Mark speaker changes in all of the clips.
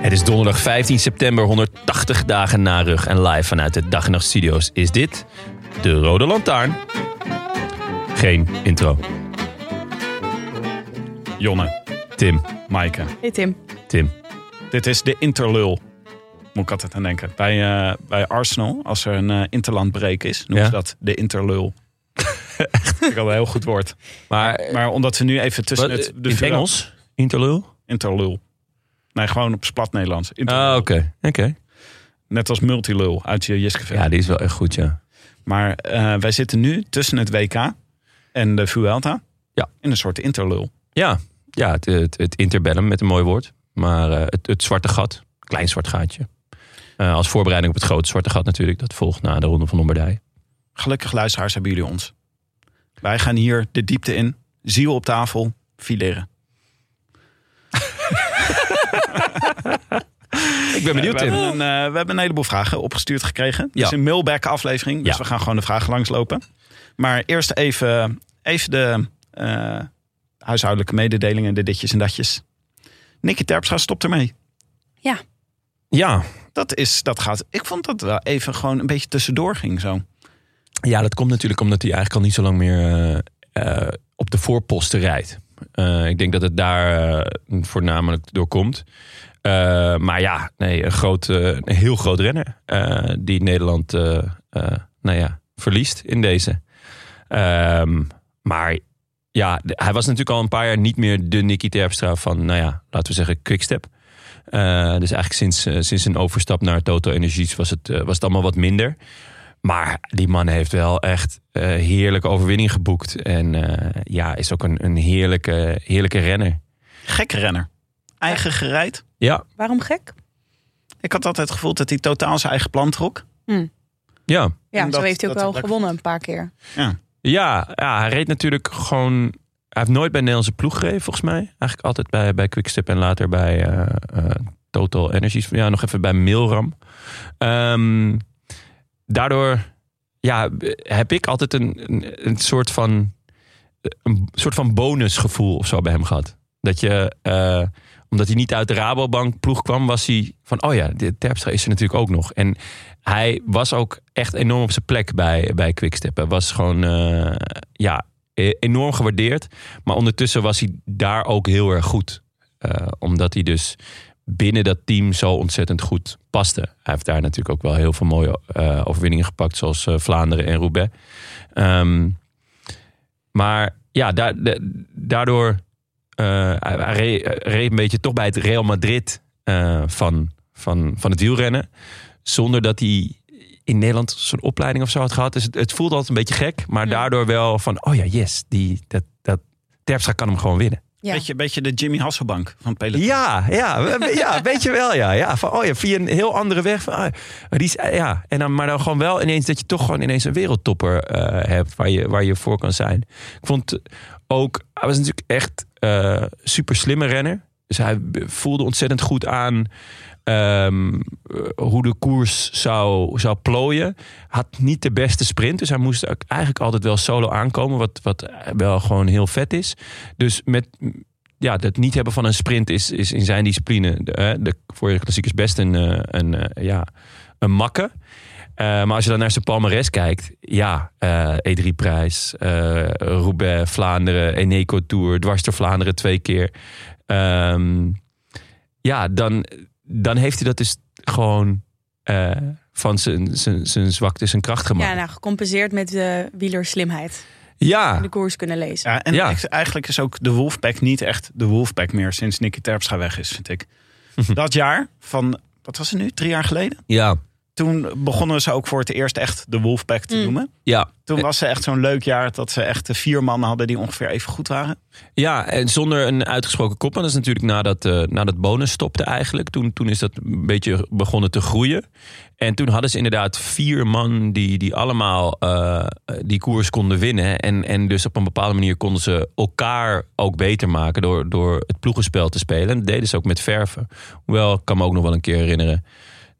Speaker 1: Het is donderdag 15 september, 180 dagen na rug. En live vanuit de Dag en Nacht Studio's is dit de Rode Lantaarn. Geen intro.
Speaker 2: Jonne,
Speaker 1: Tim,
Speaker 2: Maaike.
Speaker 3: Hey Tim.
Speaker 1: Tim.
Speaker 2: Dit is de interlul. Moet ik altijd aan denken. Bij, eh, bij Arsenal, als er een eh, interlandbreek is, noemen
Speaker 1: Ja.
Speaker 2: ze dat de interlul. Echt? Vind Ik had een heel goed woord.
Speaker 1: Maar, eh,
Speaker 2: Maar omdat ze nu even tussen
Speaker 1: wat, eh,
Speaker 2: het...
Speaker 1: in het
Speaker 2: vuur-
Speaker 1: Engels? Interlul?
Speaker 2: Interlul. Nee, gewoon op plat Nederlands. Interlul.
Speaker 1: Ah, oké. oké.
Speaker 2: Net als multilul uit je Jiskevet.
Speaker 1: Ja, die is wel echt goed, ja.
Speaker 2: Maar eh, wij zitten nu tussen het WK en de Vuelta.
Speaker 1: Ja.
Speaker 2: In een soort interlul.
Speaker 1: Ja, ja het, het, het interbellum met een mooi woord. Maar eh, het, het zwarte gat, klein zwart gaatje. Eh, als voorbereiding op het grote zwarte gat natuurlijk. Dat volgt na de Ronde van Lombardije.
Speaker 2: Gelukkig luisteraars hebben jullie ons. Wij gaan hier de diepte in. Ziel op tafel. Fileren.
Speaker 1: Ik ben benieuwd,
Speaker 2: we,
Speaker 1: Tim.
Speaker 2: Hebben een, eh, we hebben een heleboel vragen opgestuurd gekregen. Het
Speaker 1: Ja.
Speaker 2: is een mailback aflevering, dus
Speaker 1: Ja.
Speaker 2: we gaan gewoon de vragen langslopen. Maar eerst even, even de eh, huishoudelijke mededelingen, de ditjes en datjes. Nicky Terpstra stopt ermee.
Speaker 1: Ja,
Speaker 2: Dat, is, dat gaat, ik vond dat wel even gewoon een beetje tussendoor ging zo.
Speaker 1: Ja, dat komt natuurlijk omdat hij eigenlijk al niet zo lang meer eh, eh, op de voorposten rijdt. Eh, ik denk dat het daar eh, voornamelijk door komt. Eh, maar ja, nee, een, groot, eh, een heel groot renner eh, die Nederland eh, eh, nou ja, verliest in deze. Ehm, maar ja, de- hij was natuurlijk al een paar jaar niet meer de Nicky Terpstra van, nou ja, laten we zeggen, Quickstep. Eh dus eigenlijk sinds, eh, sinds een overstap naar Toto Energies was het, eh, was het allemaal wat minder. Maar die man heeft wel echt eh, heerlijke overwinning geboekt. En eh, ja, is ook een, een heerlijke, heerlijke renner.
Speaker 2: Gekke renner. Eigen gereid.
Speaker 1: Ja,
Speaker 4: Waarom gek?
Speaker 2: Ik had altijd het gevoel dat hij totaal zijn eigen plan trok.
Speaker 1: ja.
Speaker 4: Ja,
Speaker 2: Omdat
Speaker 4: zo heeft hij ook
Speaker 2: dat
Speaker 4: wel
Speaker 2: het leuk
Speaker 4: gewonnen een paar keer.
Speaker 1: Ja, ja, hij reed natuurlijk gewoon... Hij heeft nooit bij een Nederlandse ploeg gereden, volgens mij. Eigenlijk altijd bij, bij Quickstep en later bij eh, eh, Total Energies. Ja, nog even bij Milram. Ehm, daardoor ja, heb ik altijd een, een, een soort van... Een soort van bonusgevoel of zo bij hem gehad. Dat je... eh, omdat hij niet uit de Rabobank ploeg kwam, was hij van... Oh ja, de Terpstra is er natuurlijk ook nog. En hij was ook echt enorm op zijn plek bij, bij Quickstep. Hij was gewoon eh, ja, e- enorm gewaardeerd. Maar ondertussen was hij daar ook heel erg goed. Eh, omdat hij dus binnen dat team zo ontzettend goed paste. Hij heeft daar natuurlijk ook wel heel veel mooie eh, overwinningen gepakt. Zoals eh, Vlaanderen en Roubaix. Ehm, maar ja, da- da- daardoor... eh, hij hij reed, hij reed een beetje toch bij het Real Madrid eh, van, van, van het wielrennen zonder dat hij in Nederland zo'n opleiding of zo had gehad. Dus het, het voelde altijd een beetje gek, maar
Speaker 4: Ja.
Speaker 1: daardoor wel van, oh ja, yes, die, dat, dat, Terpstra kan hem gewoon winnen.
Speaker 4: Ja.
Speaker 2: Beetje, beetje de Jimmy Hasselbank van het peloton.
Speaker 1: Ja, ja, we- ja, weet je wel, ja. ja van, oh ja, via een heel andere weg. Van, ah, maar die is, ja, en dan, maar dan gewoon wel ineens dat je toch gewoon ineens een wereldtopper eh, hebt waar je, waar je voor kan zijn. Ik vond ook, hij was natuurlijk echt eh super slimme renner. Dus hij voelde ontzettend goed aan ehm, eh, hoe de koers zou, zou plooien. Had niet de beste sprint, dus hij moest ook eigenlijk altijd wel solo aankomen, wat, wat wel gewoon heel vet is. Dus met ja, dat niet hebben van een sprint is, is in zijn discipline de, eh, de, voor de klassiekers best een, eh, een, eh, ja, een makke. Eh, maar als je dan naar zijn palmares kijkt, ja, eh E3-prijs, eh Roubaix, Vlaanderen, Eneco Tour, dwars door Vlaanderen twee keer. Ehm, ja, dan, dan heeft hij dat dus gewoon eh, van zijn- zijn zijn zwakte zijn kracht gemaakt.
Speaker 4: Ja,
Speaker 1: Ja,
Speaker 4: nou, gecompenseerd met de wielerslimheid. De koers kunnen lezen.
Speaker 2: Ja, en
Speaker 1: Ja.
Speaker 2: echt- eigenlijk is ook de Wolfpack niet echt de Wolfpack meer sinds Nicky Terpstra weg is, vind ik.
Speaker 1: Mhm.
Speaker 2: Dat jaar van, wat was het nu, drie jaar geleden?
Speaker 1: ja,
Speaker 2: Toen begonnen ze ook voor het eerst echt de Wolfpack te
Speaker 4: Mm.
Speaker 2: noemen.
Speaker 1: ja.
Speaker 2: Toen was ze echt zo'n leuk jaar dat ze echt de vier mannen hadden die ongeveer even goed waren.
Speaker 1: Ja, en zonder een uitgesproken kop. En dat is natuurlijk nadat, eh nadat bonus stopte eigenlijk. Toen, toen is dat een beetje begonnen te groeien. En toen hadden ze inderdaad vier man die, die allemaal eh, die koers konden winnen. En, en dus op een bepaalde manier konden ze elkaar ook beter maken door, door het ploegenspel te spelen. En dat deden ze ook met verven. Hoewel, ik kan me ook nog wel een keer herinneren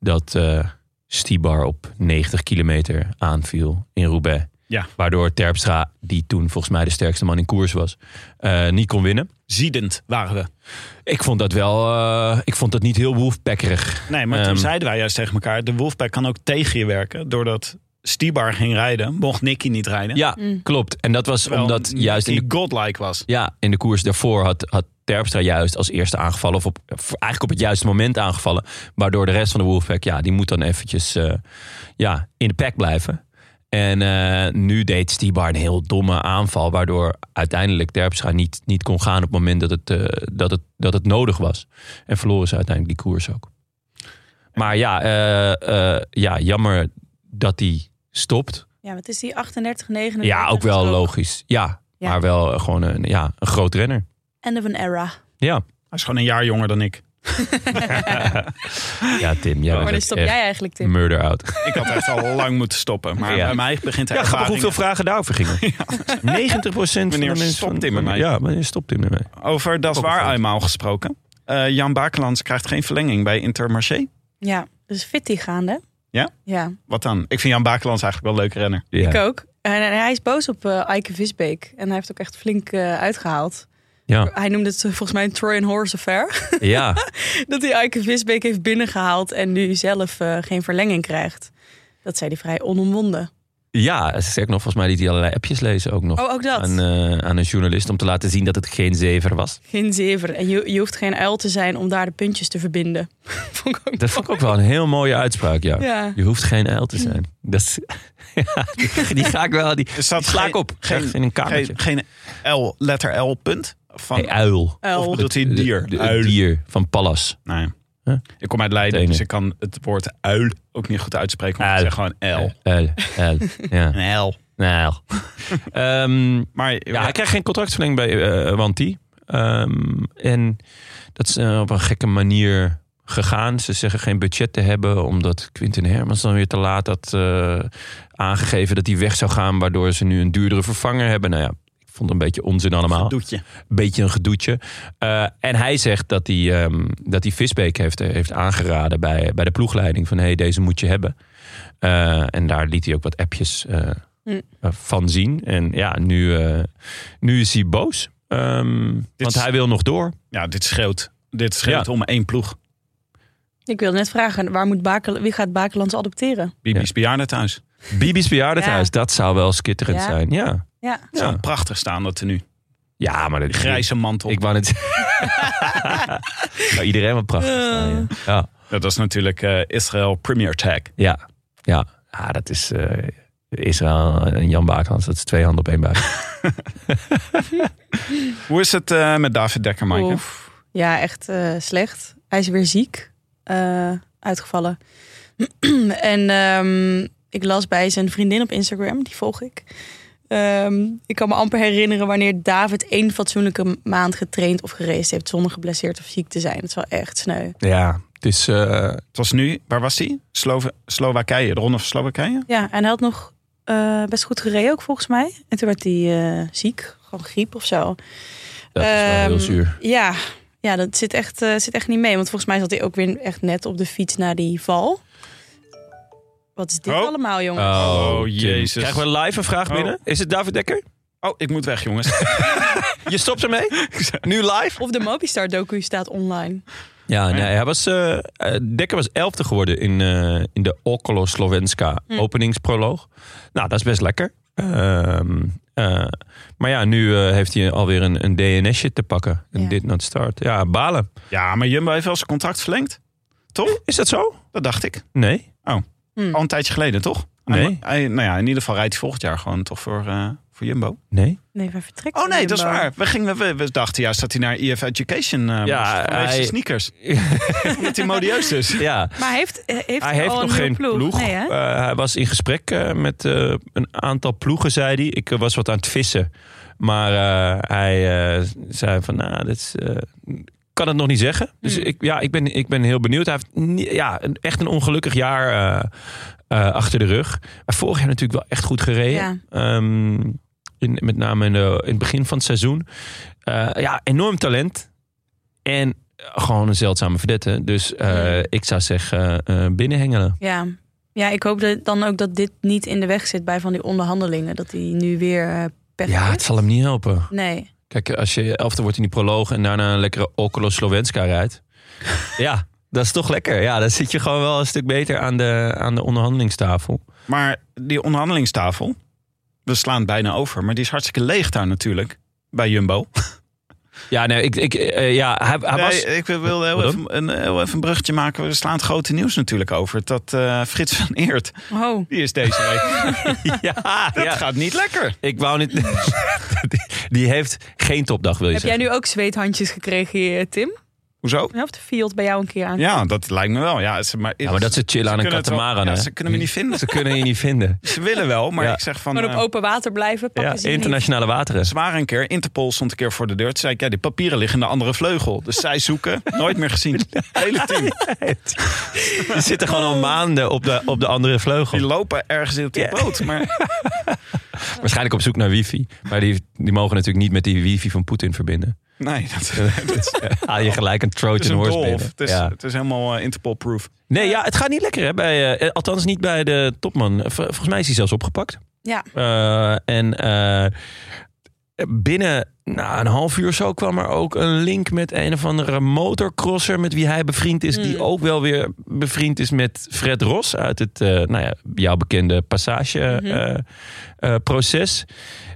Speaker 1: dat eh, Stibar op 90 kilometer aanviel in Roubaix.
Speaker 2: Ja.
Speaker 1: Waardoor Terpstra, die toen volgens mij de sterkste man in koers was, eh, niet kon winnen.
Speaker 2: Ziedend waren we.
Speaker 1: Ik vond dat wel, eh, ik vond dat niet heel wolfpekkerig.
Speaker 2: Nee, maar toen
Speaker 1: Ehm.
Speaker 2: zeiden wij juist tegen elkaar, de Wolfpack kan ook tegen je werken. Doordat Stibar ging rijden, mocht Nicky niet rijden.
Speaker 1: Ja,
Speaker 4: Mm.
Speaker 1: klopt. En dat was
Speaker 2: Terwijl
Speaker 1: omdat juist in
Speaker 2: Nicky
Speaker 1: de,
Speaker 2: godlike was.
Speaker 1: ja, in de koers daarvoor had, had Terpstra juist als eerste aangevallen. Of op, eigenlijk op het juiste moment aangevallen. Waardoor de rest van de Wolfpack, ja, die moet dan eventjes eh, ja, in de pack blijven. En eh, nu deed Stibar een heel domme aanval. Waardoor uiteindelijk Terpstra niet, niet kon gaan op het moment dat het, eh, dat, het, dat het nodig was. En verloren ze uiteindelijk die koers ook. Maar ja, eh, eh, ja jammer dat hij stopt.
Speaker 4: Ja, wat is die? 38, 39?
Speaker 1: Ja, ook wel
Speaker 4: is
Speaker 1: logisch. Ja,
Speaker 4: Ja.
Speaker 1: maar wel eh, gewoon een, ja, een groot renner.
Speaker 4: End of an era.
Speaker 1: Ja.
Speaker 2: Hij is gewoon een jaar jonger dan ik.
Speaker 1: Ja, Tim. Jij
Speaker 4: Maar Oh, dan
Speaker 1: bent
Speaker 4: stop
Speaker 1: echt
Speaker 4: jij eigenlijk, Tim.
Speaker 1: murder out.
Speaker 2: Ik had echt al lang moeten stoppen. Maar
Speaker 1: Ja.
Speaker 2: bij mij begint de
Speaker 1: Ja, grappig
Speaker 2: ervaring
Speaker 1: hoeveel vragen daarover gingen. 90 procent
Speaker 2: Wanneer
Speaker 1: mensen
Speaker 2: stopt
Speaker 1: van-
Speaker 2: Tim ermee?
Speaker 1: Ja, wanneer stopt Tim ermee?
Speaker 2: Over Dat
Speaker 1: Ook
Speaker 2: Waar
Speaker 1: goed.
Speaker 2: eenmaal gesproken. Eh, Jan Bakelands krijgt geen verlenging bij Intermarché.
Speaker 4: Ja, dus fitty gaande.
Speaker 2: Ja?
Speaker 4: Ja,
Speaker 2: Wat dan? Ik vind Jan Bakelands eigenlijk wel een leuke renner.
Speaker 1: Ja.
Speaker 4: ik ook. En en hij is boos op eh Eike Visbeek. En hij heeft ook echt flink eh, uitgehaald.
Speaker 1: Ja.
Speaker 4: Hij noemde het eh, volgens mij een Trojan Horse affair.
Speaker 1: ja,
Speaker 4: dat hij Eike Visbeek heeft binnengehaald en nu zelf eh, geen verlenging krijgt. Dat zei hij vrij onomwonden.
Speaker 1: ja, sterk nog, volgens mij liet hij allerlei appjes lezen ook nog.
Speaker 4: Oh, ook dat.
Speaker 1: Aan, eh, aan een journalist om te laten zien dat het geen zever was.
Speaker 4: Geen zever. En je, je hoeft geen uil te zijn om daar de puntjes te verbinden. Vond ik ook
Speaker 1: Dat vond ik ook wel een heel mooie uitspraak, ja.
Speaker 4: Oh, Ja.
Speaker 1: Je hoeft geen uil te zijn. Dat is, ja, die, die ga ik wel, die,
Speaker 2: Is dat
Speaker 1: die sla ik
Speaker 2: geen-
Speaker 1: op.
Speaker 2: geen-
Speaker 1: Ergens in een kamertje.
Speaker 2: Geen, geen L, letter L punt. Van,
Speaker 1: Hey, uil.
Speaker 2: of
Speaker 4: Uil.
Speaker 2: bedoelt hij dier?
Speaker 1: De- de-
Speaker 2: Uil.
Speaker 1: Het dier van Pallas.
Speaker 2: Nee.
Speaker 1: Huh?
Speaker 2: Ik kom uit
Speaker 1: Het
Speaker 2: Leiden,
Speaker 1: ene.
Speaker 2: dus ik kan het woord uil ook niet goed uitspreken. Maar ik
Speaker 1: Uil.
Speaker 2: zeg gewoon L.
Speaker 1: Eh, Uil. Uil. Ja.
Speaker 2: Een L.
Speaker 1: Nou. Ehm,
Speaker 2: Maar
Speaker 1: ja, hij krijgt geen contractverlenging bij eh Wanti. Ehm, en dat is eh, op een gekke manier gegaan. Ze zeggen geen budget te hebben, omdat Quinten Hermans dan weer te laat had eh, aangegeven dat hij weg zou gaan, waardoor ze nu een duurdere vervanger hebben. Nou ja, ik vond het een beetje onzin allemaal.
Speaker 2: doet je.
Speaker 1: beetje een gedoetje. Eh, en hij zegt dat hij, ehm, dat hij Visbeek heeft, eh, heeft aangeraden bij, bij de ploegleiding. Van hé, hey, deze moet je hebben. Eh, en daar liet hij ook wat appjes eh,
Speaker 4: Hm.
Speaker 1: eh, van zien. En ja, nu, eh, nu is hij boos. Ehm, want
Speaker 2: is-
Speaker 1: hij wil nog door.
Speaker 2: Ja, dit scheelt. Dit scheelt om één ploeg.
Speaker 4: Ik wilde net vragen, waar moet Bakel, wie gaat Bakelands adopteren?
Speaker 2: Bibi's bejaardentehuis. Het
Speaker 1: Bibi's bejaardentehuis,
Speaker 4: Ja.
Speaker 1: dat zou wel skitterend
Speaker 4: Ja.
Speaker 1: zijn. Ja,
Speaker 4: Ja.
Speaker 2: zou
Speaker 1: ja.
Speaker 2: prachtig staan dat er nu.
Speaker 1: ja maar dat
Speaker 2: Die grijze mantel.
Speaker 1: Ik wou het. nou, iedereen wat prachtig.
Speaker 4: Eh.
Speaker 1: staan, ja. ja.
Speaker 2: Dat is natuurlijk eh, Israël Premier Tag.
Speaker 1: Ja, ja. ja dat is eh, Israël en Jan Baaklands. Dat is twee handen op één buik.
Speaker 2: Hoe is het eh, met David Dekker, Maaike?
Speaker 4: Oef. Ja, echt eh, slecht. Hij is weer ziek eh, uitgevallen. en ehm, ik las bij zijn vriendin op Instagram, die volg ik. Ehm, ik kan me amper herinneren wanneer David één fatsoenlijke maand getraind of geraced heeft zonder geblesseerd of ziek te zijn. Dat is wel echt sneu.
Speaker 1: Ja, het is... eh,
Speaker 2: Het was nu, waar was hij? Slova Slowakije, de ronde van Slowakije?
Speaker 4: Ja, en hij had nog eh, best goed gereden ook volgens mij. En toen werd hij eh, ziek, gewoon griep of zo.
Speaker 1: dat is wel heel
Speaker 4: Ehm,
Speaker 1: zuur.
Speaker 4: Ja, ja dat zit echt, eh, zit echt niet mee. Want volgens mij zat hij ook weer echt net op de fiets na die val. Wat is dit
Speaker 2: Oh.
Speaker 4: allemaal, jongens?
Speaker 1: Ah.
Speaker 2: Oh,
Speaker 1: Tim.
Speaker 2: Jezus.
Speaker 1: Krijgen we live een vraag
Speaker 2: Oh.
Speaker 1: binnen? Is het David Dekker?
Speaker 2: Oh, ik moet weg, jongens.
Speaker 1: Je stopt ermee? nu live?
Speaker 4: Of de Mobistar-docu staat online.
Speaker 1: Ja, nee, hij was, eh, eh, Dekker was elfde geworden in, eh, in de Okolo Slovenska openingsproloog. Nou, dat is best lekker. Ehm, eh, maar ja, nu eh, heeft hij alweer een, een DNSje te pakken. Een
Speaker 4: Ja.
Speaker 1: did not start. Ja, balen.
Speaker 2: ja, maar Jumbo heeft wel zijn contract verlengd. Tot Toch?
Speaker 1: Is dat zo?
Speaker 2: Dat dacht ik.
Speaker 1: Nee.
Speaker 4: Hm.
Speaker 2: Al een tijdje geleden, toch?
Speaker 1: Nee.
Speaker 2: Hij- hij- nou ja, in ieder geval rijdt hij volgend jaar gewoon toch voor, eh, voor Jumbo.
Speaker 1: Nee.
Speaker 4: Nee, wij vertrekken.
Speaker 2: Oh nee, dat is
Speaker 4: Jumbo.
Speaker 2: waar. We, gingen, we, we dachten juist dat hij naar EF Education eh
Speaker 1: Ja,
Speaker 2: moest vanwege
Speaker 1: hij-
Speaker 2: zijn sneakers. Omdat hij modieus is.
Speaker 1: Ja.
Speaker 4: Maar hij heeft, eh, heeft
Speaker 1: hij heeft
Speaker 4: al
Speaker 1: nog
Speaker 4: een
Speaker 1: geen
Speaker 4: nieuwe
Speaker 1: ploeg.
Speaker 4: Nee, hè?
Speaker 1: Eh, hij was in gesprek eh, met eh, een aantal ploegen, zei hij. Ik eh, was wat aan het vissen. Maar eh, hij eh, zei van, nou, dit is, eh, ik kan het nog niet zeggen. Dus
Speaker 4: Hmm.
Speaker 1: ik, ja, ik, ben, ik ben heel benieuwd. Hij heeft ni- ja, een- echt een ongelukkig jaar eh, eh, achter de rug. Maar vorig jaar natuurlijk wel echt goed gereden.
Speaker 4: Ja.
Speaker 1: Ehm, in, met name in, de- in het begin van het seizoen. Eh, ja, enorm talent. En gewoon een zeldzame verdette. Dus eh, ik zou zeggen, eh, binnenhengelen.
Speaker 4: Ja. ja, ik hoop dat, dan ook dat dit niet in de weg zit bij van die onderhandelingen. Dat hij nu weer eh, pech
Speaker 1: Ja, het
Speaker 4: heeft.
Speaker 1: zal hem niet helpen.
Speaker 4: Nee.
Speaker 1: Kijk, als je elfde wordt in die proloog en daarna een lekkere Okolo Slovenska rijdt. ja, dat is toch lekker. Ja, dan zit je gewoon wel een stuk beter aan de, aan de onderhandelingstafel.
Speaker 2: Maar die onderhandelingstafel, we slaan bijna over. Maar die is hartstikke leeg daar natuurlijk, bij Jumbo.
Speaker 1: Ja, nee, ik, ik, eh, ja hij, hij
Speaker 2: Nee,
Speaker 1: was...
Speaker 2: ik wilde heel
Speaker 1: Waarom?
Speaker 2: even, een, heel even een bruggetje maken. We slaan het grote nieuws natuurlijk over. Dat eh, Frits van Eert,
Speaker 4: Oh,
Speaker 2: die is deze week.
Speaker 1: Ja,
Speaker 2: Dat
Speaker 1: ja.
Speaker 2: gaat niet lekker.
Speaker 1: Ik wou niet... die, die heeft geen topdag, wil je
Speaker 4: heb jij
Speaker 1: zeggen.
Speaker 4: nu ook zweethandjes gekregen, hier, Tim?
Speaker 2: Hoezo?
Speaker 4: Ja, Of de field bij jou een keer aan?
Speaker 2: Ja, dat lijkt me wel. Ja, ze, maar,
Speaker 1: Ja, maar dat ze chillen aan een
Speaker 2: kunnen het wel-
Speaker 1: katamaran,
Speaker 2: ja,
Speaker 1: hè?
Speaker 2: ze kunnen me niet vinden.
Speaker 1: Ze kunnen je niet vinden.
Speaker 2: Ze willen wel, maar
Speaker 1: Ja.
Speaker 2: ik zeg van...
Speaker 4: Gewoon op
Speaker 2: eh,
Speaker 4: open water blijven.
Speaker 1: Ja,
Speaker 4: Pakken ze je niet.
Speaker 1: internationale wateren.
Speaker 2: Ze waren een keer, Interpol stond een keer voor de deur. Toen zei ik, ja, die papieren liggen in de andere vleugel. Dus zij zoeken, nooit meer gezien. Hele team.
Speaker 1: Ze zitten gewoon al maanden op de, op de andere
Speaker 2: Die
Speaker 1: vleugel.
Speaker 2: lopen ergens op die
Speaker 1: Ja.
Speaker 2: boot. Maar
Speaker 1: Waarschijnlijk op zoek naar wifi. Maar die, die mogen natuurlijk niet met die wifi van Poetin verbinden.
Speaker 2: nee, dat, dat is, dat
Speaker 1: Haal je gelijk een Trojan
Speaker 2: is een
Speaker 1: horse
Speaker 2: dolf.
Speaker 1: binnen.
Speaker 2: Het is,
Speaker 1: Ja.
Speaker 2: het is helemaal eh, Interpol-proof.
Speaker 1: Nee, ja, het gaat niet lekker. Hè, bij, eh, eh, althans niet bij de topman. V- volgens mij is hij zelfs opgepakt.
Speaker 4: Ja.
Speaker 1: Eh, en eh, binnen nou, een half uur zo kwam er ook een link met een of andere motorcrosser... met wie hij bevriend is. Die
Speaker 4: Mm.
Speaker 1: ook wel weer bevriend is met Fred Ros... uit het, eh, nou ja, jouw bekende eh,
Speaker 4: Mhm.
Speaker 1: passageproces.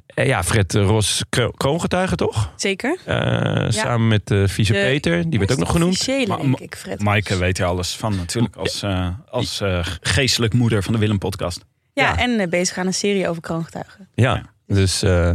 Speaker 1: Eh, ja, Fred Ros, kro- kroongetuige toch?
Speaker 4: Zeker.
Speaker 1: Eh, Samen met eh vieze
Speaker 4: De-
Speaker 1: Peter, die werd ook nog genoemd.
Speaker 4: Officiële,
Speaker 2: Maar-
Speaker 4: denk ik, Fred.
Speaker 2: Maaike weet er alles van natuurlijk. Als, eh, als eh, geestelijk moeder van de Willem-podcast.
Speaker 4: Ja,
Speaker 1: ja.
Speaker 4: en eh, bezig aan een serie over kroongetuigen.
Speaker 1: Ja, dus... eh,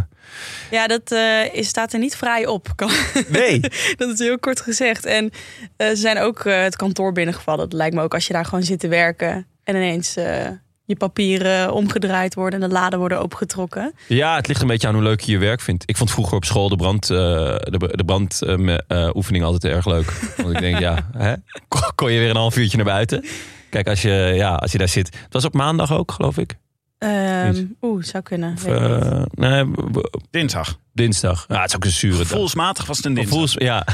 Speaker 4: Ja, dat eh, is, staat er niet vrij op. Kan,
Speaker 1: nee,
Speaker 4: dat is heel kort gezegd. En eh, ze zijn ook eh, het kantoor binnengevallen. Dat lijkt me ook als je daar gewoon zit te werken en ineens eh, je papieren omgedraaid worden en de laden worden opengetrokken.
Speaker 1: Ja, het ligt een beetje aan hoe leuk je je werk vindt. Ik vond vroeger op school de brandoefening de, de brand, eh, me- eh, oefening altijd erg leuk. Want ik denk, ja, hè? Kon- kon je weer een half uurtje naar buiten. Kijk, als je, ja, als je daar zit. Het was op maandag ook, geloof ik.
Speaker 4: Ehm,
Speaker 1: Niet.
Speaker 4: Oeh, zou kunnen.
Speaker 1: Of,
Speaker 4: Weet ik niet.
Speaker 1: eh, nee, w- w-
Speaker 2: Dinsdag.
Speaker 1: dinsdag. Ja, het is ook een zure dag.
Speaker 2: Gevoelsmatig was het een dinsdag.
Speaker 1: Gevoels- ja.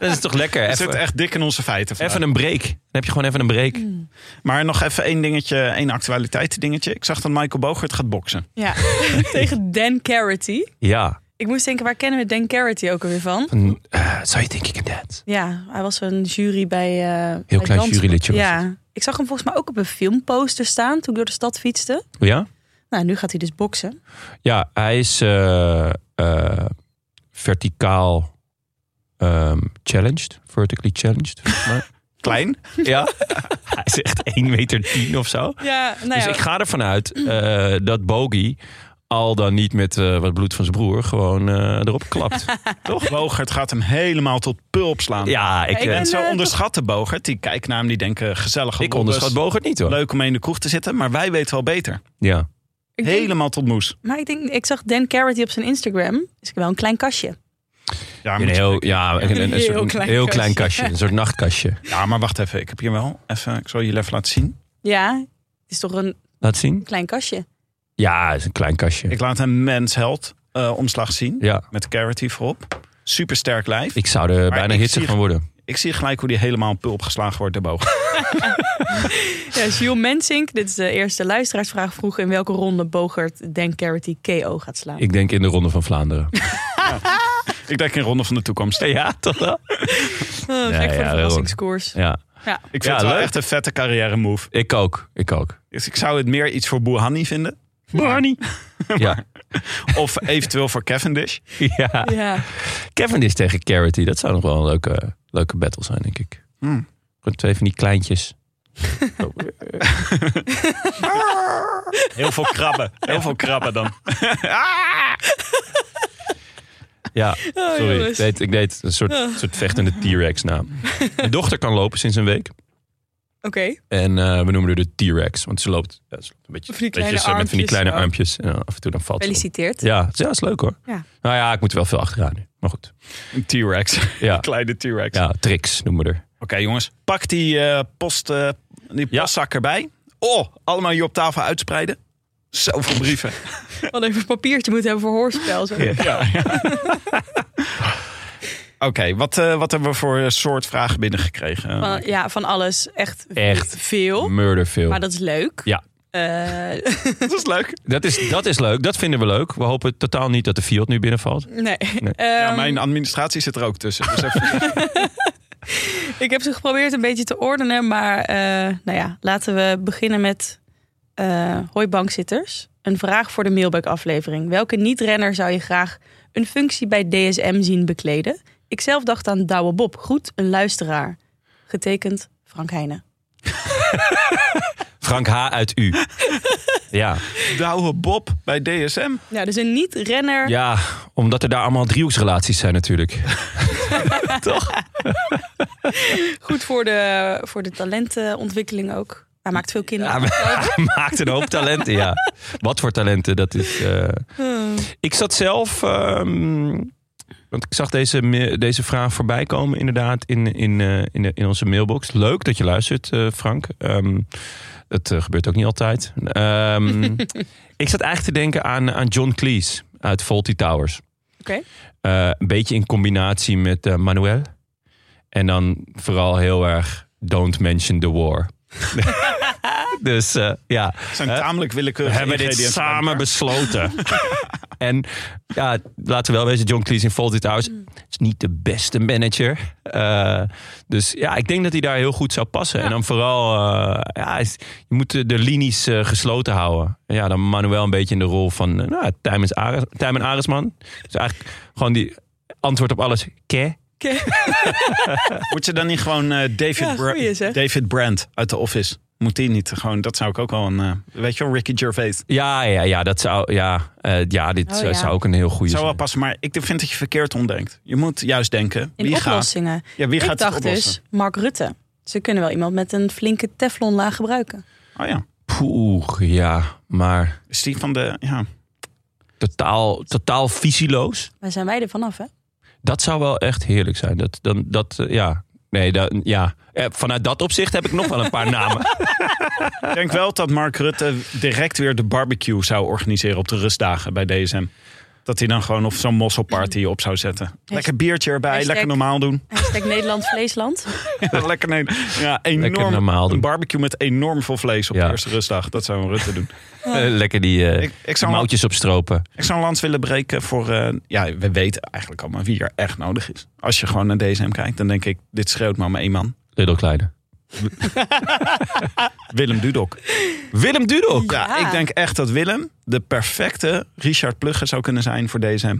Speaker 1: Dat is toch lekker.
Speaker 2: We zitten
Speaker 1: Even,
Speaker 2: echt dik in onze feiten. vandaag.
Speaker 1: even een break. Dan heb je gewoon even een break.
Speaker 4: Hmm.
Speaker 2: Maar nog even één dingetje, één actualiteit dingetje. Ik zag dat Michael Bogert gaat boksen.
Speaker 4: Ja, tegen Dan Carity.
Speaker 1: Ja.
Speaker 4: Ik moest denken, waar kennen we Dan Carity ook alweer van?
Speaker 1: Van, eh, so you think you can dance?
Speaker 4: Ja, hij was een jury bij... eh, bij
Speaker 1: Heel klein
Speaker 4: dans-
Speaker 1: jurylidje was
Speaker 4: Ja, ik zag hem volgens mij ook op een filmposter staan toen ik door de stad fietste.
Speaker 1: Ja?
Speaker 4: Nou, nu gaat hij dus boksen.
Speaker 1: Ja, hij is eh, eh, verticaal ehm, challenged. Vertically challenged. volgens mij.
Speaker 2: Klein.
Speaker 1: ja. Hij is echt 1,10 meter of zo.
Speaker 4: Ja, nou
Speaker 1: dus ik ga ervan uit eh, dat Bogie al dan niet met eh, wat bloed van zijn broer gewoon eh, erop klapt.
Speaker 2: Toch? Bogert gaat hem helemaal tot pulp slaan.
Speaker 1: ja, ik,
Speaker 4: Ik ben-
Speaker 1: eh,
Speaker 2: En
Speaker 4: En,
Speaker 2: zo
Speaker 4: eh,
Speaker 2: onderschatten Bogert. Die kijken naar hem, die denken gezellig.
Speaker 1: ik onderschat Bogert niet hoor.
Speaker 2: Leuk om mee in de kroeg te zitten, maar wij weten wel beter.
Speaker 1: Ja.
Speaker 4: Ik denk-
Speaker 2: Helemaal tot moes.
Speaker 4: Maar ik denk, ik zag Dan Carity op zijn Instagram. Is ik wel een klein kastje.
Speaker 2: Ja,
Speaker 1: Een
Speaker 2: moet-
Speaker 1: heel, ja, een, een- een
Speaker 4: Heel
Speaker 1: soort,
Speaker 4: klein
Speaker 1: heel klein
Speaker 4: kastje.
Speaker 1: kastje. Een soort nachtkastje.
Speaker 2: ja, maar wacht even. Ik heb hier wel even, ik zal jullie even laten zien.
Speaker 4: Ja, het is toch een
Speaker 1: Laat zien.
Speaker 4: klein kastje.
Speaker 1: Ja, het is een klein kastje.
Speaker 2: Ik laat een mens held eh, omslag zien.
Speaker 1: ja.
Speaker 2: Met Carity voorop. Supersterk lijf. Ik,
Speaker 1: Ik zou er bijna
Speaker 2: ik
Speaker 1: hitsig
Speaker 2: zie-
Speaker 1: van worden.
Speaker 2: zie gelijk hoe die helemaal pulp geslagen wordt, de Bogert.
Speaker 4: Ja, Jules Mensink, dit is de eerste luisteraarsvraag, vroeg in welke ronde Bogert Dan Carity KO gaat slaan.
Speaker 1: Ik denk in de Ronde van Vlaanderen.
Speaker 2: ik denk in Ronde van de Toekomst.
Speaker 1: ja, toch wel?
Speaker 4: Oh, gek voor de
Speaker 1: ja,
Speaker 4: verrassingskoers.
Speaker 1: Ja,
Speaker 4: Ja.
Speaker 2: Ik vind
Speaker 1: Ja,
Speaker 2: het wel
Speaker 1: leuk.
Speaker 2: echt een vette carrière move.
Speaker 1: ik ook. Ik ook.
Speaker 2: Dus ik zou het meer iets voor Boehani vinden.
Speaker 1: Barney. Ja.
Speaker 2: Of eventueel voor Cavendish.
Speaker 1: ja.
Speaker 4: Ja. Hmm.
Speaker 1: Kevin is tegen Carity. Dat zou nog wel een leuke, leuke battle zijn, denk ik. twee van die kleintjes.
Speaker 4: Oh,
Speaker 2: Heel veel krabben. Heel veel krabben dan.
Speaker 1: Ja,
Speaker 4: Oh,
Speaker 1: sorry. ik,
Speaker 4: jongens. Ah.
Speaker 1: deed, ik deed een soort, soort vechtende T-Rex naam. Mijn dochter kan lopen sinds een week.
Speaker 4: Oké,
Speaker 1: En eh, we noemen haar de T-Rex. Want ze loopt, ja, ze loopt een beetje,
Speaker 4: Van
Speaker 1: beetje
Speaker 4: die kleine
Speaker 1: zo met van die
Speaker 4: armpjes.
Speaker 1: kleine
Speaker 4: Oh.
Speaker 1: armpjes. En dan af en toe dan valt ze om.
Speaker 4: gefeliciteerd.
Speaker 1: Ja, ja, is leuk hoor.
Speaker 4: Ja.
Speaker 1: Nou ja, ik moet er wel veel achteraan nu. Maar goed.
Speaker 2: Een T-Rex.
Speaker 1: Ja,
Speaker 2: Kleine T-Rex.
Speaker 1: ja tricks noemen we er.
Speaker 2: Oké jongens, pak die, eh, post, eh, die
Speaker 1: Ja.
Speaker 2: postzak erbij. Oh, allemaal hier op tafel uitspreiden. Zoveel brieven.
Speaker 4: Wat even een papiertje moeten hebben voor hoorspel. Zo.
Speaker 2: Ja. Oké, wat, eh, wat hebben we voor soort vragen binnengekregen?
Speaker 4: Van, ja, van alles. Echt,
Speaker 1: Echt.
Speaker 4: veel.
Speaker 1: Murder veel.
Speaker 4: Maar dat is leuk.
Speaker 1: Ja.
Speaker 4: Eh,
Speaker 2: dat is leuk.
Speaker 1: Dat is, dat is leuk, dat vinden we leuk. We hopen totaal niet dat de Fiat nu binnenvalt.
Speaker 4: nee.
Speaker 2: Ja,
Speaker 4: Ehm,
Speaker 2: mijn administratie zit er ook tussen. Dus even-
Speaker 4: Ik heb ze geprobeerd een beetje te ordenen, maar eh, nou ja, laten we beginnen met eh hoi bankzitters. Een vraag voor de mailback-aflevering. Welke niet-renner zou je graag een functie bij DSM zien bekleden? Ik zelf dacht aan Douwe Bob. Goed, een luisteraar. Getekend Frank Heijnen.
Speaker 1: Frank H. uit U. Ja.
Speaker 2: Douwe Bob bij DSM.
Speaker 4: Ja, dus een niet-renner.
Speaker 1: ja, omdat er daar allemaal driehoeksrelaties zijn natuurlijk.
Speaker 4: Goed voor de, voor de talentenontwikkeling ook. Hij maakt veel kinderen.
Speaker 1: Ja, maar- maakt een hoop talenten, ja. Wat voor talenten, dat is... eh,
Speaker 4: Hmm.
Speaker 1: Ik zat zelf. ehm, want ik zag deze, me- deze vraag voorbij komen, inderdaad, in, in, eh, in, de- in onze mailbox. Leuk dat je luistert, eh, Frank. Ehm, dat eh, gebeurt ook niet altijd. Ehm, ik zat eigenlijk te denken aan, aan John Cleese uit Faulty Towers.
Speaker 4: Oké.
Speaker 1: Eh, een beetje in combinatie met eh, Manuel. En dan vooral heel erg Don't Mention the War. dus eh, ja,
Speaker 2: Het zijn
Speaker 1: Hè?
Speaker 2: tamelijk
Speaker 1: we
Speaker 2: willekeurige
Speaker 1: hebben dit
Speaker 2: ingrediënten bij
Speaker 1: samen
Speaker 2: elkaar.
Speaker 1: besloten. en ja, laten we wel wezen, John Cleese in Fawlty Towers is niet de beste manager. Eh, dus ja, ik denk dat hij daar heel goed zou passen. En dan vooral, eh, ja, is- je moet de, de linies eh, gesloten houden. En Ja, dan Manuel een beetje in de rol van eh, nou, Tijmen Ares, Tijmen Aresman. Dus eigenlijk gewoon die antwoord op alles. Ke?
Speaker 2: Moet je dan niet gewoon eh, David,
Speaker 4: Ja,
Speaker 2: Bra-
Speaker 4: goeie, zeg.
Speaker 2: David Brandt uit The Office? Moet die niet gewoon, dat zou ik ook wel een, eh, weet je wel, Ricky Gervais.
Speaker 1: Ja, ja, ja, dat zou, ja, eh, ja dit
Speaker 4: Oh,
Speaker 1: zou,
Speaker 4: ja.
Speaker 1: zou ook een heel goede
Speaker 2: Zou
Speaker 1: zijn.
Speaker 2: wel passen, maar ik vind dat je verkeerd omdenkt. Je moet juist denken,
Speaker 4: In
Speaker 2: wie gaat,
Speaker 4: oplossingen.
Speaker 2: ja, wie
Speaker 4: Ik
Speaker 2: gaat het
Speaker 4: dacht
Speaker 2: oplossen?
Speaker 4: dus Mark Rutte. Ze kunnen wel iemand met een flinke teflonlaag gebruiken.
Speaker 2: Oh ja,
Speaker 1: Poeh, ja, maar
Speaker 2: is die van de, ja.
Speaker 1: totaal, totaal visieloos.
Speaker 4: Waar zijn wij er vanaf, hè?
Speaker 1: Dat zou wel echt heerlijk zijn. Dat, dan, dat, eh, ja. Nee, dat, ja. Eh, Vanuit dat opzicht heb ik nog wel een paar namen.
Speaker 2: Ik denk wel dat Mark Rutte direct weer de barbecue zou organiseren op de rustdagen bij DSM. Dat hij dan gewoon of zo'n mosselparty op zou zetten. Lekker biertje erbij,
Speaker 4: Hashtag-
Speaker 2: lekker normaal doen.
Speaker 4: Hashtag Nederland Vleesland.
Speaker 2: Ja, lekker, nee, ja, enorm,
Speaker 1: Lekker normaal doen.
Speaker 2: Een barbecue met enorm veel vlees op
Speaker 1: Ja.
Speaker 2: de eerste rustdag. Dat zou een Rutte doen.
Speaker 1: Eh, Lekker die eh,
Speaker 2: Ik, ik, zou een, land-
Speaker 1: mouwtjes opstropen.
Speaker 2: ik zou een lans willen breken voor... eh, ja, we weten eigenlijk allemaal wie er echt nodig is. Als je gewoon naar DSM kijkt, dan denk ik... Dit schreeuwt maar om één man.
Speaker 1: Little Kleine.
Speaker 2: Willem Dudok.
Speaker 1: Willem Dudok.
Speaker 2: Ja,
Speaker 4: Ja.
Speaker 2: ik denk echt dat Willem de perfecte Richard Plugger zou kunnen zijn voor DSM.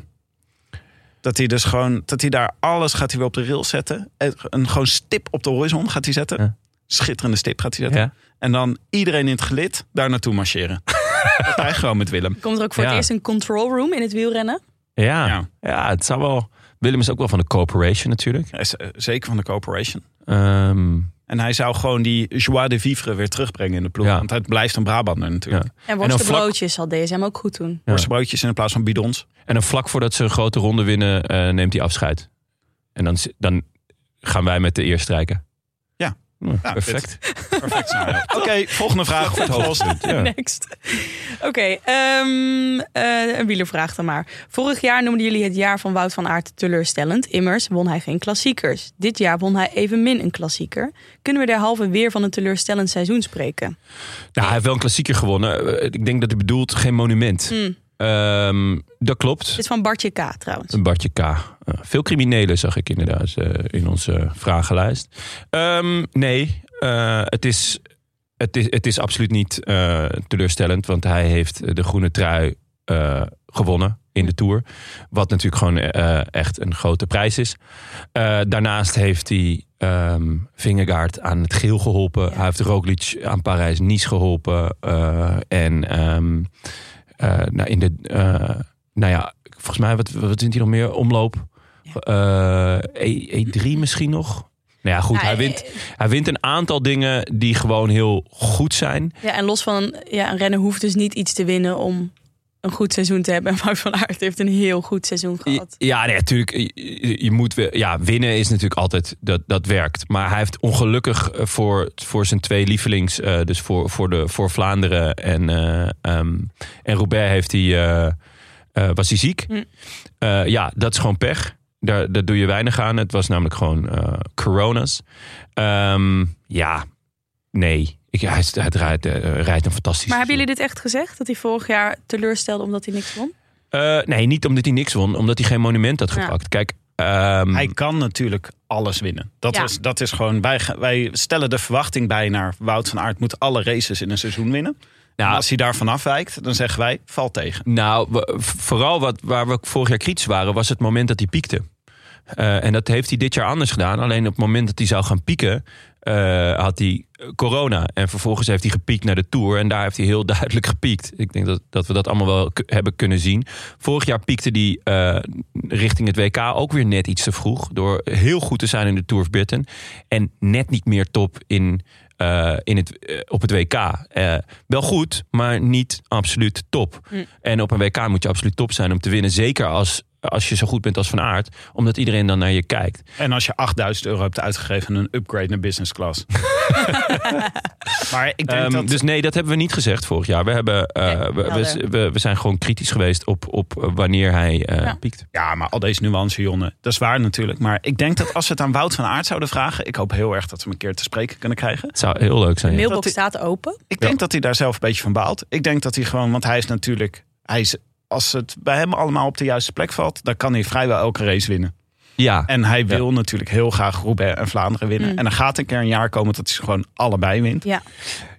Speaker 2: Dat hij dus gewoon, dat hij daar alles gaat hij weer op de rails zetten. En Een gewoon stip op de horizon gaat hij zetten.
Speaker 1: Ja.
Speaker 2: Schitterende stip gaat hij zetten.
Speaker 1: Ja.
Speaker 2: En dan iedereen in het gelid daar naartoe marcheren. dat hij gewoon met Willem.
Speaker 4: Komt er ook voor
Speaker 1: Ja.
Speaker 4: het eerst een control room in het wielrennen.
Speaker 1: Ja. ja.
Speaker 2: Ja.
Speaker 1: het zou wel... Willem is ook wel van de corporation natuurlijk.
Speaker 2: Hij is, eh, Zeker van de corporation.
Speaker 1: Ehm,
Speaker 2: En hij zou gewoon die joie de vivre weer terugbrengen in de ploeg.
Speaker 1: Ja.
Speaker 2: Want hij blijft een Brabander natuurlijk.
Speaker 1: Ja.
Speaker 4: En
Speaker 1: vlak-
Speaker 4: worstenbroodjes zal DSM ook goed doen.
Speaker 1: Ja.
Speaker 2: Worstenbroodjes in plaats van bidons.
Speaker 1: en dan vlak voordat ze een grote ronde winnen, eh, neemt hij afscheid. En dan, zi- dan gaan wij met de eer strijken.
Speaker 2: Ja.
Speaker 1: Nou,
Speaker 2: Ja,
Speaker 1: perfect.
Speaker 2: Perfect scenario. Oké, volgende vraag.
Speaker 1: Goed hoogtepunt, ja.
Speaker 4: Next. Oké, ehm, eh, een wielervraag dan maar. Vorig jaar noemden jullie het jaar van Wout van Aert teleurstellend. Immers won hij geen klassiekers. Dit jaar won hij evenmin een klassieker. Kunnen we derhalve weer van een teleurstellend seizoen spreken?
Speaker 1: Nou, hij heeft wel een klassieker gewonnen. Eh, Ik denk dat hij bedoelt geen monument. Ehm, dat klopt.
Speaker 4: Dit is van Bartje K. trouwens.
Speaker 1: Een Bartje K. Eh, veel criminelen zag ik inderdaad eh, in onze vragenlijst. Ehm, nee, eh, het, is, het, is, het is absoluut niet eh, teleurstellend. Want hij heeft de groene trui eh, gewonnen in de Tour. Wat natuurlijk gewoon eh, echt een grote prijs is. Eh, daarnaast heeft hij ehm Vingegaard aan het geel geholpen. Hij heeft Roglic aan Parijs-Nice geholpen. Eh, en ehm, eh, nou, in de, eh, nou ja, volgens mij, wat, wat vindt hij nog meer? Omloop. Eh, E, 3 misschien nog? Nou ja, goed,
Speaker 4: Ja,
Speaker 1: hij
Speaker 4: eh,
Speaker 1: wint hij wint een aantal dingen die gewoon heel goed zijn.
Speaker 4: Ja, en los van ja, een rennen hoeft dus niet iets te winnen om een goed seizoen te hebben. En Wout van Aert heeft een heel goed seizoen gehad.
Speaker 1: Ja, nee, natuurlijk. Je, je moet wel- ja, winnen is natuurlijk altijd dat, dat werkt. Maar hij heeft ongelukkig eh, voor, voor zijn twee lievelings, eh, dus voor, voor, de, voor Vlaanderen en, eh, ehm, en Roubaix, heeft hij, eh, eh, was hij ziek.
Speaker 4: Hm.
Speaker 1: Eh, ja, dat is gewoon pech. Daar, daar doe je weinig aan. Het was namelijk gewoon eh, corona's. Ehm, ja, nee. Ik, hij, hij draait, eh, rijdt een fantastische.
Speaker 4: Maar hebben jullie dit echt gezegd? Dat hij vorig jaar teleurstelde omdat hij niks won?
Speaker 1: Eh, nee, niet omdat hij niks won, omdat hij geen monument had
Speaker 4: Ja.
Speaker 1: gepakt. Kijk, ehm,
Speaker 2: Hij kan natuurlijk alles winnen. Dat,
Speaker 4: Ja.
Speaker 2: is, dat is gewoon, wij, ga- wij stellen de verwachting bij naar Wout van Aert moet alle races in een seizoen winnen.
Speaker 1: nou,
Speaker 2: En als hij daarvan afwijkt, dan zeggen wij, val tegen.
Speaker 1: nou, we- vooral wat, waar we vorig jaar kritisch waren, was het moment dat hij piekte. Eh, en dat heeft hij dit jaar anders gedaan. Alleen op het moment dat hij zou gaan pieken, eh, had hij corona. En vervolgens heeft hij gepiekt naar de Tour. En daar heeft hij heel duidelijk gepiekt. Ik denk dat, dat we dat allemaal wel k- hebben kunnen zien. Vorig jaar piekte hij eh, richting het WK ook weer net iets te vroeg. Door heel goed te zijn in de Tour of Britain. En net niet meer top in, eh, in het, eh, op het WK. Eh, wel goed, maar niet absoluut top. En op een WK moet je absoluut top zijn om te winnen. Zeker als, als je zo goed bent als Van Aert. Omdat iedereen dan naar je kijkt.
Speaker 2: En als je 8000 euro hebt uitgegeven aan een upgrade naar business class. maar ik denk
Speaker 1: Ehm,
Speaker 2: dat...
Speaker 1: Dus nee, dat hebben we niet gezegd vorig jaar. We, hebben, eh,
Speaker 4: Nee,
Speaker 1: we, we,
Speaker 4: helder.
Speaker 1: we- we zijn gewoon kritisch geweest op, op eh, wanneer hij eh,
Speaker 4: Ja.
Speaker 1: piekt.
Speaker 2: Ja, maar al deze nuance, Jonne, dat is waar natuurlijk. Maar ik denk dat als we het aan Wout van Aert zouden vragen... ik hoop heel erg dat we hem een keer te spreken kunnen krijgen.
Speaker 1: Het zou heel leuk
Speaker 4: De
Speaker 1: zijn. ja.
Speaker 4: mailbox
Speaker 2: Dat-
Speaker 4: staat open.
Speaker 2: Ik denk dat hij daar zelf een beetje van baalt. Ik denk dat hij gewoon, want hij is natuurlijk... Hij is, als het bij hem allemaal op de juiste plek valt... dan kan hij vrijwel elke race winnen.
Speaker 1: Ja,
Speaker 2: En hij wil natuurlijk heel graag Roubaix en Vlaanderen winnen.
Speaker 4: Mm.
Speaker 2: En er gaat een keer een jaar komen dat hij ze gewoon allebei wint.
Speaker 4: Ja.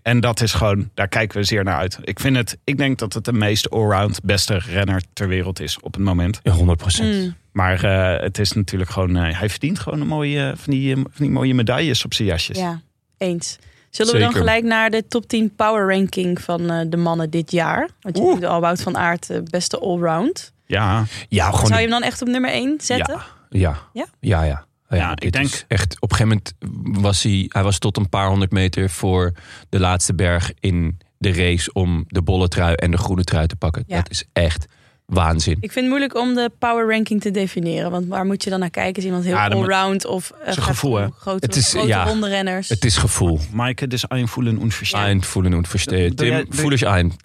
Speaker 2: En dat is gewoon, daar kijken we zeer naar uit. Ik, vind het, ik denk dat het de meest allround beste renner ter wereld is op het moment.
Speaker 1: 100 procent.
Speaker 4: Mm.
Speaker 2: Maar eh, het is natuurlijk gewoon, eh, hij verdient gewoon een mooie, eh, van, die, eh, van die mooie medailles op zijn jasjes.
Speaker 4: Ja, eens. Zullen we dan
Speaker 1: Zeker.
Speaker 4: gelijk naar de top 10 power ranking van eh, de mannen dit jaar? Want je
Speaker 2: Oeh.
Speaker 4: noemde al Wout van Aert de beste allround.
Speaker 2: Ja,
Speaker 1: Ja, gewoon.
Speaker 4: Zou je hem dan echt op nummer 1 zetten?
Speaker 1: Ja,
Speaker 4: Ja?
Speaker 1: ja, ja. ja.
Speaker 2: Ja,
Speaker 1: dit
Speaker 2: ik denk-
Speaker 1: is echt op een gegeven moment was hij, hij was tot een paar honderd meter voor de laatste berg in de race om de bolle trui en de groene trui te pakken.
Speaker 4: Ja.
Speaker 1: Dat is echt waanzin.
Speaker 4: Ik vind het moeilijk om de power ranking te definiëren. Want waar moet je dan naar kijken? Is iemand heel
Speaker 2: Ja, dan moet-
Speaker 4: allround of eh,
Speaker 2: is een
Speaker 4: gaat
Speaker 2: gevoel, hè?
Speaker 4: om grote,
Speaker 1: Het is,
Speaker 4: grote
Speaker 1: ja,
Speaker 4: ronde renners?
Speaker 1: Het is gevoel.
Speaker 2: Maaike, dus aanvoelen onverstand.
Speaker 1: Eind voelen en
Speaker 2: Doe-
Speaker 1: verstehen.
Speaker 2: doe jij-
Speaker 1: Tim,
Speaker 2: doe-
Speaker 1: voel eens eind.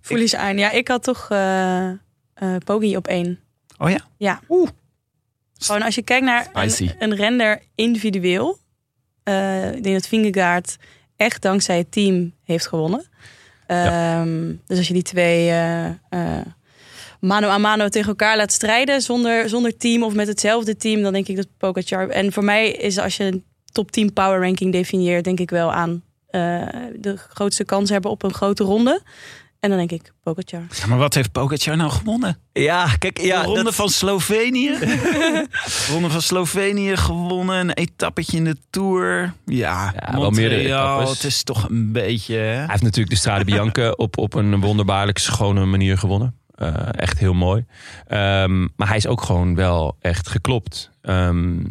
Speaker 4: Voel eens aan. Ja, ik had toch eh eh, Poggi op één.
Speaker 2: Oh ja?
Speaker 4: Ja.
Speaker 2: Oeh.
Speaker 4: Gewoon als je kijkt naar
Speaker 2: Spicy.
Speaker 4: een, een render individueel. eh, ik denk dat Vingegaard echt dankzij het team heeft gewonnen. Ehm, Dus als je die twee eh, eh, mano a mano tegen elkaar laat strijden zonder, zonder team of met hetzelfde team, dan denk ik dat Pogacar... En voor mij is als je een top 10 power ranking definieert, denk ik wel aan eh, de grootste kans hebben op een grote ronde. En dan denk ik Pogacar.
Speaker 2: Ja, maar wat heeft Pogacar nou gewonnen?
Speaker 1: Ja, kijk,
Speaker 2: de ronde van Slovenië. ronde van Slovenië gewonnen. Een etappetje in de Tour. Ja,
Speaker 1: Ja, wel meerdere
Speaker 2: Montreal.
Speaker 1: etappes.
Speaker 2: Het is toch een beetje... hè?
Speaker 1: Hij heeft natuurlijk de Strade Bianca op, op een wonderbaarlijk schone manier gewonnen. Eh, echt heel mooi. Ehm, maar hij is ook gewoon wel echt geklopt ehm,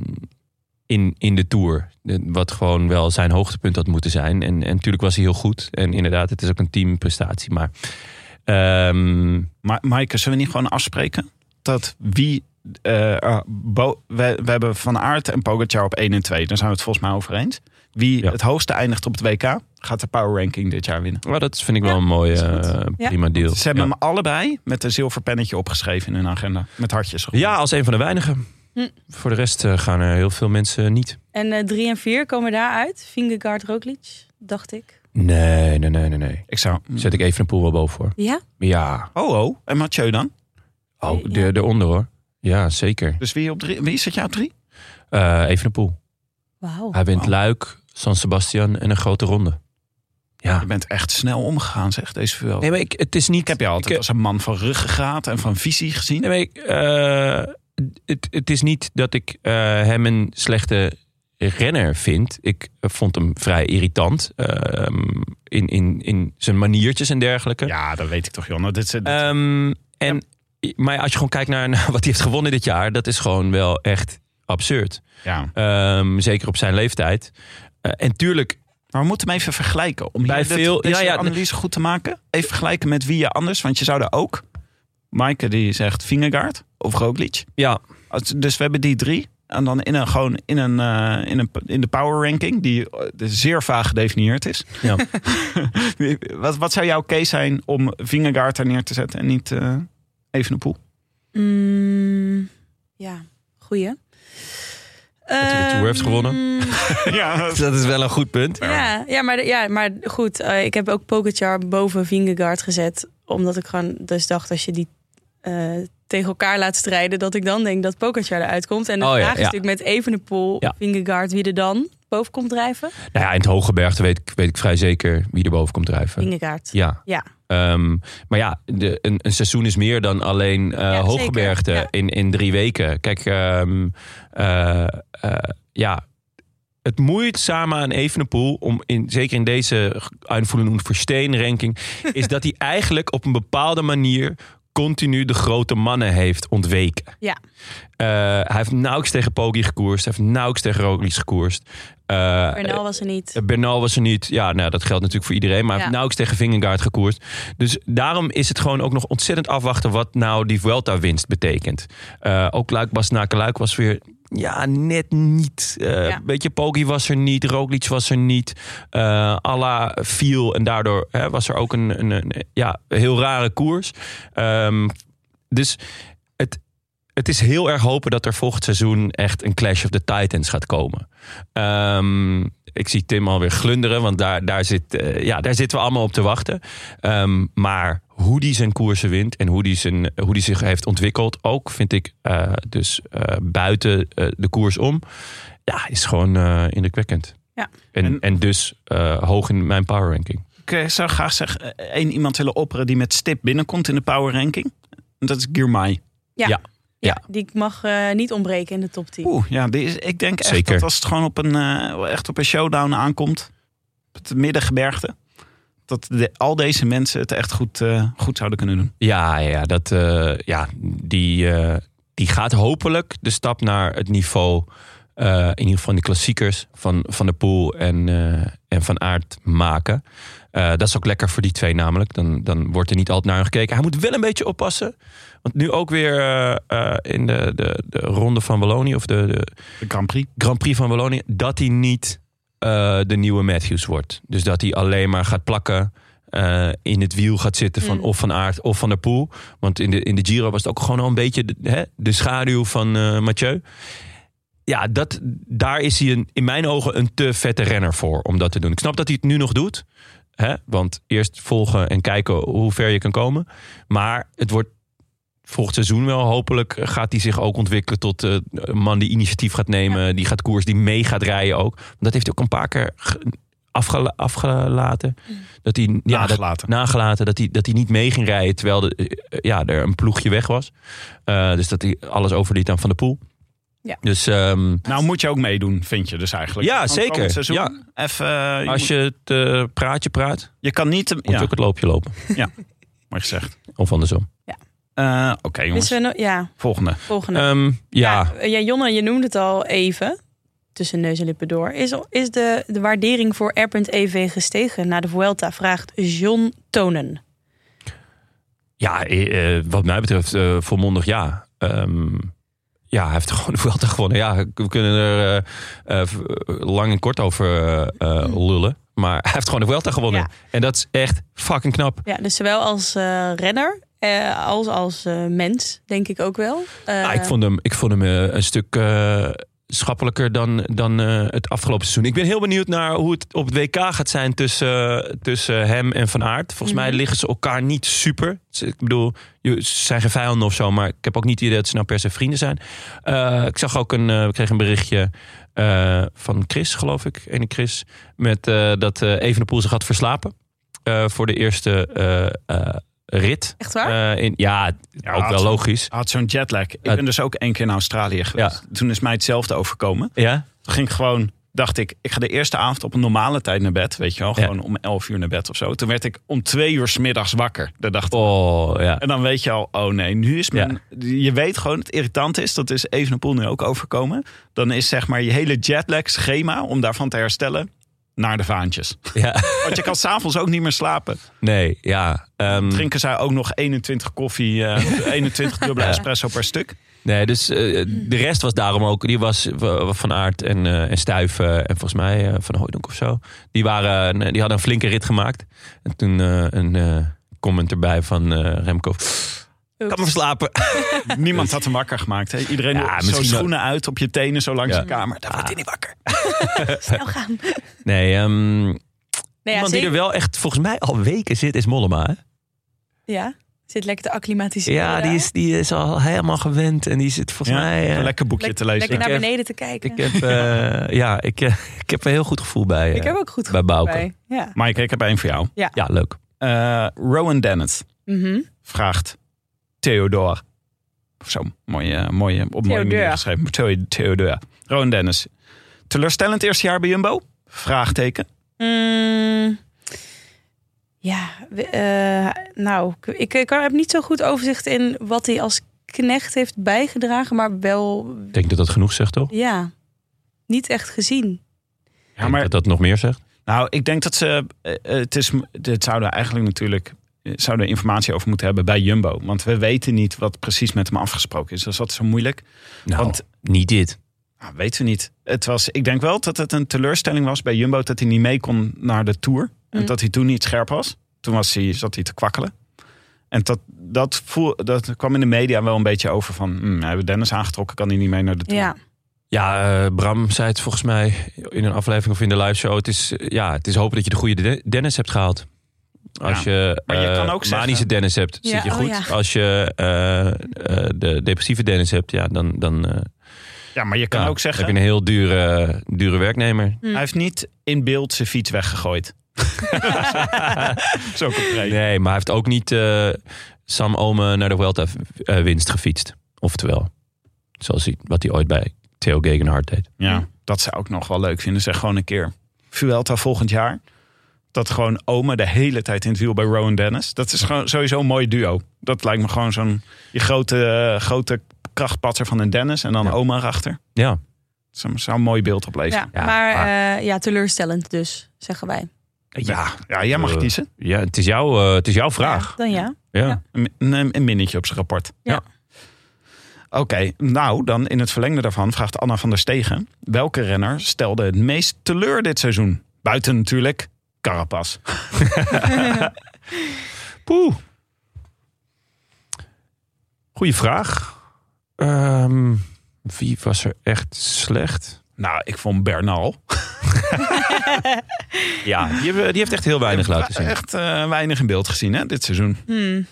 Speaker 1: in, in de Tour. De- Wat gewoon wel zijn hoogtepunt had moeten zijn. En, en natuurlijk was hij heel goed. En inderdaad, het is ook een teamprestatie. Maar ehm,
Speaker 2: Maar Maaike, zullen we niet gewoon afspreken? Dat wie... eh, ah, Bo- we, we hebben Van Aert en Pogacar op 1 en 2. Daar zijn we het volgens mij over eens. Wie
Speaker 1: Ja.
Speaker 2: het hoogste eindigt op het WK... gaat de power ranking dit jaar winnen.
Speaker 1: maar dat vind ik wel een mooi,
Speaker 4: is goed.
Speaker 1: eh,
Speaker 4: Ja.
Speaker 1: prima deal.
Speaker 2: Ze hebben
Speaker 1: ja.
Speaker 2: hem allebei met een zilver pennetje opgeschreven in hun agenda. Met hartjes. erop.
Speaker 1: Ja, als een van de weinigen.
Speaker 4: Hm.
Speaker 1: Voor de rest eh, gaan er heel veel mensen niet.
Speaker 4: En eh, drie en vier komen daaruit. Vingegaard, Roglic, dacht ik.
Speaker 1: Nee, nee, nee, nee. nee.
Speaker 2: Ik zou...
Speaker 1: Zet ik even een poel wel boven voor.
Speaker 4: Ja?
Speaker 1: Ja,
Speaker 2: Oh, oh. En Mathieu dan?
Speaker 1: Oh, de, de onder hoor. Ja, zeker.
Speaker 2: Dus wie, op drie, wie zit jij op drie?
Speaker 1: Eh even een poel.
Speaker 4: Wauw.
Speaker 1: Hij wint
Speaker 2: Wauw.
Speaker 1: Luik, San Sebastian en een grote ronde. Ja.
Speaker 2: Je bent echt snel omgegaan, zeg, deze Vuelta.
Speaker 1: Nee, maar ik, het is niet...
Speaker 2: ik heb je altijd
Speaker 1: ik- eh,
Speaker 2: als een man van ruggengraat en van visie gezien.
Speaker 1: Nee, maar ik, eh, het, het is niet dat ik eh, hem een slechte renner vind. Ik eh, vond hem vrij irritant eh, in, in, in zijn maniertjes en dergelijke.
Speaker 2: Ja, dat weet ik toch, Jonne. Dit, is- dit,
Speaker 1: Ehm, en, Maar als je gewoon kijkt naar, naar wat hij heeft gewonnen dit jaar, dat is gewoon wel echt absurd.
Speaker 2: ja.
Speaker 1: Ehm, zeker op zijn leeftijd. Eh, en tuurlijk,
Speaker 2: Maar we moeten hem even vergelijken. Om
Speaker 1: Bij
Speaker 2: hier dit-
Speaker 1: veel-
Speaker 2: deze
Speaker 1: ja, ja.
Speaker 2: analyse goed te maken. Even vergelijken met wie je anders. Want je zou er ook... Maaike die zegt Vingegaard of Roglic.
Speaker 1: ja,
Speaker 2: Als- Dus we hebben die drie. En dan in een, gewoon in, een, eh, in, een, in de power ranking, die eh, zeer vaag gedefinieerd is.
Speaker 1: Ja.
Speaker 2: wat, wat zou jouw case zijn om Vingegaard daar neer te zetten en niet eh, even Evenepoel?
Speaker 4: Mm, ja, goeie. Dat
Speaker 1: hij de Tour heeft gewonnen.
Speaker 2: ja,
Speaker 1: dat is wel een goed punt.
Speaker 4: Ja, ja, maar, ja, maar goed, eh, ik heb ook Pogacar boven Vingegaard gezet. Omdat ik gewoon dus dacht, als je die eh, tegen elkaar laat strijden... dat ik dan denk dat Pogacar eruit komt. En de
Speaker 1: Oh ja,
Speaker 4: vraag is
Speaker 1: ja.
Speaker 4: natuurlijk met Evenepoel,
Speaker 1: Ja.
Speaker 4: Vingegaard... wie er dan boven komt drijven?
Speaker 1: Nou ja, in het hoge bergte weet ik, weet ik vrij zeker wie er boven komt drijven.
Speaker 4: Vingegaard.
Speaker 1: Ja.
Speaker 4: Ja.
Speaker 1: Ehm, maar ja, de, een, een seizoen is meer dan alleen eh
Speaker 4: Ja,
Speaker 1: hooggebergte
Speaker 4: zeker, ja.
Speaker 1: in, in drie weken. Kijk, ehm, eh, eh, ja, het moeit samen aan Evenepoel, om in, zeker in deze aanvoelende Versteen-ranking, is dat hij eigenlijk op een bepaalde manier continu de grote mannen heeft ontweken.
Speaker 4: Ja.
Speaker 1: Eh, hij heeft nauwelijks tegen Poggi gekoerst. Hij heeft nauwelijks tegen Roglic gekoerst. Eh,
Speaker 4: Bernal was er niet.
Speaker 1: eh, Bernal was er niet. Ja, nou, dat geldt natuurlijk voor iedereen. Maar hij heeft
Speaker 4: Ja.
Speaker 1: nauwelijks tegen Vingegaard gekoerst. Dus daarom is het gewoon ook nog ontzettend afwachten... wat nou die Vuelta-winst betekent. Eh, ook Luik Bastenaken-Luik was weer... Ja, net niet. Eh
Speaker 4: Ja.
Speaker 1: Weet je, Poggi was er niet. Roglic was er niet. Eh Alla viel. En daardoor hè, was er ook een, een, een, ja, heel rare koers. Ehm, dus het, het is heel erg hopen dat er volgend seizoen... echt een Clash of the Titans gaat komen. Ehm, ik zie Tim alweer glunderen, want daar, daar, zit, eh, ja, daar zitten we allemaal op te wachten. Ehm, maar hoe die zijn koersen wint en hoe die, zijn, hoe die zich heeft ontwikkeld, ook vind ik eh, dus eh, buiten eh, de koers om, ja, is gewoon eh, indrukwekkend.
Speaker 4: Ja.
Speaker 1: En, en,
Speaker 2: En-
Speaker 1: dus eh, hoog in mijn power ranking.
Speaker 2: ik eh, zou graag zeggen, eh, één iemand willen opperen die met stip binnenkomt in de power ranking. En dat is Girmay.
Speaker 4: Ja,
Speaker 1: ja.
Speaker 4: Die mag eh, niet ontbreken in de top 10.
Speaker 2: Oeh, ja, die is, ik denk echt
Speaker 1: Zeker.
Speaker 2: dat als het gewoon op een, eh, echt op een showdown aankomt, op het middengebergte, dat de- al deze mensen het echt goed, eh, goed zouden kunnen doen.
Speaker 1: Ja, ja, ja, dat, eh, ja die, eh, die gaat hopelijk de stap naar het niveau. eh, in ieder geval in de klassiekers van, van de Poel en, eh, en van Aert maken. Eh, dat is ook lekker voor die twee namelijk. Dan, dan wordt er niet altijd naar hem gekeken. Hij moet wel een beetje oppassen. Want nu ook weer eh, eh, in de, de, de ronde van Wallonië... of de, de
Speaker 2: De Grand Prix.
Speaker 1: Grand Prix van Wallonië... dat hij niet eh, de nieuwe Matthews wordt. Dus dat hij alleen maar gaat plakken... eh, in het wiel gaat zitten van
Speaker 4: Mm.
Speaker 1: of van Aert of van der Poel. Want in de, in de Giro was het ook gewoon al een beetje de, hè, de schaduw van eh, Mathieu. Ja, dat, daar is hij een, in mijn ogen een te vette renner voor om dat te doen. Ik snap dat hij het nu nog doet. Hè? Want eerst volgen en kijken hoe ver je kan komen. Maar het wordt volgend seizoen wel. Hopelijk eh, gaat hij zich ook ontwikkelen tot eh, een man die initiatief gaat nemen. Die gaat koers, die mee gaat rijden ook. Want dat heeft hij ook een paar keer ge- afgela- afgelaten. Dat hij, ja, dat, nou,
Speaker 2: Nagelaten.
Speaker 1: nagelaten dat hij, dat hij niet mee ging rijden terwijl de, eh, ja, er een ploegje weg was. Eh, dus dat hij alles overliet aan Van der Poel.
Speaker 4: Ja.
Speaker 1: Dus ehm,
Speaker 2: Nou moet je ook meedoen, vind je dus eigenlijk.
Speaker 1: Ja,
Speaker 2: Want
Speaker 1: zeker.
Speaker 2: komend Seizoen,
Speaker 1: Ja.
Speaker 2: Even, eh, je,
Speaker 1: als
Speaker 2: moet-
Speaker 1: je het eh, praatje praat,
Speaker 2: je kan niet...
Speaker 1: moet
Speaker 2: Ja,
Speaker 1: je ook het loopje lopen.
Speaker 2: mooi gezegd.
Speaker 1: Of andersom.
Speaker 2: Eh, Oké jongens,
Speaker 4: Dus we, no- ja,
Speaker 2: volgende.
Speaker 4: volgende.
Speaker 1: Ehm, ja,
Speaker 4: Ja, ja, Jonne, je noemde het al even. Tussen neus en lippen door. Is, is de, de waardering voor R.EV gestegen na de Vuelta? Vraagt John Tonen.
Speaker 1: ja eh, eh, wat mij betreft eh, volmondig ja. Ehm, ja, hij heeft gewoon de Vuelta gewonnen. Ja, we kunnen er eh, eh, v- lang en kort over eh, eh, lullen. Maar hij heeft gewoon de Vuelta gewonnen.
Speaker 4: Ja.
Speaker 1: En dat is echt fucking knap.
Speaker 4: Ja, dus zowel als eh, renner eh, als als eh, mens, denk ik ook wel. Eh,
Speaker 1: Ja, Ah, ik vond hem, ik vond hem eh, een stuk eh, schappelijker dan, dan eh, het afgelopen seizoen. Ik ben heel benieuwd naar hoe het op het WK gaat zijn tussen, eh, tussen hem en Van Aert. Volgens mij
Speaker 4: Mhm.
Speaker 1: liggen ze elkaar niet super. Ze- Ik bedoel, je- ze zijn geen vijanden of zo, maar ik heb ook niet het idee dat ze nou per se vrienden zijn. Eh, ik zag ook een, eh, ik kreeg een berichtje eh, van Chris, geloof ik. Ene Chris. Met eh, dat eh Evenepoel zich had verslapen. eh, voor de eerste eh, eh, rit.
Speaker 4: Echt waar?
Speaker 1: Eh, in, ja,
Speaker 2: Ja,
Speaker 1: ook wel
Speaker 2: zo-
Speaker 1: logisch.
Speaker 2: Had zo'n jetlag. Ik
Speaker 1: Ja.
Speaker 2: ben dus ook één keer naar Australië geweest. Toen is mij hetzelfde overkomen.
Speaker 1: Ja?
Speaker 2: Toen ging ik gewoon, dacht ik, ik ga de eerste avond op een normale tijd naar bed. Weet je wel,
Speaker 1: Ja.
Speaker 2: gewoon om elf uur naar bed of zo. Toen werd ik om twee uur smiddags wakker. Daar dacht ik.
Speaker 1: Oh, ja.
Speaker 2: En dan weet je al, oh nee, nu is
Speaker 1: Ja.
Speaker 2: mijn... Je weet gewoon, het irritant is, dat is Evenepoel nu ook overkomen. Dan is zeg maar je hele jetlag schema om daarvan te herstellen naar de vaantjes.
Speaker 1: ja.
Speaker 2: Want je kan s'avonds ook niet meer slapen.
Speaker 1: Nee, ja. ehm,
Speaker 2: Drinken zij ook nog 21 koffie, eh 21 dubbele espresso per stuk.
Speaker 1: Nee, dus eh, de rest was daarom ook. Die was eh, van Aert en, eh, en Stuiven en volgens mij eh, van Hooydonk of zo. Die, waren, eh, die hadden een flinke rit gemaakt. En toen eh, een eh, comment erbij van eh, Remco. Ik kan me verslapen.
Speaker 2: Niemand had hem wakker gemaakt. Hè? Iedereen
Speaker 1: Ja,
Speaker 2: doet zo
Speaker 1: misschien wel.
Speaker 2: schoenen uit op je tenen zo langs
Speaker 1: Ja.
Speaker 2: de kamer. Daar wordt hij niet wakker.
Speaker 4: Ah. Snel gaan. Nee,
Speaker 1: Nee, ehm
Speaker 4: ja,
Speaker 1: iemand die er
Speaker 4: zeker.
Speaker 1: wel echt volgens mij al weken zit is Mollema. hè?
Speaker 4: ja, zit lekker te acclimatiseren.
Speaker 1: Ja, die
Speaker 4: daar.
Speaker 1: is, die is al helemaal gewend. En die zit volgens
Speaker 2: Ja,
Speaker 1: mij... eh,
Speaker 2: een lekker boekje
Speaker 4: Lek-
Speaker 2: te lezen.
Speaker 4: Lekker
Speaker 1: Ik
Speaker 4: naar
Speaker 1: heb-
Speaker 4: beneden te kijken.
Speaker 1: ik, heb, eh, ja, ik, eh, ik heb een heel goed gevoel bij, eh,
Speaker 4: Ik heb ook goed
Speaker 1: bij Bouke.
Speaker 4: bij. Ja.
Speaker 2: Mike, ik heb één voor jou.
Speaker 1: Ja, leuk.
Speaker 2: Eh, Rowan Dennett
Speaker 4: Mhm.
Speaker 2: vraagt Theodore. Of zo, mooie, eh, mooie, op mooie manier
Speaker 4: Theodore.
Speaker 2: geschreven. Theo- Theodore. Rowan Dennis. Teleurstellend eerste jaar bij Jumbo? Vraagteken.
Speaker 4: Mm, ja, we- eh, nou, ik, ik, ik heb niet zo goed overzicht in wat hij als knecht heeft bijgedragen, maar wel,
Speaker 1: Ik denk dat dat genoeg zegt, toch?
Speaker 4: ja, niet echt gezien.
Speaker 1: Ik denk dat dat nog meer zegt.
Speaker 2: Nou, ik denk dat ze. eh, eh, het is, dit zouden eigenlijk natuurlijk. eh, Zouden we informatie over moeten hebben bij Jumbo. Want we weten niet wat precies met hem afgesproken is. Dus dat is zo moeilijk.
Speaker 1: Nou,
Speaker 2: Want-
Speaker 1: niet dit.
Speaker 2: Nou, weten we niet. Het was, ik denk wel dat het een teleurstelling was bij Jumbo. dat hij niet mee kon naar de tour. En
Speaker 4: Mm.
Speaker 2: dat hij toen niet scherp was. Toen was hij, zat hij te kwakkelen. En dat, dat, voel, dat kwam in de media wel een beetje over van. hmm, hebben we Dennis aangetrokken, kan hij niet mee naar de tour.
Speaker 4: Ja,
Speaker 1: Ja, eh, Bram zei het volgens mij in een aflevering of in de live show. Het is, eh, ja, het is hopen dat je de goede de- Dennis hebt gehaald. Als
Speaker 2: Ja,
Speaker 1: je,
Speaker 2: maar je
Speaker 1: eh,
Speaker 2: kan ook zeggen-
Speaker 1: manische Dennis hebt,
Speaker 4: Ja,
Speaker 1: zit je
Speaker 4: oh
Speaker 1: goed.
Speaker 4: ja.
Speaker 1: Als je eh, eh, de depressieve Dennis hebt, ja, dan, dan eh,
Speaker 2: Ja, maar je kan
Speaker 1: ja,
Speaker 2: ook zeggen.
Speaker 1: heb je een heel dure, dure werknemer.
Speaker 2: Hij heeft niet in beeld zijn fiets weggegooid. Zo concreet.
Speaker 1: Nee, maar hij heeft ook niet eh, Sam Ome naar de Vuelta eh, winst gefietst. Oftewel, zoals hij, wat hij ooit bij Theo Gegenhardt deed.
Speaker 2: Ja, dat zou ik nog wel leuk vinden. Zeg gewoon een keer. Vuelta volgend jaar. Dat gewoon oma de hele tijd in het wiel bij Rowan Dennis. Dat is gewoon sowieso een mooi duo. Dat lijkt me gewoon zo'n je grote, eh, grote krachtpatser van een Dennis. En dan
Speaker 1: Ja.
Speaker 2: oma erachter.
Speaker 1: Ja,
Speaker 2: Dat zou, zou een mooi beeld opleveren.
Speaker 4: ja,
Speaker 1: Ja,
Speaker 4: maar
Speaker 1: maar-
Speaker 4: eh, ja, teleurstellend dus, zeggen wij.
Speaker 2: Ja, ja, jij mag
Speaker 1: Eh,
Speaker 2: kiezen.
Speaker 1: ja het, is jouw, eh, het is jouw vraag.
Speaker 4: Ja, dan ja.
Speaker 1: Ja.
Speaker 4: Ja.
Speaker 2: Een, een, een minnetje op zijn rapport.
Speaker 4: Ja.
Speaker 2: Oké, nou dan in het verlengde daarvan vraagt Anna van der Stegen. Welke renner stelde het meest teleur dit seizoen? Buiten natuurlijk Carapas.
Speaker 1: Poeh. Goeie vraag. Ehm, wie was er echt slecht?
Speaker 2: Nou, ik vond Bernal.
Speaker 1: Ja, die, hebben- die heeft echt heel weinig laten zien.
Speaker 2: Echt eh, weinig in beeld gezien hè, dit seizoen.
Speaker 4: Hmm.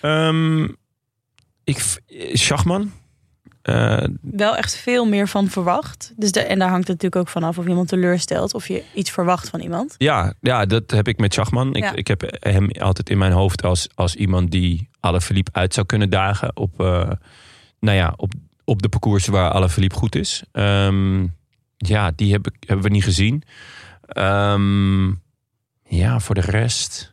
Speaker 1: Ehm, ik, v- eh, Schachman. Eh,
Speaker 4: Wel echt veel meer van verwacht. Dus de, en daar hangt het natuurlijk ook vanaf of iemand teleurstelt of je iets verwacht van iemand.
Speaker 1: ja, ja, dat heb ik met Schachman. Ik,
Speaker 4: Ja.
Speaker 1: ik heb hem altijd in mijn hoofd als, als iemand die Alaphilippe uit zou kunnen dagen. Op, eh, nou ja, op, op de parcours waar Alaphilippe goed is. Ehm, ja, die heb ik, hebben we niet gezien. Ehm, ja, voor de rest.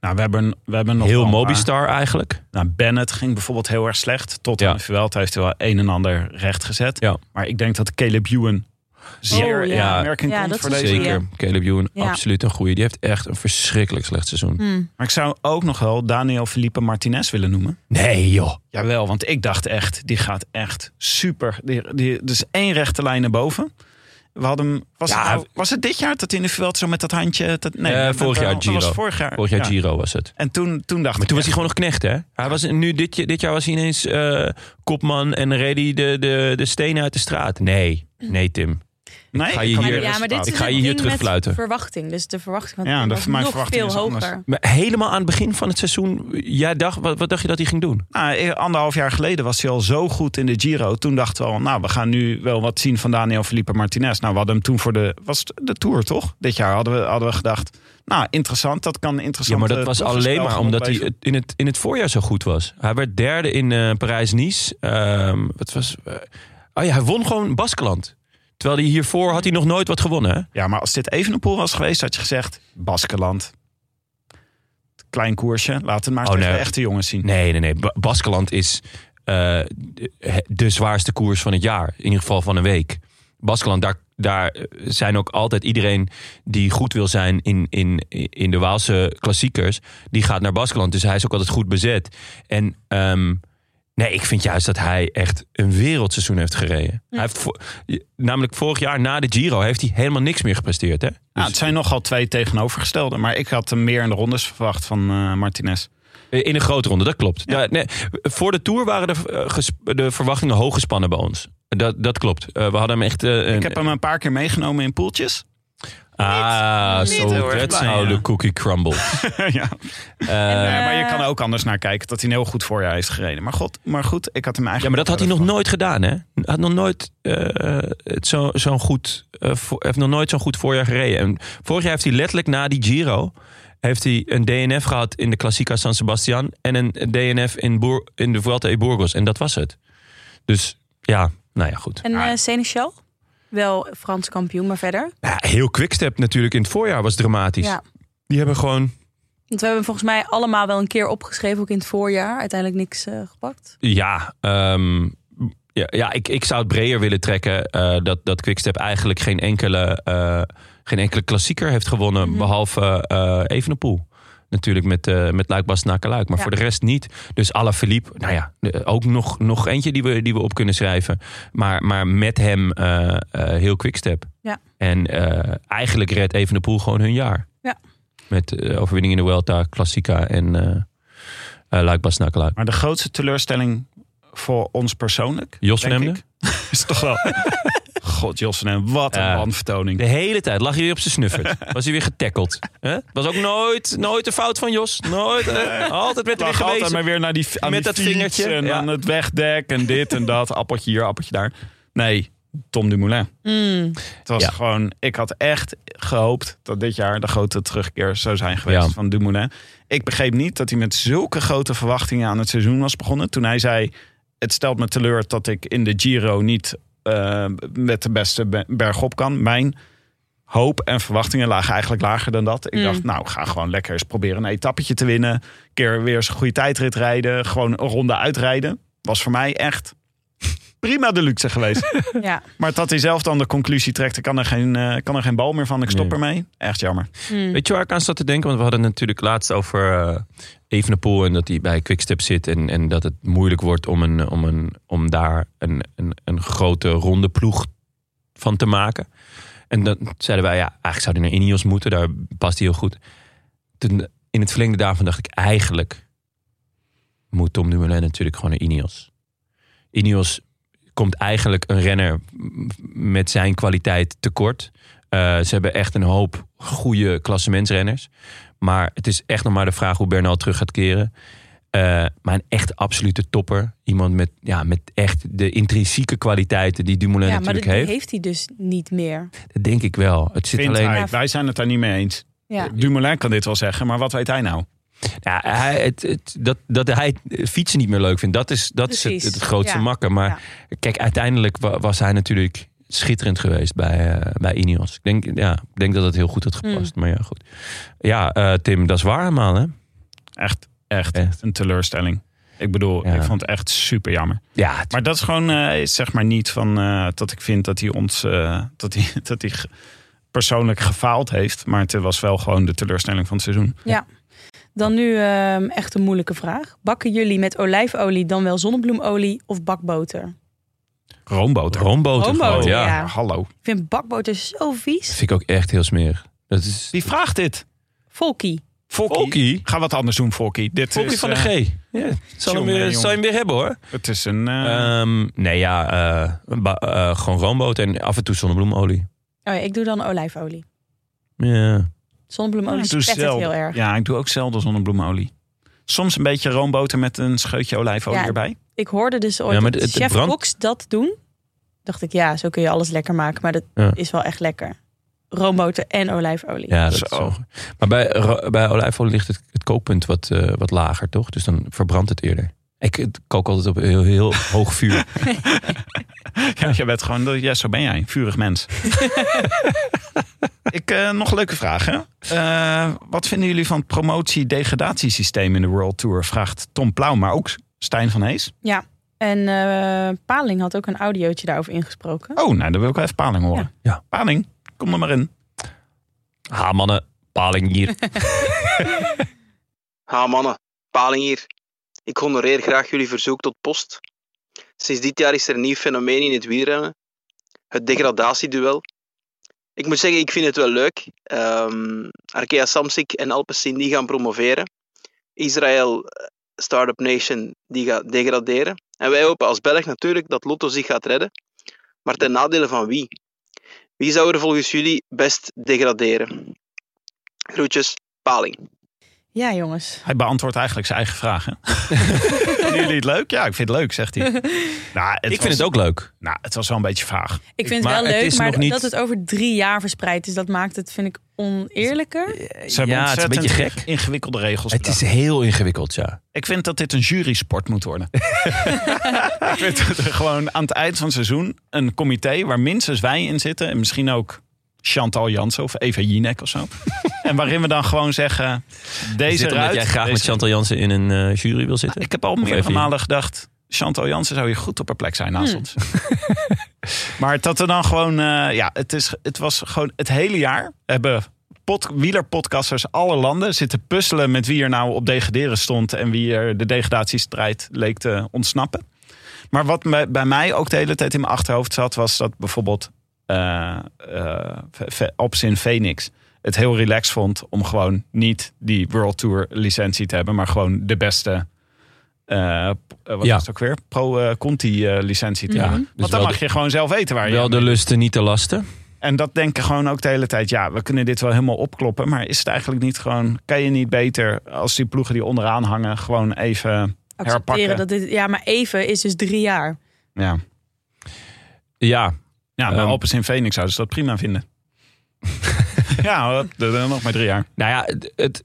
Speaker 2: Nou, we hebben, we hebben nog wel
Speaker 1: heel
Speaker 2: een paar.
Speaker 1: Mobistar eigenlijk.
Speaker 2: Nou, Bennett ging bijvoorbeeld heel erg slecht. Tot
Speaker 1: Ja.
Speaker 2: aan de Vuelta heeft hij wel een en ander recht gezet.
Speaker 1: Ja.
Speaker 2: Maar ik denk dat Caleb Ewan zeer
Speaker 4: Oh,
Speaker 2: in
Speaker 1: ja.
Speaker 2: aanmerking
Speaker 4: Ja,
Speaker 2: komt
Speaker 4: dat
Speaker 2: voor
Speaker 4: is
Speaker 2: deze.
Speaker 4: goeie.
Speaker 1: Zeker. Caleb Ewan,
Speaker 4: Ja.
Speaker 1: absoluut een goeie. Die heeft echt een verschrikkelijk slecht seizoen.
Speaker 4: Hmm.
Speaker 2: Maar ik zou ook nog wel Daniel Felipe Martinez willen noemen.
Speaker 1: Nee joh.
Speaker 2: Jawel, want ik dacht echt, die gaat echt super. Die, die, dus één rechte lijn naar boven. We hadden, hem- was,
Speaker 1: Ja,
Speaker 2: het nou-
Speaker 1: hij-
Speaker 2: was het dit jaar dat hij in de Vuelta zo met dat handje... Dat, nee,
Speaker 1: Eh,
Speaker 2: dat-
Speaker 1: vorig
Speaker 2: dat-
Speaker 1: jaar
Speaker 2: dat was
Speaker 1: Giro.
Speaker 2: vorig jaar.
Speaker 1: Vorig jaar
Speaker 2: Ja.
Speaker 1: Giro was het.
Speaker 2: En toen, toen dacht
Speaker 1: Maar toen was
Speaker 2: ik...
Speaker 1: hij
Speaker 2: echt,
Speaker 1: gewoon nog knecht, hè? Hij was, nu, dit, jaar- dit jaar was hij ineens eh, kopman en ready de, de, de stenen uit de straat. Nee, nee, Tim.
Speaker 2: Nee,
Speaker 1: ga je
Speaker 2: ik kan
Speaker 1: hier-
Speaker 2: niet
Speaker 1: Ja,
Speaker 2: resultaten.
Speaker 1: dit is- Ik ga je hier terugfluiten.
Speaker 4: verwachting. Dus de verwachting van
Speaker 2: Ja,
Speaker 4: Tim
Speaker 2: dat-
Speaker 4: was
Speaker 2: mijn
Speaker 4: nog
Speaker 2: verwachting
Speaker 4: veel
Speaker 2: is anders.
Speaker 4: hoger.
Speaker 1: Maar helemaal aan het begin van het seizoen, jij dacht, wat, wat dacht je dat hij ging doen?
Speaker 2: Nou, eh, anderhalf jaar geleden was hij al zo goed in de Giro. Toen dachten we al, nou, we gaan nu wel wat zien van Daniel Felipe Martinez. Nou, we hadden hem toen voor de, was het de Tour, toch? Dit jaar hadden we, hadden we gedacht, nou, interessant. Dat kan
Speaker 1: Ja,
Speaker 2: interessant.
Speaker 1: maar dat was alleen maar omdat hij het- in het, in het voorjaar zo goed was. Hij werd derde in eh, Parijs-Nice. Ehm, wat was... eh, oh ja, hij won gewoon Baskeland. Terwijl hij hiervoor had hij nog nooit wat gewonnen, hè?
Speaker 2: Ja, maar als dit even een pool was geweest, had je gezegd, Baskeland. Klein koersje, laat het maar eens
Speaker 1: Oh,
Speaker 2: tegen
Speaker 1: nee.
Speaker 2: de echte jongens zien.
Speaker 1: Nee, nee, nee. Ba- Baskeland is eh, de, de zwaarste koers van het jaar. In ieder geval van een week. Baskeland, daar, daar eh, zijn ook altijd iedereen die goed wil zijn in, in, in de Waalse klassiekers. Die gaat naar Baskeland. Dus hij is ook altijd goed bezet. En ehm, nee, ik vind juist dat hij echt een wereldseizoen heeft gereden. Hij heeft vo- namelijk vorig jaar na de Giro heeft hij helemaal niks meer gepresteerd. Hè?
Speaker 2: Nou,
Speaker 1: Dus
Speaker 2: het zijn nogal twee tegenovergestelde, maar ik had hem meer in de rondes verwacht van eh, Martinez.
Speaker 1: Eh, In een grote ronde, dat klopt. Ja, nee, voor de Tour waren de, eh, ges- de verwachtingen hoog gespannen bij ons. Dat, dat klopt. Eh, we hadden hem echt... eh, een,
Speaker 2: Ik heb hem een paar keer meegenomen in poeltjes.
Speaker 1: ah,
Speaker 4: niet
Speaker 1: zo
Speaker 4: heel
Speaker 2: erg
Speaker 1: that's
Speaker 2: blij,
Speaker 1: how
Speaker 2: ja.
Speaker 1: the cookie crumbles.
Speaker 2: ja.
Speaker 1: Eh,
Speaker 2: Nee, maar je kan er ook anders naar kijken dat hij een heel goed voorjaar heeft gereden. Maar, god, maar goed, ik had hem
Speaker 1: ja,
Speaker 2: eigenlijk.
Speaker 1: maar dat had hij nog
Speaker 2: wel
Speaker 1: nooit gedaan, hè? Hij Had nog nooit, eh, het zo, zo'n goed, eh, vo- heeft nog nooit zo'n goed voorjaar gereden. En vorig jaar heeft hij letterlijk na die Giro... heeft hij een DNF gehad in de Classica San Sebastian... en een DNF in, Boer, in de Vuelta e Burgos. En dat was het. Dus ja, nou ja, goed.
Speaker 4: En eh, Seneschal? Wel Frans kampioen, maar verder.
Speaker 1: Ja, heel Quickstep natuurlijk in het voorjaar was dramatisch.
Speaker 4: Ja.
Speaker 1: Die hebben gewoon...
Speaker 4: Want we hebben volgens mij allemaal wel een keer opgeschreven, ook in het voorjaar. Uiteindelijk niks eh, gepakt.
Speaker 1: Ja, ehm, ja, ja ik, ik zou het breder willen trekken. eh, dat, dat Quickstep eigenlijk geen enkele, eh, geen enkele klassieker heeft gewonnen.
Speaker 4: Mhm.
Speaker 1: Behalve eh Evenepoel. Natuurlijk met, eh met Luik Bas Luik. Maar
Speaker 4: Ja.
Speaker 1: voor de rest niet. Dus Alaphilippe, nou ja, de- ook nog, nog eentje die we, die we op kunnen schrijven. Maar, maar met hem eh, eh, heel Quickstep.
Speaker 4: Ja.
Speaker 1: En eh, eigenlijk redt Evenepoel gewoon hun jaar.
Speaker 4: Ja.
Speaker 1: Met eh, overwinning in de Welta, Klassica en eh eh, Luik Bas Luik.
Speaker 2: Maar de grootste teleurstelling voor ons persoonlijk.
Speaker 1: Jos van
Speaker 2: denk
Speaker 1: Emden?
Speaker 2: ik, Is toch wel. God, Jos van Emden, wat een
Speaker 1: Ja.
Speaker 2: wanvertoning.
Speaker 1: De hele tijd lag hij weer op zijn snuffert. Was hij weer getackeld. Hè? Was ook nooit, nooit de fout van Jos. Nooit. hè? Altijd met hem weer
Speaker 2: Lag altijd
Speaker 1: gewezen.
Speaker 2: maar weer naar die, aan
Speaker 1: Met
Speaker 2: die
Speaker 1: dat
Speaker 2: fiets
Speaker 1: vingertje,
Speaker 2: En
Speaker 1: ja.
Speaker 2: aan het wegdek en dit en dat. Appeltje hier, appeltje daar. Nee, Tom Dumoulin. Het was
Speaker 1: Ja.
Speaker 2: gewoon, ik had echt gehoopt dat dit jaar de grote terugkeer zou zijn geweest
Speaker 1: Ja.
Speaker 2: van Dumoulin. Ik begreep niet dat hij met zulke grote verwachtingen aan het seizoen was begonnen. Toen hij zei, het stelt me teleur dat ik in de Giro niet eh, met de beste be- berg op kan. Mijn hoop en verwachtingen lagen eigenlijk lager dan dat. Ik
Speaker 4: Mm.
Speaker 2: dacht, nou, ga gewoon lekker eens proberen een etappetje te winnen. Een keer weer eens een goede tijdrit rijden. Gewoon een ronde uitrijden. Was voor mij echt prima de luxe geweest.
Speaker 4: Ja.
Speaker 2: Maar dat hij zelf dan de conclusie trekt, ik kan er geen, eh, kan er geen bal meer van, ik stop
Speaker 1: Nee.
Speaker 2: ermee. Echt jammer.
Speaker 4: Hmm.
Speaker 1: Weet je waar ik aan zat te denken? Want we hadden het natuurlijk laatst over eh Evenepoel. En dat hij bij Quickstep zit. En, en dat het moeilijk wordt om, een, om, een, om daar een, een, een grote ronde ploeg van te maken. En dan zeiden wij, ja, eigenlijk zou hij naar Ineos moeten. Daar past hij heel goed. Toen, in het verlengde daarvan dacht ik, eigenlijk moet Tom Dumoulin natuurlijk gewoon naar Ineos. Ineos komt eigenlijk een renner m- met zijn kwaliteit tekort. Eh, ze hebben echt een hoop goede klassementsrenners. Maar het is echt nog maar de vraag hoe Bernal terug gaat keren. Eh, maar een echt absolute topper. Iemand met, ja, met echt de intrinsieke kwaliteiten die Dumoulin
Speaker 4: ja, maar
Speaker 1: natuurlijk
Speaker 4: dat
Speaker 1: heeft.
Speaker 4: heeft hij dus niet meer.
Speaker 1: Dat denk ik wel. Het zit
Speaker 2: Vindt
Speaker 1: alleen.
Speaker 2: hij. Wij zijn het daar niet mee eens.
Speaker 4: Ja.
Speaker 2: Dumoulin kan dit wel zeggen, maar wat weet hij nou?
Speaker 1: Ja, hij, het, het- dat, dat hij fietsen niet meer leuk vindt, dat is, dat is het,
Speaker 4: Precies.
Speaker 1: het grootste
Speaker 4: Ja.
Speaker 1: makker. Maar kijk, uiteindelijk wa- was hij natuurlijk schitterend geweest bij, eh, bij Ineos. Ik denk, ja, ik denk dat het heel goed had
Speaker 4: Hmm.
Speaker 1: gepast. Maar ja, goed. Ja, eh, Tim, dat is waar helemaal, hè?
Speaker 2: Echt, echt,
Speaker 1: Echt.
Speaker 2: een teleurstelling. Ik bedoel,
Speaker 1: Ja.
Speaker 2: ik vond het echt super jammer.
Speaker 1: Ja, het-
Speaker 2: Maar dat is gewoon, eh, zeg maar niet van eh, dat ik vind dat hij ons, eh, dat hij, dat hij ge- persoonlijk gefaald heeft. Maar het was wel gewoon de teleurstelling van het seizoen.
Speaker 4: Dan nu ehm, echt een moeilijke vraag. Bakken jullie met olijfolie dan wel zonnebloemolie of bakboter?
Speaker 2: Roomboter.
Speaker 1: roomboter.
Speaker 4: Roomboter,
Speaker 1: gewoon, ja.
Speaker 4: ja.
Speaker 2: Hallo.
Speaker 4: Ik vind bakboter zo
Speaker 1: Dat
Speaker 4: vies.
Speaker 1: vind ik ook echt heel smerig. Dat is.
Speaker 2: Wie vraagt dit?
Speaker 4: Volkie.
Speaker 2: Fokkie.
Speaker 1: Fokkie?
Speaker 2: Ga wat anders doen, Fokkie. Dit
Speaker 1: Bobby
Speaker 2: is,
Speaker 1: van de
Speaker 2: eh,
Speaker 1: G. Ja, zal, hem
Speaker 2: jongen,
Speaker 1: weer,
Speaker 2: jongen.
Speaker 1: zal je hem weer hebben, hoor.
Speaker 2: Het is een... eh,
Speaker 1: Ehm, nee, ja, eh, ba- eh, gewoon roomboter en af en toe zonnebloemolie.
Speaker 4: Oh ja, ik doe dan olijfolie.
Speaker 1: Ja.
Speaker 4: Zonnebloemolie
Speaker 2: Ik doe
Speaker 4: spet Oh, het
Speaker 2: zelden-
Speaker 4: heel erg.
Speaker 2: Ja, ik doe ook zelden zonnebloemolie. Soms een beetje roomboter met een scheutje olijfolie
Speaker 4: Ja.
Speaker 2: erbij.
Speaker 4: Ik hoorde dus ooit
Speaker 1: Ja, maar
Speaker 4: dat
Speaker 1: het- het
Speaker 4: chef
Speaker 1: brandt-
Speaker 4: Cox dat doen. Dacht ik, ja, zo kun je alles lekker maken. Maar dat
Speaker 1: Ja.
Speaker 4: is wel echt lekker. Roomboter en olijfolie.
Speaker 1: Ja, dat is
Speaker 2: Zo.
Speaker 1: wel- Maar bij, ro- bij olijfolie ligt het, het kookpunt wat, eh, wat lager, toch? Dus dan verbrandt het eerder. Ik eh, kook altijd op heel, heel hoog vuur.
Speaker 2: Ja, jij bent gewoon, ja, zo ben jij. Vurig mens. ik, eh, nog leuke vragen. Eh, wat vinden jullie van het promotie-degradatiesysteem in de World Tour? Vraagt Tom Plauw, maar ook Stijn van Hees.
Speaker 4: En eh, Paling had ook een audiootje daarover ingesproken.
Speaker 2: Oh, nou, dan wil ik wel even Paling horen.
Speaker 1: Ja. Ja.
Speaker 2: Paling, kom er maar in.
Speaker 1: ha, Ah, mannen, paling hier.
Speaker 5: Ha mannen, paling hier. Ik honoreer graag jullie verzoek tot post. Sinds dit jaar is er een nieuw fenomeen in het wielrennen. Het degradatieduel. Ik moet zeggen, ik vind het wel leuk. Ehm, Arkea Samsic en Alpecin die gaan promoveren. Israël eh, Startup Nation die gaat degraderen. En wij hopen als Belg natuurlijk dat Lotto zich gaat redden. Maar ten nadele van wie? Wie zou er volgens jullie best degraderen? Groetjes, paling.
Speaker 4: Ja, jongens.
Speaker 2: Hij beantwoordt eigenlijk zijn eigen vragen. vinden jullie het leuk? Ja, ik vind het leuk, zegt hij. Nou, het
Speaker 1: ik vind het ook leuk.
Speaker 2: Nou, het was wel een beetje vaag.
Speaker 4: Ik vind
Speaker 1: Maar
Speaker 4: het wel
Speaker 1: het
Speaker 4: leuk,
Speaker 1: is
Speaker 4: maar
Speaker 1: nog niet-
Speaker 4: dat het over drie jaar verspreid is, dat maakt het, vind ik, oneerlijker.
Speaker 2: Ze hebben
Speaker 1: Eh, ja, het is een beetje
Speaker 2: ontzettend
Speaker 1: gek.
Speaker 2: Ingewikkelde regels.
Speaker 1: Het is heel ingewikkeld, ja.
Speaker 2: Ik vind dat dit een jurysport moet worden. ik vind dat er gewoon aan het eind van het seizoen een comité waar minstens wij in zitten. En misschien ook Chantal Jansen of Eva Jinek of zo. en waarin we dan gewoon zeggen,
Speaker 1: Is
Speaker 2: deze
Speaker 1: dit omdat
Speaker 2: eruit.
Speaker 1: jij graag
Speaker 2: deze-
Speaker 1: met Chantal Jansen in een eh, jury wil zitten?
Speaker 2: Ik heb al
Speaker 1: Of
Speaker 2: meerdere
Speaker 1: Eva Jinek?
Speaker 2: malen gedacht, Chantal Jansen zou hier goed op haar plek zijn naast ons. maar dat er dan gewoon, eh, ja, het, is, het was gewoon het hele jaar hebben... Pod, wielerpodcasters alle landen zitten puzzelen met wie er nou op degraderen stond en wie er de degradatiestrijd leek te ontsnappen. Maar wat me- bij mij ook de hele tijd in mijn achterhoofd zat, was dat bijvoorbeeld eh eh, Ve- Ve- Opsin Phoenix het heel relaxed vond om gewoon niet die World Tour licentie te hebben, maar gewoon de beste. eh, p- eh, wat
Speaker 1: Ja.
Speaker 2: is het ook weer? Pro eh, Conti eh, licentie te
Speaker 4: Ja,
Speaker 2: hebben.
Speaker 1: dus
Speaker 2: Want dan
Speaker 1: wel
Speaker 2: mag
Speaker 1: de-
Speaker 2: je gewoon zelf weten waar je
Speaker 1: Wel
Speaker 2: aan
Speaker 1: de
Speaker 2: mee-
Speaker 1: lusten, niet de lasten.
Speaker 2: En dat denken gewoon ook de hele tijd. Ja, we kunnen dit wel helemaal opkloppen. Maar is het eigenlijk niet gewoon... Kan je niet beter als die ploegen die onderaan hangen... gewoon even... Herpakken.
Speaker 4: Accepteren dat dit, ja, maar even is dus drie jaar.
Speaker 2: Ja,
Speaker 1: Ja,
Speaker 2: ja bij
Speaker 1: Ehm.
Speaker 2: Alpes in Phoenix zouden ze dat prima vinden. ja, hoor, dat- dat nog maar drie jaar.
Speaker 1: Nou ja, het- het,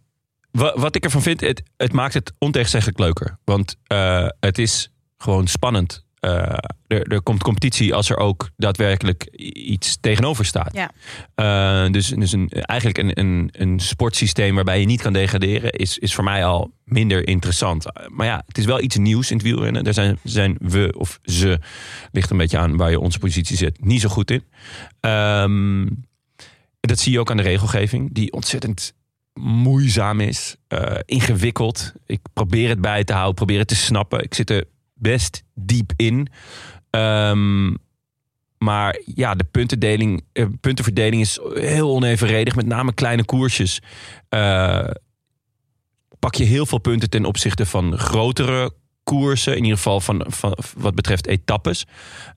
Speaker 1: wa- wat ik ervan vind, het, het maakt het ontegenzeggelijk leuker. Want eh, het is gewoon spannend. Eh, er, er komt competitie als er ook daadwerkelijk i- iets tegenover staat.
Speaker 4: Ja.
Speaker 1: Eh, dus dus een, eigenlijk een, een, een sportsysteem waarbij je niet kan degraderen, is, is voor mij al minder interessant. Eh, Maar ja, het is wel iets nieuws in het wielrennen. Daar zijn, zijn we of ze, ligt een beetje aan waar je onze positie zet, niet zo goed in. Ehm, dat zie je ook aan de regelgeving, die ontzettend moeizaam is, eh, ingewikkeld. Ik probeer het bij te houden, probeer het te snappen. Ik zit er best diep in. Ehm, maar ja, de puntendeling, eh, puntenverdeling is heel onevenredig, met name kleine koersjes. Eh, pak je heel veel punten ten opzichte van grotere koersen, in ieder geval van, van wat betreft etappes.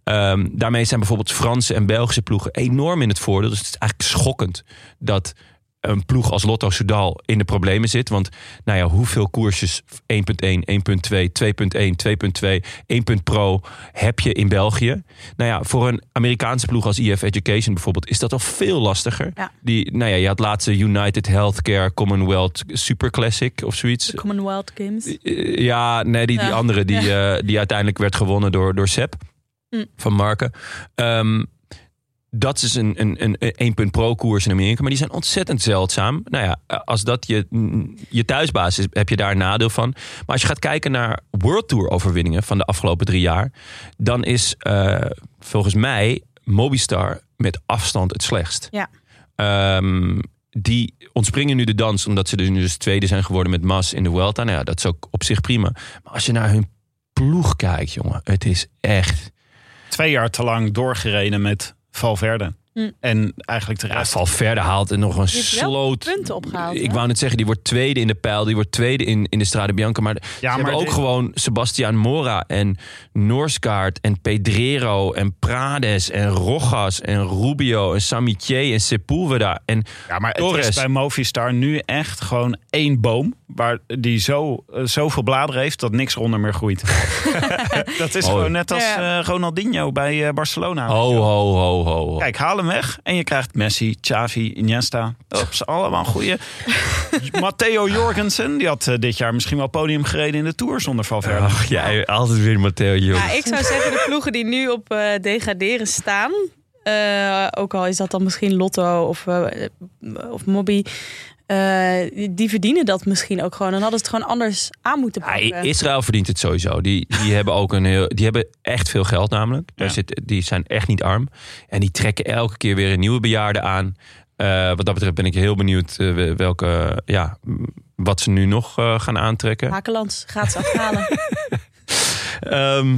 Speaker 1: Ehm, daarmee zijn bijvoorbeeld Franse en Belgische ploegen enorm in het voordeel. Dus het is eigenlijk schokkend dat een ploeg als Lotto Soudal in de problemen zit. Want nou ja, hoeveel koersjes 1.1, 1.2, 2.1, 2.2, 1. Pro heb je in België? Nou ja, voor een Amerikaanse ploeg als EF Education bijvoorbeeld is dat al veel lastiger.
Speaker 4: Ja.
Speaker 1: Die, nou ja, je had laatste United Healthcare Commonwealth Super Classic of zoiets.
Speaker 4: De Commonwealth Games.
Speaker 1: Eh, Ja, nee, die, die
Speaker 4: Ja.
Speaker 1: andere die, eh, die uiteindelijk werd gewonnen door, door Sepp
Speaker 4: Mm.
Speaker 1: van Marken. Ehm, dat is een, een, een, een 1 punt pro koers in Amerika, maar die zijn ontzettend zeldzaam. Nou ja, eh, als dat je, mm, je thuisbasis is, heb je daar een nadeel van. Maar als je gaat kijken naar World Tour overwinningen van de afgelopen drie jaar, dan is eh, volgens mij Mobistar met afstand het slechtst.
Speaker 4: Ja.
Speaker 1: Ehm, die ontspringen nu de dans, omdat ze dus nu dus tweede zijn geworden met Mas in de Welta. Nou ja, dat is ook op zich prima. Maar als je naar hun ploeg kijkt, jongen, het is echt.
Speaker 2: Twee jaar te lang doorgereden met Valverde.
Speaker 4: Hm.
Speaker 2: En eigenlijk de rest.
Speaker 1: Valverde haalt er nog een
Speaker 4: heeft wel
Speaker 1: sloot.
Speaker 4: Punten opgehaald.
Speaker 1: Ik
Speaker 4: hè?
Speaker 1: wou net zeggen, die wordt tweede in de pijl. Die wordt tweede in, in de Strade Bianca. Maar
Speaker 2: Ja,
Speaker 1: ze
Speaker 2: maar
Speaker 1: hebben ook
Speaker 2: dit-
Speaker 1: gewoon Sebastian Mora en Noorskaart en Pedrero en Prades en Rojas en Rubio en Samitier en Sepulveda. En
Speaker 2: Ja, maar het
Speaker 1: Torres.
Speaker 2: is bij Movistar nu echt gewoon één boom... Waar, die zo, eh, zoveel bladeren heeft dat niks eronder meer groeit. dat
Speaker 1: Mooi.
Speaker 2: is
Speaker 1: Oh,
Speaker 2: gewoon net als
Speaker 4: Ja.
Speaker 2: eh, Ronaldinho bij eh, Barcelona.
Speaker 1: ho, ho, ho, ho. ho.
Speaker 2: Kijk, haal hem weg en je krijgt Messi, Xavi, Iniesta. Ops, allemaal goeie. Matteo Jorgensen, die had eh, dit jaar misschien wel podium gereden in de Tour zonder Valverde.
Speaker 1: Ach, jij altijd weer Matteo Jong.
Speaker 4: Ja, ik zou zeggen de ploegen die nu op eh, degraderen staan. eh, ook al is dat dan misschien Lotto of, eh, of Mobby. eh, die- die verdienen dat misschien ook gewoon. Dan hadden ze het gewoon anders aan moeten
Speaker 1: Ja,
Speaker 4: pakken.
Speaker 1: I- Israël verdient het sowieso. Die, die hebben ook een heel, die hebben echt veel geld namelijk. Daar
Speaker 2: Ja.
Speaker 1: zit, die zijn echt niet arm. En die trekken elke keer weer een nieuwe bejaarde aan. Eh, wat dat betreft ben ik heel benieuwd eh, we- welke, ja, m, wat ze nu nog eh, gaan aantrekken.
Speaker 4: Hakelands gaat ze afhalen.
Speaker 1: Ehm,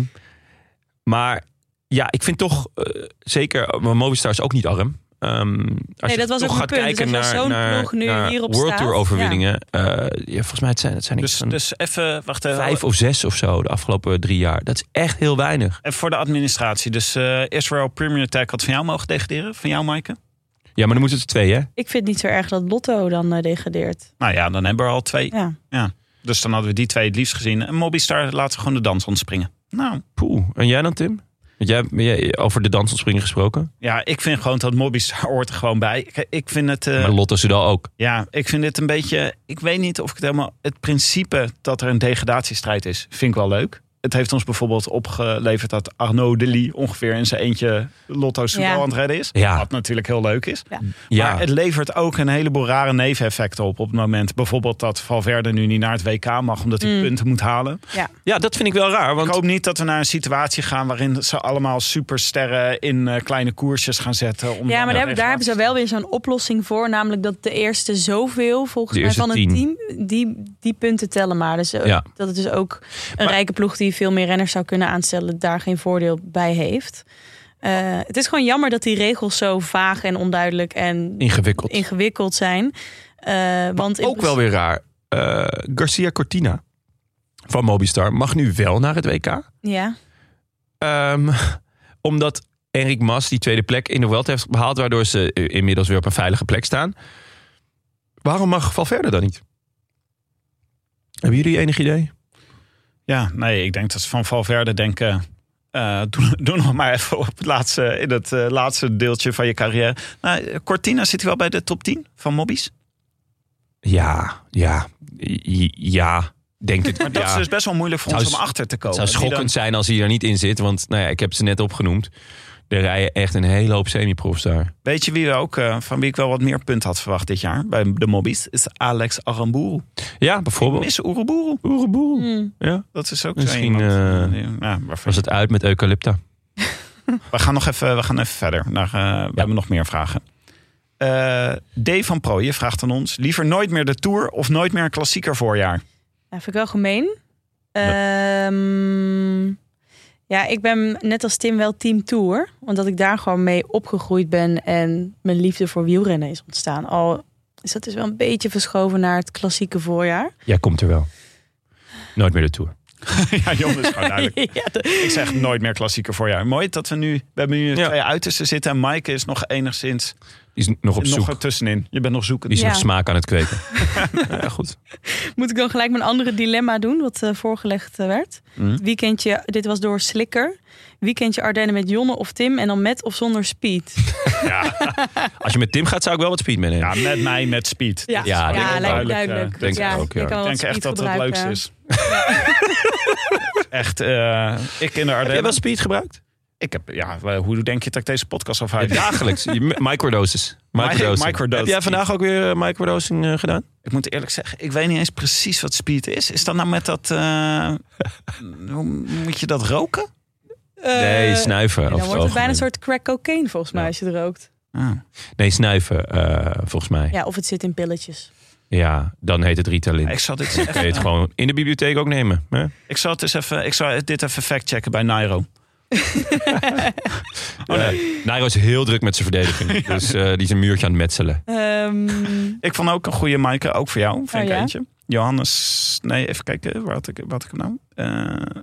Speaker 1: maar ja, ik vind toch eh, zeker, maar Movistar is ook niet arm. Ehm, als
Speaker 4: Nee, dat
Speaker 1: je
Speaker 4: was
Speaker 1: toch
Speaker 4: ook mijn
Speaker 1: gaat
Speaker 4: punt. Dus
Speaker 1: kijken
Speaker 4: als je
Speaker 1: naar,
Speaker 4: zo'n
Speaker 1: naar,
Speaker 4: ploeg nu
Speaker 1: naar
Speaker 4: hierop
Speaker 1: World
Speaker 4: staat,
Speaker 1: Tour overwinningen. eh, ja, volgens mij het zijn, het zijn iets
Speaker 2: Dus,
Speaker 1: van
Speaker 2: dus even, wacht even.
Speaker 1: vijf of zes of zo de afgelopen drie jaar. Dat is echt heel weinig.
Speaker 2: Even voor de administratie. Dus eh, Israel Premier Tech had van jou mogen degraderen? Van jou, Maaike?
Speaker 1: Ja, maar dan moeten het twee, hè?
Speaker 4: Ik vind het niet zo erg dat Lotto dan eh, degradeert.
Speaker 2: Nou ja, dan hebben we er al twee.
Speaker 4: Ja.
Speaker 2: Dus dan hadden we die twee het liefst gezien. En Mobistar laten we gewoon de dans ontspringen. Nou,
Speaker 1: Poeh. En jij dan, Tim? Want jij, jij over de dansontspringen gesproken.
Speaker 2: ja, ik vind gewoon dat Mobistar hoort er gewoon bij. Ik, ik vind het... eh,
Speaker 1: maar Lotto Soudal ook.
Speaker 2: Ja, ik vind dit een beetje. Ik weet niet of ik het helemaal. Het principe dat er een degradatiestrijd is, vind ik wel leuk. Het heeft ons bijvoorbeeld opgeleverd dat Arnaud Delis ongeveer in zijn eentje Lotto Soudal
Speaker 4: Ja.
Speaker 2: aan het redden is.
Speaker 1: Ja.
Speaker 2: Wat natuurlijk heel leuk is.
Speaker 1: Ja,
Speaker 2: Maar het levert ook een heleboel rare neveneffecten op op het moment. Bijvoorbeeld dat Valverde nu niet naar het WK mag omdat hij
Speaker 4: Mm.
Speaker 2: punten moet halen.
Speaker 1: ja, dat vind ik wel raar. Want
Speaker 2: Ik hoop niet dat we naar een situatie gaan waarin ze allemaal supersterren in eh, kleine koersjes gaan zetten. Om
Speaker 4: Ja,
Speaker 2: dan
Speaker 4: maar daar,
Speaker 2: de
Speaker 4: daar hebben ze wel weer zo'n oplossing voor. Namelijk dat de eerste zoveel, volgens
Speaker 1: De
Speaker 4: mij,
Speaker 1: eerste
Speaker 4: van een team, die, die punten tellen maar. Dus eh,
Speaker 1: Ja.
Speaker 4: dat het dus ook een
Speaker 1: Maar-
Speaker 4: rijke ploeg die veel meer renners zou kunnen aanstellen, daar geen voordeel bij heeft. Eh, het is gewoon jammer dat die regels zo vaag en onduidelijk en
Speaker 1: ingewikkeld.
Speaker 4: ingewikkeld zijn. Eh, want in
Speaker 1: ook wel weer raar. Eh, Garcia Cortina van Mobistar mag nu wel naar het WK.
Speaker 4: Ja,
Speaker 1: Ehm, omdat Enric Mas die tweede plek in de World heeft behaald... waardoor ze eh, inmiddels weer op een veilige plek staan. Waarom mag Valverde dan niet? Hebben jullie enig idee?
Speaker 2: Ja, nee, ik denk dat ze van Valverde denken... eh, doe, doe nog maar even op het laatste, in het eh, laatste deeltje van je carrière. Nou, Cortina zit hij wel bij de top 10 van mobbies.
Speaker 1: Ja, ja, i- ja, denk het.
Speaker 2: Maar dat
Speaker 1: ja.
Speaker 2: is dus best wel moeilijk voor
Speaker 1: Zou
Speaker 2: ons om
Speaker 1: s-
Speaker 2: achter te
Speaker 1: Het
Speaker 2: komen.
Speaker 1: zou schokkend zijn als hij er niet in zit. Want nou ja, ik heb ze net opgenoemd. Er rijden echt een hele hoop semi-profs daar.
Speaker 2: Die dan- weet je wie we ook, eh, van wie ik wel wat meer punten had verwacht dit jaar bij de mobbies? Is Alex Aramburu.
Speaker 1: Ja, bijvoorbeeld.
Speaker 2: Miss Oeruburu.
Speaker 1: Oereboel.
Speaker 4: Hmm.
Speaker 1: Ja,
Speaker 2: Dat is ook
Speaker 1: Misschien,
Speaker 2: zo iemand.
Speaker 1: eh,
Speaker 2: Ja, waarvan-
Speaker 1: was het uit met Eucalypta.
Speaker 2: We gaan nog even, we gaan even verder. Naar, eh, We hebben nog meer vragen. Eh D. van Prooijen vraagt aan ons... liever nooit meer de Tour of nooit meer een klassieker voorjaar?
Speaker 4: dat vind ik wel gemeen. Ehm, ja, ik ben net als Tim wel team tour. Omdat ik daar gewoon mee opgegroeid ben. En mijn liefde voor wielrennen is ontstaan. Al is dat dus wel een beetje verschoven naar het klassieke voorjaar.
Speaker 1: Jij komt er wel. Nooit meer de Tour.
Speaker 2: ja, jongens, gewoon duidelijk.
Speaker 4: ja, de-
Speaker 2: Ik zeg nooit meer klassieker voorjaar. Mooi dat we nu... We hebben nu
Speaker 1: Ja.
Speaker 2: twee uitersten zitten... en Maaike is nog enigszins
Speaker 1: Die is nog op
Speaker 2: nog
Speaker 1: zoek.
Speaker 2: er tussenin. Je bent nog zoekend.
Speaker 1: Die is
Speaker 4: Ja.
Speaker 1: nog smaak aan het kweken. ja, goed.
Speaker 4: Moet ik dan gelijk mijn andere dilemma doen, wat eh, voorgelegd eh, werd?
Speaker 2: Mhm.
Speaker 4: Weekendje, dit was door Slikker. Weekendje Ardennen met Jonne of Tim en dan met of zonder Speed.
Speaker 1: Als je met Tim gaat, zou ik wel wat speed meenemen.
Speaker 2: Ja, met mij, met Speed.
Speaker 4: Ja,
Speaker 1: Ja, denk ik
Speaker 4: lijkt me
Speaker 1: ook.
Speaker 4: duidelijk.
Speaker 2: Duidelijk,
Speaker 1: denk ik ook, ja.
Speaker 4: je kan
Speaker 2: Ik
Speaker 4: wel
Speaker 2: denk
Speaker 4: wat
Speaker 2: echt
Speaker 4: speed eh.
Speaker 2: dat dat het
Speaker 4: gebruiken.
Speaker 2: leukste is. echt, eh, ik in de
Speaker 1: Heb jij
Speaker 2: Ardennen...
Speaker 1: wel speed gebruikt?
Speaker 2: Ik heb, ja, hoe denk je dat ik deze podcast afhoud?
Speaker 1: Dagelijks. Je- Microdoses. Microdosing.
Speaker 2: microdosing.
Speaker 1: Heb jij vandaag ook weer eh, microdosing eh, gedaan?
Speaker 2: Ik moet eerlijk zeggen, ik weet niet eens precies wat speed is. Is dat nou met dat... eh, hoe moet je dat roken?
Speaker 4: Eh,
Speaker 1: Nee, snuiven.
Speaker 4: Dan
Speaker 1: over
Speaker 4: wordt het
Speaker 1: algemeen.
Speaker 4: bijna een soort crack cocaine volgens mij
Speaker 1: Ja.
Speaker 4: als je het rookt.
Speaker 2: Ah.
Speaker 1: Nee, snuiven, eh, volgens mij. Ja.
Speaker 4: Ja, of het zit in pilletjes.
Speaker 1: dan heet het Ritalin.
Speaker 2: Ik zal dit
Speaker 1: Kun je het
Speaker 2: even,
Speaker 1: Oh, gewoon in de bibliotheek ook nemen. Hè?
Speaker 2: ik zal het eens even, ik zal dit even factchecken bij Nairo.
Speaker 1: Oh nee. Nairo is heel druk met zijn verdediging. Dus eh, die is een muurtje aan het metselen.
Speaker 4: Ehm,
Speaker 2: Ik vond ook een goede Maaike, ook voor jou. Vind
Speaker 4: Oh,
Speaker 2: ik
Speaker 4: ja?
Speaker 2: eentje. Johannes, nee, even kijken, waar had ik, waar had ik hem nou? Eh,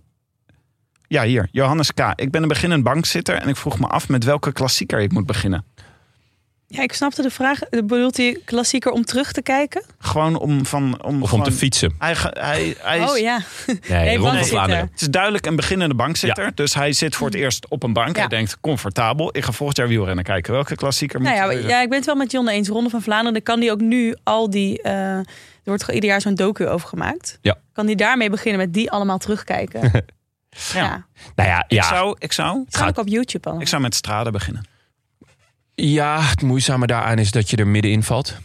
Speaker 2: ja, hier, Johannes K. Ik ben een beginnend bankzitter en ik vroeg me af met welke klassieker ik moet beginnen.
Speaker 4: ja, ik snapte de vraag. Bedoelt hij klassieker om terug te kijken?
Speaker 2: Gewoon om van... Om
Speaker 1: Of om te
Speaker 2: gewoon-
Speaker 1: fietsen.
Speaker 2: Hij, ge- hij, hij is,
Speaker 4: Oh ja.
Speaker 1: Nee,
Speaker 4: Nee,
Speaker 1: Ronde
Speaker 4: bankzitter.
Speaker 1: Vlaanderen.
Speaker 2: Het is duidelijk een beginnende bankzitter. Dus hij zit voor het eerst op een bank.
Speaker 4: Hm. Ja.
Speaker 2: Hij denkt, comfortabel. Ik ga volgend jaar wielrennen kijken. Welke klassieker moet
Speaker 4: Nou ja,
Speaker 2: ik kiezen?
Speaker 4: ja, ik ben het wel met John eens. Ronde van Vlaanderen, dan kan die ook nu al die... eh, er wordt gewoon ieder jaar zo'n docu over gemaakt.
Speaker 1: Ja.
Speaker 4: Kan die daarmee beginnen met die allemaal terugkijken. ja.
Speaker 1: Nou ja,
Speaker 2: Ik,
Speaker 1: ja.
Speaker 2: zou, ik, zou,
Speaker 4: Het staat ook op YouTube al.
Speaker 2: ik zou met Strade beginnen.
Speaker 1: Ja, het moeizame daaraan is dat je er middenin valt.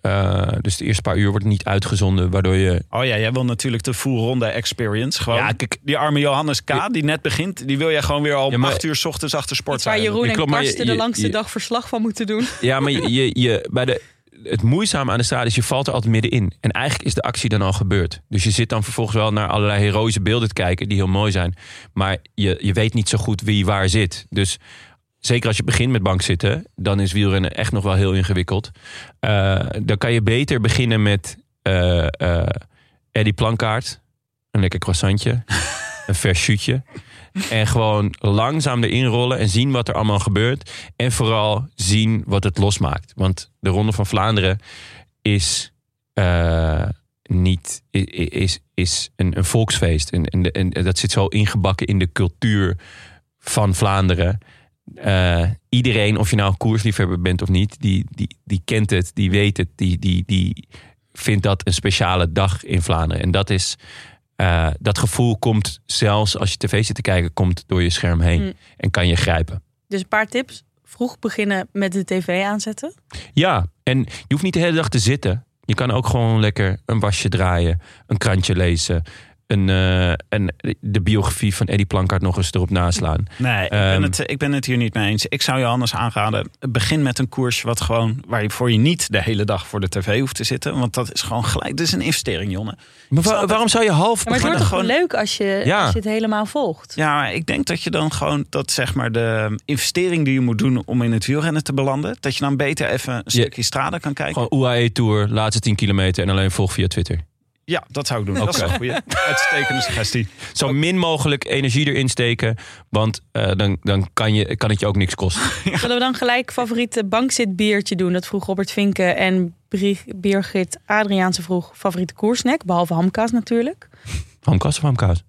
Speaker 1: Eh, dus de eerste paar uur wordt niet uitgezonden, waardoor je...
Speaker 2: Oh ja, jij wil natuurlijk de full ronde experience. Gewoon.
Speaker 1: Ja, kijk-
Speaker 2: die arme Johannes K. die net begint, die wil jij gewoon weer al om
Speaker 1: Ja, maar-
Speaker 2: acht uur 's ochtends achter sport
Speaker 4: Iets waar
Speaker 2: zijn.
Speaker 4: Jeroen
Speaker 1: Ja,
Speaker 4: en
Speaker 1: klopt, maar je-
Speaker 4: Karsten de
Speaker 1: je-
Speaker 4: langste
Speaker 1: je-
Speaker 4: dag verslag van moeten doen.
Speaker 1: Ja, maar je, je, je- bij de, het moeizame aan de stad is, je valt er altijd middenin. En eigenlijk is de actie dan al gebeurd. Dus je zit dan vervolgens wel naar allerlei heroïsche beelden te kijken... die heel mooi zijn. Maar je, je weet niet zo goed wie waar zit. Dus zeker als je begint met bankzitten... dan is wielrennen echt nog wel heel ingewikkeld. Eh, dan kan je beter beginnen met eh eh, Eddie Plankaart. Een lekker croissantje. een vers shootje. En gewoon langzaam erin rollen en zien wat er allemaal gebeurt. En vooral zien wat het losmaakt. Want de Ronde van Vlaanderen is, eh, niet, i- i- is, is een, een volksfeest. En, en, de- en dat zit zo ingebakken in de cultuur van Vlaanderen. Eh, iedereen, of je nou een koersliefhebber bent of niet, die, die, die kent het, die weet het, die, die, die vindt dat een speciale dag in Vlaanderen. En dat is. eh, dat gevoel komt zelfs als je tv zit te kijken, komt door je scherm heen
Speaker 4: Mm.
Speaker 1: en kan je grijpen.
Speaker 4: Dus een paar tips. Vroeg beginnen met de tv aanzetten.
Speaker 1: Ja, en je hoeft niet de hele dag te zitten. Je kan ook gewoon lekker een wasje draaien, een krantje lezen. Een, eh, een, de biografie van Eddie Plankaart nog eens erop naslaan.
Speaker 2: Nee, ik, ben
Speaker 1: Ehm.
Speaker 2: het, ik ben het hier niet mee eens. Ik zou Johannes aanraden, begin met een koers wat gewoon, waar je voor je niet de hele dag voor de tv hoeft te zitten. Want dat is gewoon gelijk, dat is een investering, Jonne.
Speaker 1: Maar
Speaker 2: wa-
Speaker 1: waarom zou je half
Speaker 4: Ja, maar het
Speaker 2: beginnen
Speaker 4: wordt toch
Speaker 2: gewoon-
Speaker 4: leuk als je,
Speaker 1: Ja.
Speaker 4: als je het helemaal volgt.
Speaker 2: Ja, maar ik denk dat je dan gewoon dat zeg maar de investering die je moet doen om in het wielrennen te belanden, dat je dan beter even een
Speaker 1: Je-
Speaker 2: stukje strade kan kijken.
Speaker 1: Gewoon UAE Tour, laatste 10 kilometer en alleen volg via Twitter.
Speaker 2: Ja, dat zou ik doen. Dat is
Speaker 1: Oké.
Speaker 2: een goede, uitstekende suggestie.
Speaker 1: Zo min mogelijk energie erin steken, want eh, dan, dan kan, je, kan het je ook niks kosten.
Speaker 4: Zullen we dan gelijk favoriete bankzitbiertje doen? Dat vroeg Robert Vinke en Bri- Birgit Adriaanse vroeg favoriete koersnack. Behalve hamkaas natuurlijk.
Speaker 1: Hamkaas of hamkaas?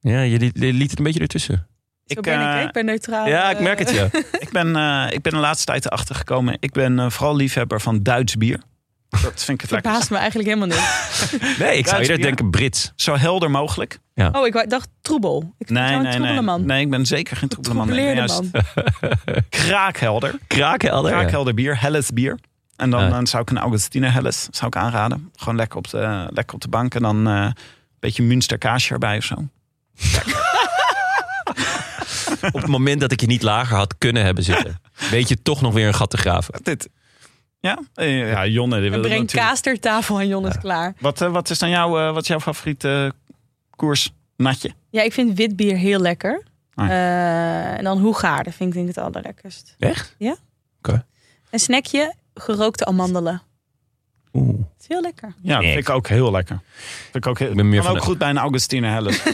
Speaker 1: Ja, je liet, je liet het een beetje ertussen.
Speaker 4: Zo
Speaker 2: Ik,
Speaker 4: ben ik,
Speaker 2: eh,
Speaker 4: hè? ik ben neutraal. eh,
Speaker 1: Ja, ik merk het ja.
Speaker 2: Ik ben, eh, ik ben de laatste tijd erachter gekomen. Ik ben eh, vooral liefhebber van Duits bier. Dat vind ik het lekker.
Speaker 4: Verbaast me eigenlijk helemaal niet.
Speaker 1: Nee, ik zou eerder
Speaker 2: bier.
Speaker 1: denken Brits.
Speaker 2: Zo helder mogelijk.
Speaker 4: Oh, ik wou- dacht troebel. Ik vind
Speaker 2: Nee,
Speaker 4: jou een
Speaker 2: nee, nee.
Speaker 4: troebeleman.
Speaker 2: Nee, ik ben zeker geen troebelman. Ik ben
Speaker 4: Troebeleerde
Speaker 2: juist
Speaker 4: man.
Speaker 2: kraakhelder.
Speaker 1: Kraakhelder. ja.
Speaker 2: Kraakhelder bier, Helles bier. En dan,
Speaker 1: Ja.
Speaker 2: dan zou ik een Augustine Helles zou ik aanraden. Gewoon lekker op de, lekker op de bank en dan eh, een beetje Münster kaasje erbij of zo.
Speaker 1: op het moment dat ik je niet lager had kunnen hebben zitten, weet je toch nog weer een gat te graven.
Speaker 2: Dit. Ja, Eh, ja Jonne. Dit wil
Speaker 4: En breng
Speaker 2: natuurlijk-
Speaker 4: kaas ter tafel en Jon is klaar.
Speaker 2: Wat, eh, wat is dan jouw, eh, wat is jouw favoriete eh, koers? Natje.
Speaker 4: Ja, ik vind wit bier heel lekker.
Speaker 2: Ah.
Speaker 4: Eh, en dan hoegaarden vind ik denk ik het allerlekkerst.
Speaker 1: Echt?
Speaker 4: Een snackje, gerookte amandelen.
Speaker 1: Oeh.
Speaker 4: Het is heel lekker.
Speaker 2: Ja,
Speaker 1: Nee.
Speaker 2: vind ik ook heel lekker. Vind ik ook heel,
Speaker 1: Ik ben meer
Speaker 2: kan
Speaker 1: van
Speaker 2: ook
Speaker 1: de-
Speaker 2: goed bij een Augustine Helles. Ja,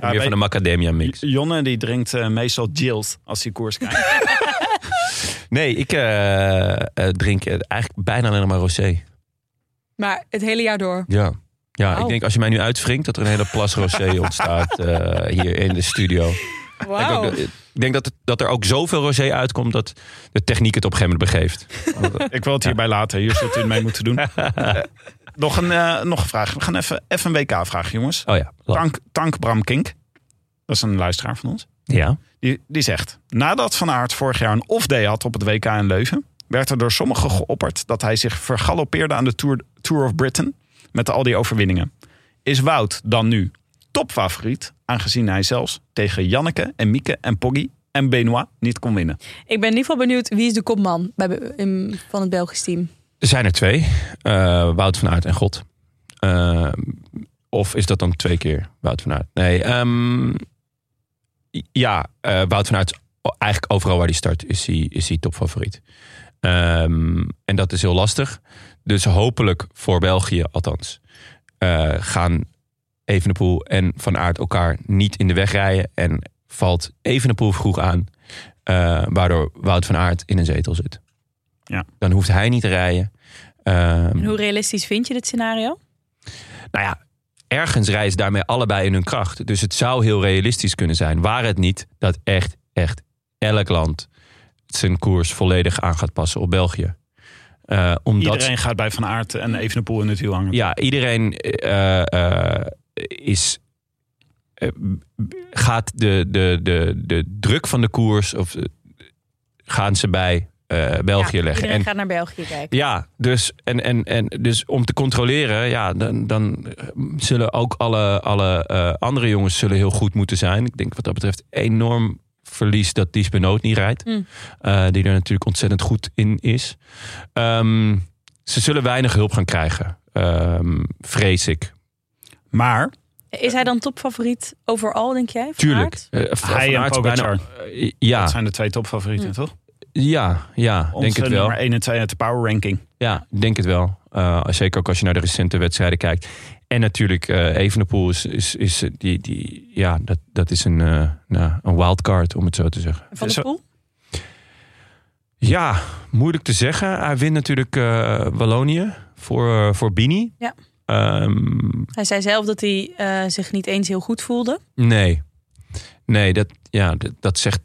Speaker 2: bij-
Speaker 1: Meer van de Macadamia mix.
Speaker 2: Jonne die drinkt eh, meestal Jills als hij koers krijgt.
Speaker 1: Nee, ik eh, eh, drink eh, eigenlijk bijna alleen maar rosé.
Speaker 4: Maar het hele jaar door.
Speaker 1: Ja. Ja,
Speaker 4: Wauw.
Speaker 1: ik denk als je mij nu uitwringt dat er een hele plas rosé ontstaat eh, hier in de studio. Ik denk, ook
Speaker 4: Wauw.
Speaker 1: dat- ik denk dat, het- dat er ook zoveel rosé uitkomt dat de techniek het op een gegeven moment begeeft. Want-
Speaker 2: ik wil het hierbij laten. Hier zult u het mee moeten doen. Eh, nog, een, eh, nog een vraag. We gaan even, even een WK-vraag, jongens.
Speaker 1: oh ja. la-
Speaker 2: Tank, Tank Bram Kink. Dat is een luisteraar van ons.
Speaker 1: Ja.
Speaker 2: Die, die zegt, nadat Van Aert vorig jaar een off-day had op het WK in Leuven... werd er door sommigen geopperd dat hij zich vergaloppeerde aan de Tour, Tour of Britain... met al die overwinningen. Is Wout dan nu topfavoriet, aangezien hij zelfs tegen Janneke en Mieke en Poggi en Benoit niet kon winnen?
Speaker 4: Ik ben in ieder geval benieuwd wie is de kopman bij, in, van het Belgisch team.
Speaker 1: Er zijn er twee. Eh, Wout van Aert en God. Eh, of is dat dan twee keer Wout van Aert? Nee. ehm, ja, eh, Wout van Aert, is eigenlijk overal waar hij start, is hij, is hij topfavoriet. Ehm, en dat is heel lastig. Dus hopelijk voor België althans, eh, gaan Evenepoel en Van Aert elkaar niet in de weg rijden. En valt Evenepoel vroeg aan, eh, waardoor Wout van Aert in een zetel zit.
Speaker 2: Ja.
Speaker 1: Dan hoeft hij niet te rijden.
Speaker 4: En
Speaker 1: Ehm,
Speaker 4: hoe realistisch vind je dit scenario?
Speaker 1: nou ja, ergens rijden ze daarmee allebei in hun kracht. Dus het zou heel realistisch kunnen zijn. Waar het niet dat echt, echt elk land zijn koers volledig aan gaat passen op België. Eh, omdat
Speaker 2: Iedereen gaat bij Van Aert en Evenepoel in het wiel hangen.
Speaker 1: ja, iedereen eh, eh, is. eh, b- gaat de, de, de, de druk van de koers. of eh, gaan ze bij eh, België
Speaker 4: Ja,
Speaker 1: leggen.
Speaker 4: Iedereen
Speaker 1: En
Speaker 4: gaat naar België kijken.
Speaker 1: ja, dus, en, en, en, dus om te controleren, ja, dan, dan eh, zullen ook alle, alle eh, andere jongens zullen heel goed moeten zijn. Ik denk wat dat betreft enorm verlies dat Dies Benoot niet rijdt.
Speaker 4: Mm.
Speaker 1: Eh, die er natuurlijk ontzettend goed in is. Ehm, ze zullen weinig hulp gaan krijgen, Ehm, vrees ik.
Speaker 2: Maar
Speaker 4: Is hij dan topfavoriet overal, denk jij? Van
Speaker 1: Tuurlijk.
Speaker 4: Aert?
Speaker 1: Eh, Van
Speaker 2: Hij en
Speaker 1: Aert is bijna- eh, ja,
Speaker 2: dat zijn de twee topfavorieten,
Speaker 4: Hm.
Speaker 2: toch?
Speaker 1: ja, ja,
Speaker 2: Onze
Speaker 1: denk het wel.
Speaker 2: nummer 1 en 2 uit de power ranking.
Speaker 1: Ja, ik denk het wel. Eh, zeker ook als je naar de recente wedstrijden kijkt. En natuurlijk, eh Evenepoel is, is, is eh, die, die, ja, dat, dat is een, eh, nou, een wildcard, om het zo te zeggen.
Speaker 4: Van de
Speaker 2: Zo-
Speaker 4: Poel?
Speaker 1: Ja, moeilijk te zeggen. Hij wint natuurlijk eh, Wallonië voor, eh, voor Bini.
Speaker 4: Ja.
Speaker 1: Ehm,
Speaker 4: Hij zei zelf dat hij eh, zich niet eens heel goed voelde.
Speaker 1: nee. Nee, dat, ja, dat, dat zegt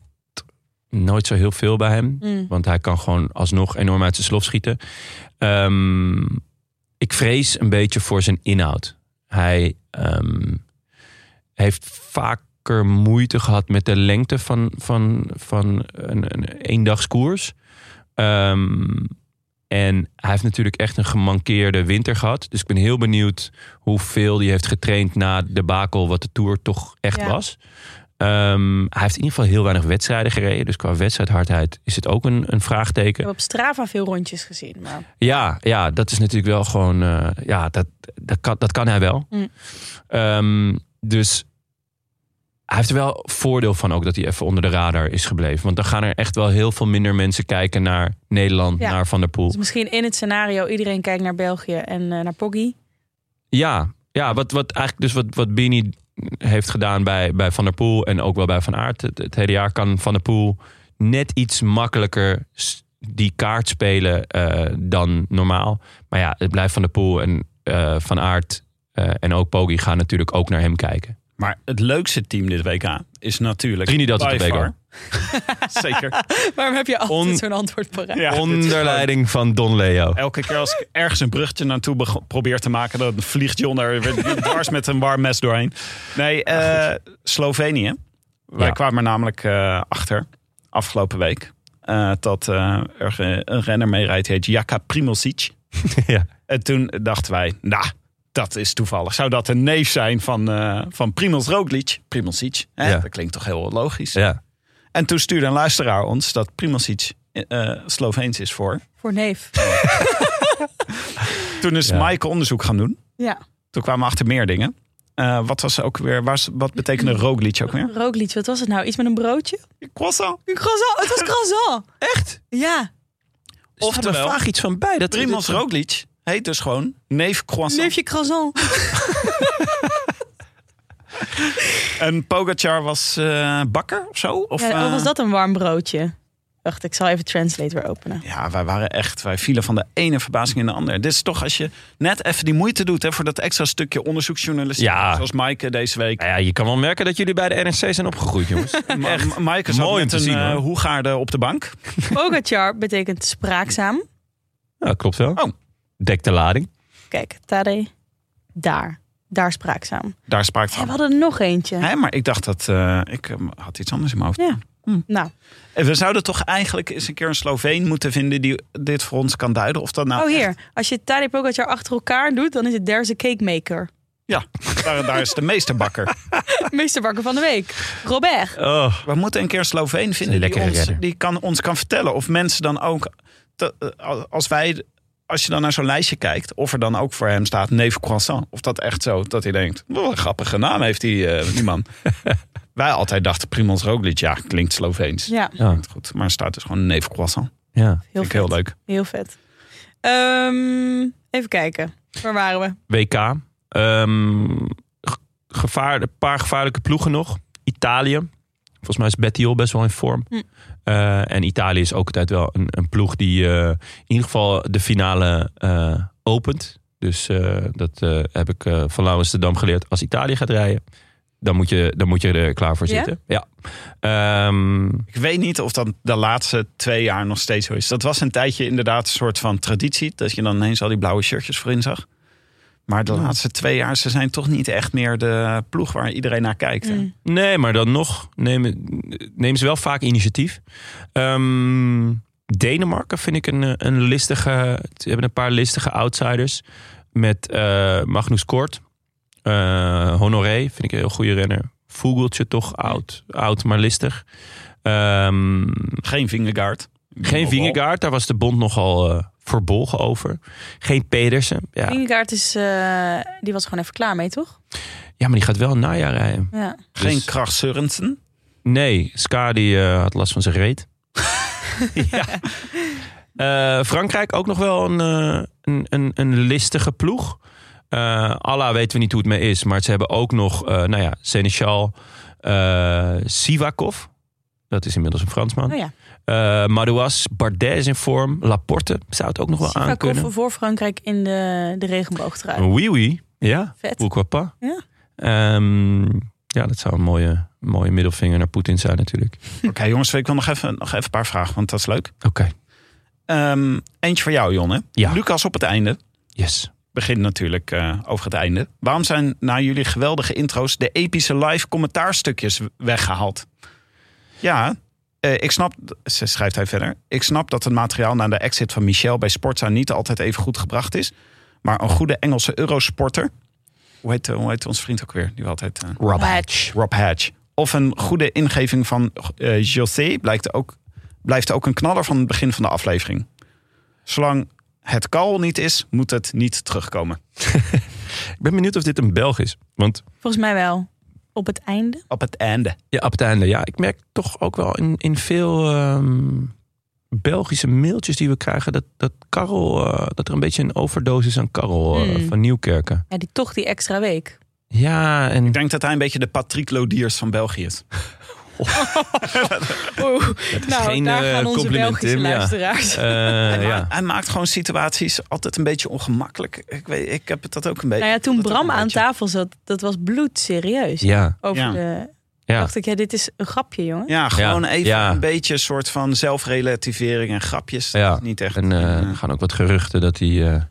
Speaker 1: nooit zo heel veel bij hem.
Speaker 4: Mm.
Speaker 1: Want hij kan gewoon alsnog enorm uit zijn slof schieten. Ehm, ik vrees een beetje voor zijn inhoud. Hij ehm, heeft vaker moeite gehad met de lengte van, van, van een, een eendagskoers. Ehm, en hij heeft natuurlijk echt een gemankeerde winter gehad. Dus ik ben heel benieuwd hoeveel hij heeft getraind na de bakel, wat de Tour toch echt
Speaker 4: Ja.
Speaker 1: was. Ehm, hij heeft in ieder geval heel weinig wedstrijden gereden. Dus qua wedstrijdhardheid is het ook een, een
Speaker 4: Ik
Speaker 1: vraagteken.
Speaker 4: heb op Strava veel rondjes gezien. Maar
Speaker 1: Ja, ja, dat is natuurlijk wel gewoon. eh, ja, dat, dat, kan, dat kan hij wel.
Speaker 4: Mm.
Speaker 1: Ehm, dus hij heeft er wel voordeel van ook dat hij even onder de radar is gebleven. Want dan gaan er echt wel heel veel minder mensen kijken naar Nederland,
Speaker 4: Ja.
Speaker 1: naar Van der Poel.
Speaker 4: dus misschien in het scenario iedereen kijkt naar België en eh, naar Poggi.
Speaker 1: Ja, ja wat, wat eigenlijk dus wat, wat Bini heeft gedaan bij, bij Van der Poel en ook wel bij Van Aert. Het, het hele jaar kan Van der Poel net iets makkelijker s- die kaart spelen eh, dan normaal. Maar ja, het blijft Van der Poel en eh, Van Aert eh, en ook Poggi gaan natuurlijk ook naar hem kijken.
Speaker 2: Maar het leukste team dit WK is natuurlijk...
Speaker 1: Trinidad en
Speaker 2: by
Speaker 1: Tobago.
Speaker 2: far- Zeker.
Speaker 4: Waarom heb je altijd
Speaker 1: On-
Speaker 4: zo'n antwoord paraat?
Speaker 2: Ja, dit is
Speaker 1: Onder
Speaker 2: gewoon-
Speaker 1: leiding van Don Leo.
Speaker 2: Elke keer als ik ergens een bruggetje naartoe beg- probeer te maken... dan vliegt John er weer dwars met een warm mes doorheen. Nee, eh, Slovenië. Wij
Speaker 1: Ah, Ja.
Speaker 2: kwamen er namelijk eh, achter afgelopen week... eh, dat eh, er ge- een renner mee rijdt, die heet Jaka Primosic.
Speaker 1: Ja.
Speaker 2: En toen dachten wij, nou, dat is toevallig. Zou dat een neef zijn van, eh van Primoz Roglic? Primosic, hè?
Speaker 1: Ja.
Speaker 2: dat klinkt toch heel logisch.
Speaker 1: Ja.
Speaker 2: En toen stuurde een luisteraar ons dat Primosic eh, eh, Sloveens is voor.
Speaker 4: Voor neef.
Speaker 2: Toen is
Speaker 1: Ja.
Speaker 2: Maaike onderzoek gaan doen.
Speaker 4: Ja.
Speaker 2: Toen kwamen we achter meer dingen. Eh, wat was ook weer, was, wat betekende Roglic ook weer?
Speaker 4: Rookliedje, wat was het nou? Iets met een broodje?
Speaker 2: Croissant.
Speaker 4: Een croissant. Het was croissant.
Speaker 1: Echt?
Speaker 4: Ja.
Speaker 1: Oftewel,
Speaker 2: Oftewel,
Speaker 1: vraag iets van bij. Dat
Speaker 2: Primoz Roglic heet dus gewoon neef croissant.
Speaker 4: Neefje croissant.
Speaker 2: En Pogacar was eh, bakker of zo? Of,
Speaker 4: Ja, oh,
Speaker 2: eh,
Speaker 4: was dat een warm broodje? Wacht, ik zal even Translate weer openen.
Speaker 2: Ja, wij waren echt, wij vielen van de ene verbazing in de andere. Dit is toch als je net even die moeite doet hè, voor dat extra stukje onderzoeksjournalistiek.
Speaker 1: Ja.
Speaker 2: Zoals Maaike deze week.
Speaker 1: Nou ja, je kan wel merken dat jullie bij de NRC zijn opgegroeid, jongens.
Speaker 2: Ma- Ma- Maaike zat
Speaker 1: Eh, Mooi om
Speaker 2: met
Speaker 1: te
Speaker 2: een
Speaker 1: zien,
Speaker 2: eh,
Speaker 1: hoor.
Speaker 2: hoegaarde op de bank.
Speaker 4: Pogacar betekent spraakzaam.
Speaker 1: Ja, klopt wel.
Speaker 2: Oh.
Speaker 1: Dek de lading.
Speaker 4: Kijk, Tade. Daar. Daar spraakzaam.
Speaker 2: Daar sprak
Speaker 4: Hé, we
Speaker 2: van.
Speaker 4: hadden er nog eentje.
Speaker 2: Hè, maar ik dacht dat eh, ik eh, had iets anders in mijn hoofd.
Speaker 4: Ja. Nou,
Speaker 2: En we zouden toch eigenlijk eens een keer een Sloveen moeten vinden die dit voor ons kan duiden. Of dat nou.
Speaker 4: oh hier. Als je Tade Pogacar achter elkaar doet, dan is het There's a Cake Maker.
Speaker 2: Ja, daar, daar is de meesterbakker.
Speaker 4: Meesterbakker van de week. Robert.
Speaker 1: Oh.
Speaker 2: We moeten een keer een Sloveen vinden die,
Speaker 1: lekkere
Speaker 2: ons,
Speaker 1: redder.
Speaker 2: die kan, ons kan vertellen. Of mensen dan ook, te- eh, als wij, als je dan naar zo'n lijstje kijkt, of er dan ook voor hem staat neef croissant. Of dat echt zo, dat hij denkt, wat een grappige naam heeft die, eh, die man. Wij altijd dachten Primoz Roglic, ja, klinkt Sloveens.
Speaker 4: Ja,
Speaker 1: Ja,
Speaker 2: Klinkt Goed, maar er staat dus gewoon een neef croissant.
Speaker 1: ja.
Speaker 4: heel
Speaker 2: Vind ik
Speaker 4: vet.
Speaker 2: heel leuk.
Speaker 4: Heel vet. Ehm, even kijken. Waar waren we?
Speaker 1: WK. Ehm, ge- gevaar, een paar gevaarlijke ploegen nog. Italië. Volgens mij is Bettiol best wel in vorm.
Speaker 4: Hm.
Speaker 1: Eh, en Italië is ook altijd wel een, een ploeg die eh, in ieder geval de finale eh, opent. Dus eh, dat eh, heb ik eh, van Laurens de Dam geleerd. Als Italië gaat rijden, dan moet je, dan moet je er klaar voor
Speaker 4: Ja?
Speaker 1: zitten. Ja. Ehm,
Speaker 2: Ik weet niet of dat de laatste twee jaar nog steeds zo is. Dat was een tijdje inderdaad een soort van traditie. Dat je dan ineens al die blauwe shirtjes voorin zag. Maar de laatste twee jaar, ze zijn toch niet echt meer de ploeg waar iedereen naar kijkt. hè?
Speaker 4: Mm.
Speaker 1: Nee, maar dan nog nemen, nemen ze wel vaak initiatief. Ehm, Denemarken vind ik een, eh, een listige... Ze hebben een paar listige outsiders. Met eh, Magnus Kort. Eh, Honoré vind ik een heel goede renner. Vogeltje toch oud, oud maar listig. Ehm,
Speaker 2: Geen Vingegaard.
Speaker 1: geen
Speaker 2: Nogal.
Speaker 1: Vingegaard, daar was de bond nogal eh, verbolgen over. Geen Pedersen. Ja.
Speaker 4: Vingegaard is, eh, die was er gewoon even klaar mee, toch?
Speaker 1: ja, maar die gaat wel een najaar rijden.
Speaker 4: Ja.
Speaker 2: Geen
Speaker 1: Dus-
Speaker 2: Kracht Sørensen.
Speaker 1: Nee, Ska die eh, had last van zijn reet. ja. Eh, Frankrijk ook nog wel een, eh, een, een, een listige ploeg. Eh Allah weten we niet hoe het mee is. Maar ze hebben ook nog, eh, nou ja, Seneschal, eh, Sivakov. Dat is inmiddels een Fransman.
Speaker 4: Oh ja.
Speaker 1: Eh, Madouas, Bardet is in vorm. Laporte zou het ook nog wel
Speaker 4: Sivakov
Speaker 1: aankunnen.
Speaker 4: voor Frankrijk in de, de regenboogtrui.
Speaker 1: Oui, oui. Ja,
Speaker 4: Vet.
Speaker 1: pourquoi pas.
Speaker 4: Ja.
Speaker 1: Ehm, ja, dat zou een mooie, mooie middelvinger naar Poetin zijn natuurlijk.
Speaker 2: Oké jongens, ik wil nog even, nog even een paar vragen, want dat is leuk.
Speaker 1: Oké,
Speaker 2: Ehm, eentje voor jou, Jonne.
Speaker 1: Ja.
Speaker 2: Lucas op het einde.
Speaker 1: yes.
Speaker 2: Begint natuurlijk eh, over het einde. Waarom zijn na jullie geweldige intro's de epische live commentaarstukjes weggehaald? Ja, eh, ik snap, ze schrijft hij verder. Ik snap dat het materiaal na de exit van Michel bij Sportza niet altijd even goed gebracht is. Maar een goede Engelse Eurosporter. Hoe heet, eh, hoe heet onze vriend ook weer? Die we altijd. eh,
Speaker 1: Rob
Speaker 4: Wedge.
Speaker 2: Rob Hatch. Of een goede ingeving van eh José blijkt ook, blijft ook een knaller van het begin van de aflevering. Zolang het kal niet is, moet het niet terugkomen.
Speaker 1: Ik ben benieuwd of dit een Belg is. Want
Speaker 4: Volgens mij wel. Op het einde.
Speaker 2: Op het einde.
Speaker 1: ja, op het einde, ja, ik merk toch ook wel in, in veel ehm, Belgische mailtjes die we krijgen... dat, dat, Karel, eh, dat er een beetje een overdosis is aan Karel eh,
Speaker 4: Hmm.
Speaker 1: van Nieuwkerken.
Speaker 4: Ja, die toch die extra week.
Speaker 1: Ja, en
Speaker 2: Ik denk dat hij een beetje de Patrick Lodiers van België is.
Speaker 4: Oeh,
Speaker 1: is geen, eh, compliment, Tim, ja.
Speaker 4: luisteraars.
Speaker 1: eh,
Speaker 2: Hij ma-
Speaker 1: ja.
Speaker 2: Hij maakt gewoon situaties altijd een beetje ongemakkelijk. Ik, weet, ik heb dat ook een beetje.
Speaker 4: Nou ja, toen
Speaker 2: dat ook
Speaker 4: Bram
Speaker 2: een
Speaker 4: aan
Speaker 2: beetje.
Speaker 4: tafel zat, dat was bloedserieus.
Speaker 1: ja,
Speaker 4: Over
Speaker 2: Ja.
Speaker 4: de...
Speaker 1: Ja.
Speaker 4: dacht ik, ja, dit is een grapje, jongen.
Speaker 2: Ja, gewoon
Speaker 1: Ja,
Speaker 2: even
Speaker 1: ja.
Speaker 2: een beetje een soort van zelfrelativering en grapjes. Dat
Speaker 1: Ja.
Speaker 2: is niet echt.
Speaker 1: en eh,
Speaker 2: Ja.
Speaker 1: er gaan ook wat geruchten dat hij eh,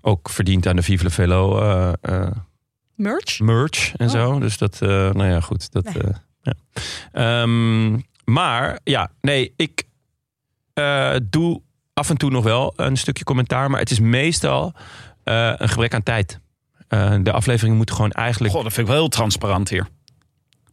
Speaker 1: ook verdient aan de Vive le Velo eh, eh,
Speaker 4: Merch?
Speaker 1: merch en
Speaker 4: Oh.
Speaker 1: zo. Dus dat, eh, nou ja, goed. Dat,
Speaker 4: Nee.
Speaker 1: eh, ja. Ehm, maar ja, nee, ik eh, doe af en toe nog wel een stukje commentaar. Maar het is meestal eh, een gebrek aan tijd. Eh, de aflevering moet gewoon eigenlijk...
Speaker 2: Goh, dat vind ik wel heel transparant hier.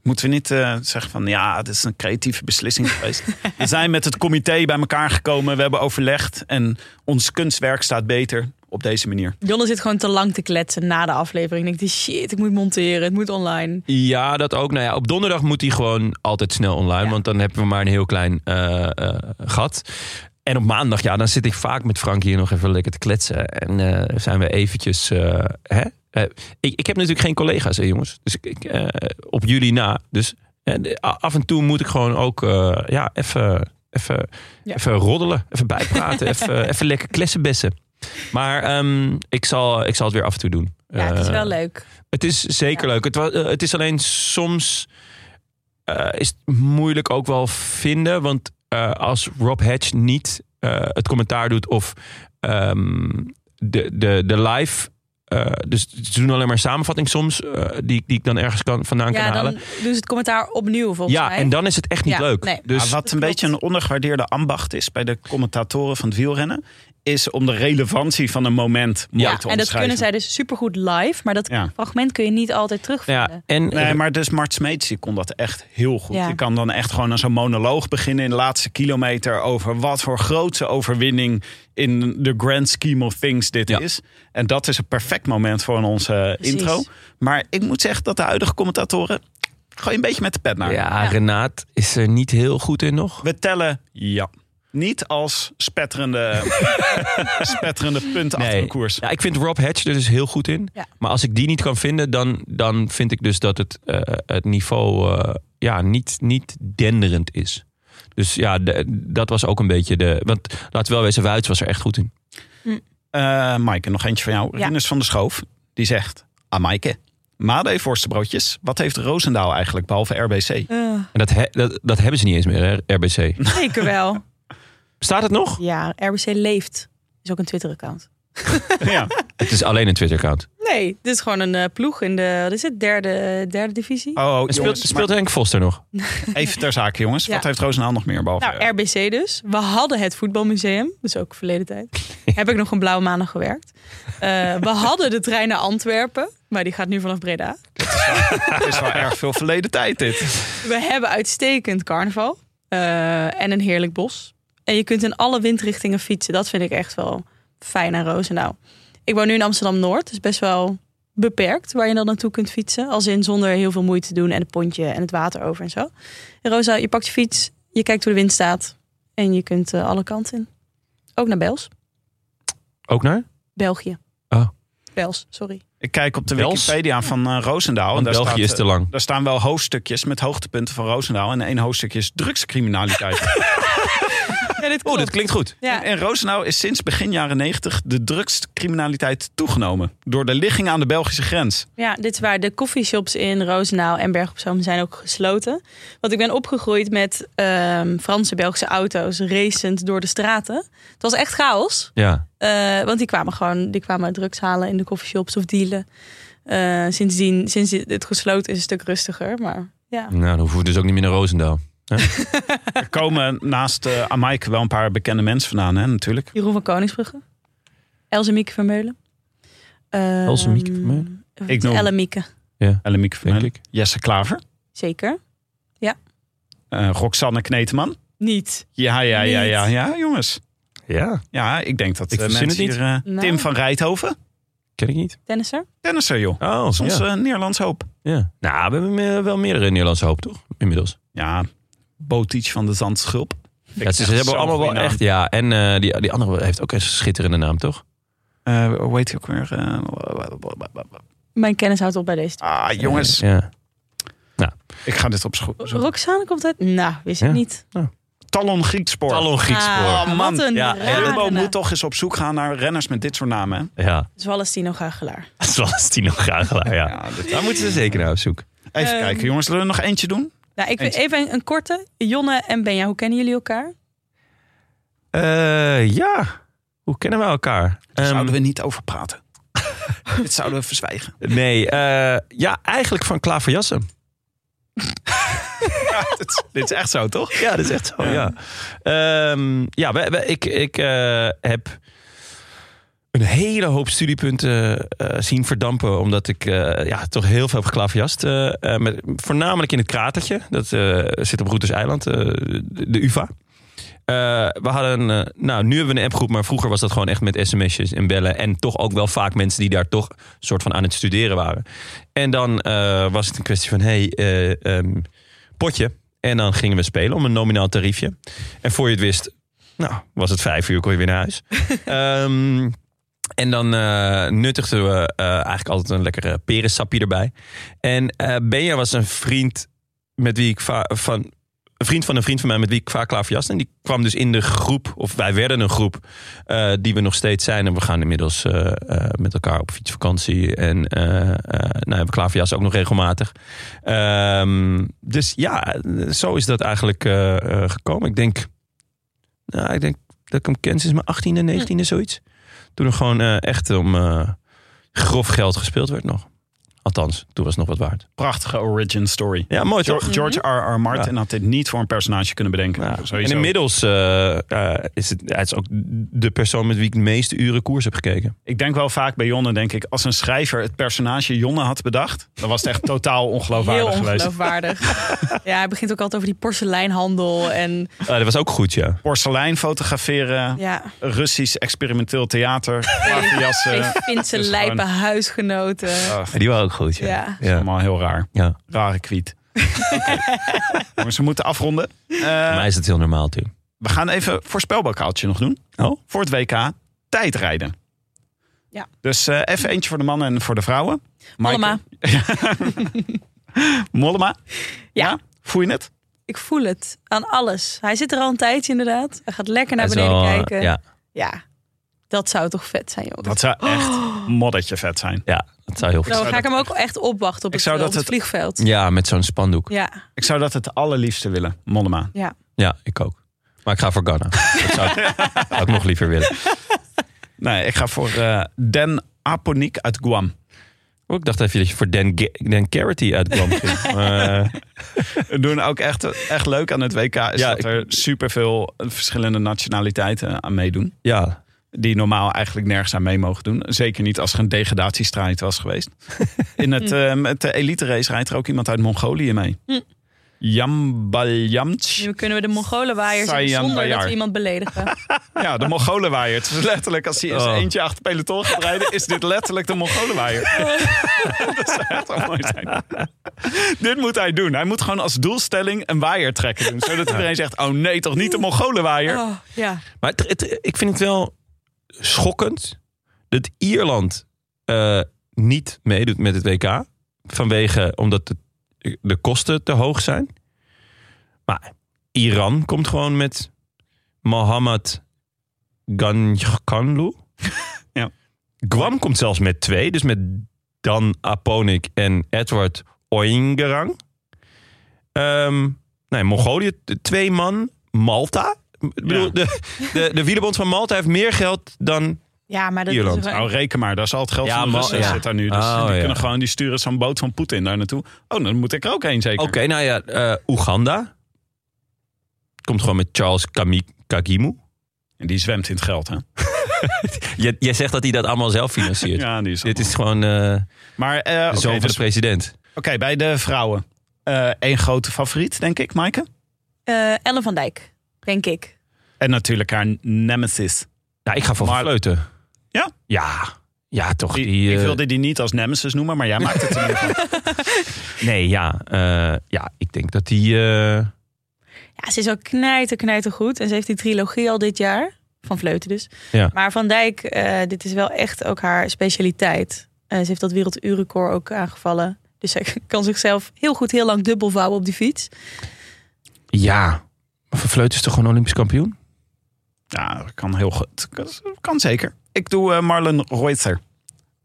Speaker 2: Moeten we niet eh, zeggen van ja, het is een creatieve beslissing geweest. we zijn met het comité bij elkaar gekomen, we hebben overlegd en ons kunstwerk staat beter op deze manier.
Speaker 4: Jonne zit gewoon te lang te kletsen na de aflevering. Ik denk, shit, ik moet monteren, het moet online.
Speaker 1: Ja, dat ook. Nou ja, op donderdag moet die gewoon altijd snel online.
Speaker 4: Ja.
Speaker 1: Want dan hebben we maar een heel klein eh, eh, gat. En op maandag, ja, dan zit ik vaak met Frank hier nog even lekker te kletsen. En eh, zijn we eventjes... eh, hè? Eh, ik, ik heb natuurlijk geen collega's, hè, jongens. Dus ik, ik, eh, op jullie na. Dus eh, de- a- af en toe moet ik gewoon ook eh, ja, even... Even,
Speaker 4: Ja.
Speaker 1: even roddelen, even bijpraten, even, even lekker klessenbessen. Maar ehm, ik, zal, ik zal het weer af en toe doen.
Speaker 4: Ja, het is
Speaker 1: Eh,
Speaker 4: wel leuk.
Speaker 1: het is zeker
Speaker 4: Ja.
Speaker 1: leuk. Het, wa- eh, het is alleen soms eh, is het moeilijk ook wel vinden. Want eh, als Rob Hedge niet eh, het commentaar doet of ehm, de, de, de live. eh, dus ze doen alleen maar samenvatting soms, eh, die, die ik dan ergens kan, vandaan
Speaker 4: Ja,
Speaker 1: kan
Speaker 4: dan
Speaker 1: halen.
Speaker 4: doen ze het commentaar opnieuw, volgens
Speaker 1: Ja,
Speaker 4: mij.
Speaker 1: en dan is het echt niet
Speaker 4: Ja,
Speaker 1: leuk.
Speaker 4: nee.
Speaker 1: Dus
Speaker 2: Maar wat een
Speaker 4: klopt.
Speaker 2: beetje een ondergewaardeerde ambacht is bij de commentatoren van het wielrennen, is om de relevantie van een moment mooi
Speaker 4: ja,
Speaker 2: te
Speaker 4: en dat
Speaker 2: omschrijven.
Speaker 4: kunnen zij dus supergoed live, maar dat
Speaker 2: Ja.
Speaker 4: fragment kun je niet altijd terugvinden.
Speaker 1: ja, en
Speaker 2: Nee, maar dus Mart Smeets die kon dat echt heel goed.
Speaker 4: Ja.
Speaker 2: Die kan dan echt gewoon aan zo'n monoloog beginnen in de laatste kilometer over wat voor grootse overwinning in de grand scheme of things dit
Speaker 1: Ja.
Speaker 2: is. En dat is een perfect moment voor onze
Speaker 4: Precies.
Speaker 2: intro. Maar ik moet zeggen dat de huidige commentatoren Gooi een beetje met de pet naar.
Speaker 1: ja, Renaat is er niet heel goed in nog.
Speaker 2: We tellen ja. Niet als spetterende, spetterende punt achter een koers.
Speaker 1: Ja, ik vind Rob Hedge er dus heel goed in.
Speaker 4: Ja.
Speaker 1: Maar als ik die niet kan vinden, dan, dan vind ik dus dat het, eh, het niveau eh, ja, niet, niet denderend is. Dus ja, de- dat was ook een beetje de... Want laten we wel wezen, Wuits was er echt goed in.
Speaker 2: Eh Maaike, nog eentje van jou.
Speaker 4: Ja.
Speaker 2: Rinus van der Schoof, die zegt... Ah, Maaike, Made worstenbroodjes. Wat heeft Roosendaal eigenlijk, behalve RBC?
Speaker 4: Eh,
Speaker 1: En dat, he- dat, dat hebben ze niet eens meer, hè, RBC.
Speaker 4: zeker wel.
Speaker 1: Staat het nog?
Speaker 4: Ja, RBC leeft. Is ook een Twitter-account.
Speaker 2: ja.
Speaker 1: Het is alleen een Twitter-account.
Speaker 4: Nee, dit is gewoon een eh, ploeg in de, wat is het, derde, derde divisie?
Speaker 2: Oh,
Speaker 1: En
Speaker 2: jongens,
Speaker 1: Speelt,
Speaker 2: maar
Speaker 1: speelt Henk Vos er nog?
Speaker 2: even ter zake, jongens.
Speaker 4: Ja.
Speaker 2: Wat heeft Roosendaal nog meer, behalve...
Speaker 4: Nou, RBC dus. We hadden het voetbalmuseum, dus ook verleden tijd. Heb ik nog een blauwe maandag gewerkt. Eh, we hadden de trein naar Antwerpen, maar die gaat nu vanaf Breda.
Speaker 2: Het is wel erg veel verleden tijd, dit.
Speaker 4: We hebben uitstekend carnaval eh, en een heerlijk bos. En je kunt in alle windrichtingen fietsen. Dat vind ik echt wel fijn aan Roosendaal. Ik woon nu in Amsterdam-Noord, dus best wel beperkt waar je dan naartoe kunt fietsen. Als in zonder heel veel moeite te doen en het pontje en het water over en zo. En Rosa, je pakt je fiets, je kijkt hoe de wind staat en je kunt eh, alle kanten in. Ook naar Bels.
Speaker 1: Ook naar?
Speaker 4: België.
Speaker 1: Oh.
Speaker 4: Bels, sorry.
Speaker 2: Ik kijk op de
Speaker 1: Bels?
Speaker 2: Wikipedia van eh, Roosendaal. en
Speaker 1: Want
Speaker 2: daar
Speaker 1: België
Speaker 2: staat,
Speaker 1: is
Speaker 2: eh,
Speaker 1: te lang.
Speaker 2: Daar staan wel hoofdstukjes met hoogtepunten van Roosendaal. En één hoofdstukje is drugscriminaliteit.
Speaker 4: Ja, dit
Speaker 1: Oh, dit klinkt goed.
Speaker 4: Ja,
Speaker 2: En Roosendaal is sinds begin jaren 90 de drugscriminaliteit toegenomen. Door de ligging aan de Belgische grens.
Speaker 4: Ja, dit is waar. De koffieshops in Roosendaal en Berg op Zoom zijn ook gesloten. Want ik ben opgegroeid met ehm, Franse-Belgische auto's racend door de straten. Het was echt chaos.
Speaker 1: Ja.
Speaker 4: Eh, want die kwamen gewoon die kwamen drugs halen in de koffieshops of dealen. Eh, sindsdien, sinds het gesloten is, een stuk rustiger. Maar ja,
Speaker 1: Nou, dan hoeven we dus ook niet meer naar Roosendaal.
Speaker 2: Er komen naast eh Amaike wel een paar bekende mensen vandaan, hè, natuurlijk.
Speaker 4: Jeroen van Koningsbrugge. Elze Mieke Vermeulen. Ehm,
Speaker 1: Else Mieke Vermeulen?
Speaker 2: Ik noem-
Speaker 4: Elle Mieke,
Speaker 2: Ellemieke
Speaker 1: Denk
Speaker 2: van Jesse Klaver.
Speaker 4: zeker.
Speaker 2: eh, Roxanne Kneteman.
Speaker 4: Niet.
Speaker 2: Ja, ja, ja, ja,
Speaker 4: Niet.
Speaker 2: ja, jongens.
Speaker 1: Ja.
Speaker 2: Ja, ik denk dat
Speaker 1: Ik
Speaker 2: eh,
Speaker 1: verzin
Speaker 2: mensen
Speaker 1: het niet.
Speaker 2: hier... eh,
Speaker 4: Nou.
Speaker 2: Tim van Rijthoven.
Speaker 1: Ken ik niet.
Speaker 4: Tennisser?
Speaker 2: Tennisser, joh.
Speaker 1: Oh,
Speaker 2: Dat is
Speaker 1: soms.
Speaker 2: ons
Speaker 1: Ja.
Speaker 2: eh, Nederlands hoop.
Speaker 1: Ja. Nou, we hebben eh, wel meerdere Nederlandse hoop, toch? Inmiddels.
Speaker 2: Ja, Botic van de Zandschulp.
Speaker 1: Ja, ze, ze hebben allemaal wel echt, ja. En eh, die, die andere heeft ook een schitterende naam, toch?
Speaker 2: hoe heet hij ook weer? Eh,
Speaker 4: Mijn kennis houdt op bij deze
Speaker 2: ah, jongens.
Speaker 1: Ja.
Speaker 2: Ik ga dit op school.
Speaker 4: Ro- Roxane komt uit? Nou, wist ik
Speaker 1: Ja.
Speaker 4: niet.
Speaker 2: Talon Griekspoor.
Speaker 1: Talon Griekspoor.
Speaker 4: Ah,
Speaker 2: man.
Speaker 4: Wat een
Speaker 1: Ja,
Speaker 4: rare
Speaker 2: Jumbo
Speaker 4: naam.
Speaker 2: moet toch eens op zoek gaan naar renners met dit soort namen. hè?
Speaker 1: Ja,
Speaker 4: Zoals Tino Gagelaar.
Speaker 1: zoals Tino Gragelaar, ja.
Speaker 2: Ja, dit-
Speaker 1: Daar moeten ze zeker naar op zoek.
Speaker 2: Even
Speaker 4: Ehm.
Speaker 2: kijken, jongens. Zullen we er nog eentje doen?
Speaker 4: Nou, ik vind
Speaker 2: Eens.
Speaker 4: even een, een korte. Jonne en Benja, hoe kennen jullie elkaar?
Speaker 1: Eh, ja, hoe kennen we elkaar? Ehm,
Speaker 2: Zouden we niet over praten. dit zouden we verzwijgen.
Speaker 1: Nee, eh, ja, eigenlijk van Klaverjassen.
Speaker 2: dit, dit is echt zo, toch?
Speaker 1: Ja, dat is echt zo. Ja, Ehm, ja we- we- ik, ik eh, heb een hele hoop studiepunten eh, zien verdampen. Omdat ik eh, ja, toch heel veel heb geklaverjast. eh, eh, met, voornamelijk in het kratertje. Dat eh, zit op Roeters Eiland, eh, de, de UvA. Eh, we hadden, eh, nou nu hebben we een appgroep, maar vroeger was dat gewoon echt met sms'jes en bellen. En toch ook wel vaak mensen die daar toch soort van aan het studeren waren. En dan eh, was het een kwestie van, hey, eh, ehm, potje. En dan gingen we spelen om een nominaal tariefje. En voor je het wist, nou, was het vijf uur, kon je weer naar huis. Ehm, en dan eh, nuttigden we eh, eigenlijk altijd een lekkere perensapje erbij. En eh Benja was een vriend met wie ik va- van. Een vriend van een vriend van mij met wie ik vaak klaverjaste. En die kwam dus in de groep, of wij werden een groep, eh, die we nog steeds zijn. En we gaan inmiddels eh, eh, met elkaar op fietsvakantie. En eh eh nou, hebben klaverjas ook nog regelmatig. Ehm, dus ja, zo is dat eigenlijk eh, eh, gekomen. Ik denk, nou, ik denk dat ik hem ken sinds mijn 18e,
Speaker 4: Hm.
Speaker 1: 19e, zoiets. Toen er gewoon eh, echt om eh, grof geld gespeeld werd nog. Althans, toen was het nog wat waard.
Speaker 2: Prachtige origin story.
Speaker 1: Ja, mooi toch?
Speaker 2: George- George R.R. Martin had dit niet voor een personage kunnen bedenken.
Speaker 1: Ja. En
Speaker 2: Sowieso.
Speaker 1: inmiddels eh, eh, is het, ja, het is ook de persoon met wie ik de meeste uren koers heb gekeken.
Speaker 2: Ik denk wel vaak bij Jonne, denk ik, als een schrijver het personage Jonne had bedacht, dan was het echt totaal
Speaker 4: Heel
Speaker 2: ongeloofwaardig geweest.
Speaker 4: ongeloofwaardig. ja, hij begint ook altijd over die porseleinhandel. En
Speaker 1: Eh, dat was ook goed, ja.
Speaker 2: Porselein fotograferen,
Speaker 4: ja,
Speaker 2: Russisch experimenteel theater, klaverjassen.
Speaker 4: ik vind ze
Speaker 2: is
Speaker 4: lijpe
Speaker 2: gewoon-
Speaker 4: huisgenoten.
Speaker 2: Ugh,
Speaker 1: Die waren ook goed,
Speaker 4: ja. Ja.
Speaker 1: ja. Eh,
Speaker 2: Allemaal heel raar.
Speaker 1: Ja.
Speaker 2: Rare kwiet. Maar ze moeten afronden. Eh,
Speaker 1: Voor mij is het heel normaal, Tim.
Speaker 2: we gaan even voorspelbokaaltje nog doen.
Speaker 1: Oh.
Speaker 2: Voor het WK tijdrijden.
Speaker 4: Ja.
Speaker 2: Dus eh, even eentje voor de mannen en voor de vrouwen. Maaike-
Speaker 4: Mollema.
Speaker 2: Mollema.
Speaker 4: Ja.
Speaker 2: Voel je het?
Speaker 4: Ik voel het aan alles. Hij zit er al een tijdje inderdaad. Hij gaat lekker naar
Speaker 1: Hij is
Speaker 4: beneden
Speaker 1: wel, eh,
Speaker 4: kijken.
Speaker 1: Ja,
Speaker 4: Ja. dat zou toch vet zijn, jongens.
Speaker 2: Dat zou echt moddertje vet zijn.
Speaker 1: ja, dat zou heel
Speaker 4: Dan
Speaker 1: veel
Speaker 4: ga ik hem ook echt opwachten
Speaker 2: Ik
Speaker 4: op het,
Speaker 2: zou
Speaker 4: eh, op
Speaker 2: dat
Speaker 4: het vliegveld.
Speaker 1: Ja, met zo'n spandoek. Ja.
Speaker 4: Ja.
Speaker 2: Ik zou dat het allerliefste willen, Mollema.
Speaker 1: ik ook. Maar ik ga voor Ghana. dat zou ik, zou ik nog liever willen.
Speaker 2: Nee, ik ga voor eh Dan Aponiek uit Guam.
Speaker 1: Oh, ik dacht even dat je voor Dan, Ge- Dan Carity uitkwam. ging. Maar, eh,
Speaker 2: We doen ook echt, echt leuk aan het WK. Is
Speaker 1: Ja,
Speaker 2: dat
Speaker 1: ik-
Speaker 2: er superveel verschillende nationaliteiten aan meedoen.
Speaker 1: ja,
Speaker 2: Die normaal eigenlijk nergens aan mee mogen doen. Zeker niet als er een degradatiestrijd was geweest. In het, eh, met de elite race rijdt er ook iemand uit Mongolië mee.
Speaker 4: Hm.
Speaker 2: Jambaljamts.
Speaker 4: Nu kunnen we de Mongolenwaaiers
Speaker 2: Sayan
Speaker 4: hebben zonder dat
Speaker 2: Bayar.
Speaker 4: we iemand beledigen.
Speaker 2: Ja, de Mongolenwaaier. Het is letterlijk, als hij eens
Speaker 1: Oh.
Speaker 2: eentje achter peloton gaat rijden, is dit letterlijk de Mongolenwaaier.
Speaker 4: Oh.
Speaker 2: dat zou echt wel mooi zijn. dit moet hij doen. Hij moet gewoon als doelstelling een waaier trekken doen. Zodat iedereen zegt, oh nee, toch niet de Mongolenwaaier.
Speaker 4: Oh, ja.
Speaker 1: maar het, het- ik vind het wel schokkend dat Ierland eh, niet meedoet met het WK. Vanwege omdat de, de kosten te hoog zijn. Maar Iran komt gewoon met Mohammad Ganjkanlu.
Speaker 2: Ja.
Speaker 1: Guam komt zelfs met twee. Dus met Dan Aponik en Edward Oingerang. Ehm, nee, Mongolië, t- twee man. Malta. Ik bedoel,
Speaker 2: Ja.
Speaker 1: de, de, de wielerbond van Malta heeft meer geld dan...
Speaker 4: ja, maar dat
Speaker 1: Ierland.
Speaker 4: is wel-
Speaker 2: Nou, reken maar, daar zal het geld
Speaker 1: Ja,
Speaker 2: van de
Speaker 1: maar-
Speaker 2: Russen
Speaker 1: ja.
Speaker 2: zit daar nu. Dus
Speaker 1: Oh,
Speaker 2: die
Speaker 1: ja.
Speaker 2: kunnen gewoon, die sturen zo'n boot van Poetin daar naartoe. Oh, dan moet ik er ook heen zeker.
Speaker 1: Oké, nou ja, eh, Oeganda. Komt gewoon met Charles Kami- Kagimu.
Speaker 2: En die zwemt in het geld, hè?
Speaker 1: Jij, jij zegt dat hij dat allemaal zelf financiert.
Speaker 2: Ja, die is
Speaker 1: Dit is gewoon eh,
Speaker 2: Maar eh
Speaker 1: de
Speaker 2: oké,
Speaker 1: zoon van
Speaker 2: dus-
Speaker 1: de president.
Speaker 2: oké, bij de vrouwen. Eén grote favoriet, denk ik, Maaike.
Speaker 4: Eh, Ellen van Dijk, denk ik.
Speaker 2: En natuurlijk haar nemesis.
Speaker 1: Nou, ik ga voor
Speaker 2: Maar-
Speaker 1: Vleuten.
Speaker 2: Ja?
Speaker 1: Ja. Ja, toch. Die,
Speaker 2: Die, ik
Speaker 1: eh,
Speaker 2: wilde die niet als nemesis noemen, maar jij maakt het. er niet van.
Speaker 1: Nee, ja. eh, ja, ik denk dat die... eh,
Speaker 4: Ja, ze is al knijter, knijter goed. En ze heeft die trilogie al dit jaar. Van Vleuten dus.
Speaker 1: Ja.
Speaker 4: Maar Van Dijk, eh, dit is wel echt ook haar specialiteit. Eh, ze heeft dat werelduurrecord ook aangevallen. Dus zij kan zichzelf heel goed heel lang dubbel vouwen op die fiets.
Speaker 1: ja. Maar Van Vleuten is toch gewoon Olympisch kampioen?
Speaker 2: Ja, dat kan heel goed. Kan zeker. Ik doe eh, Marlen Reutzer.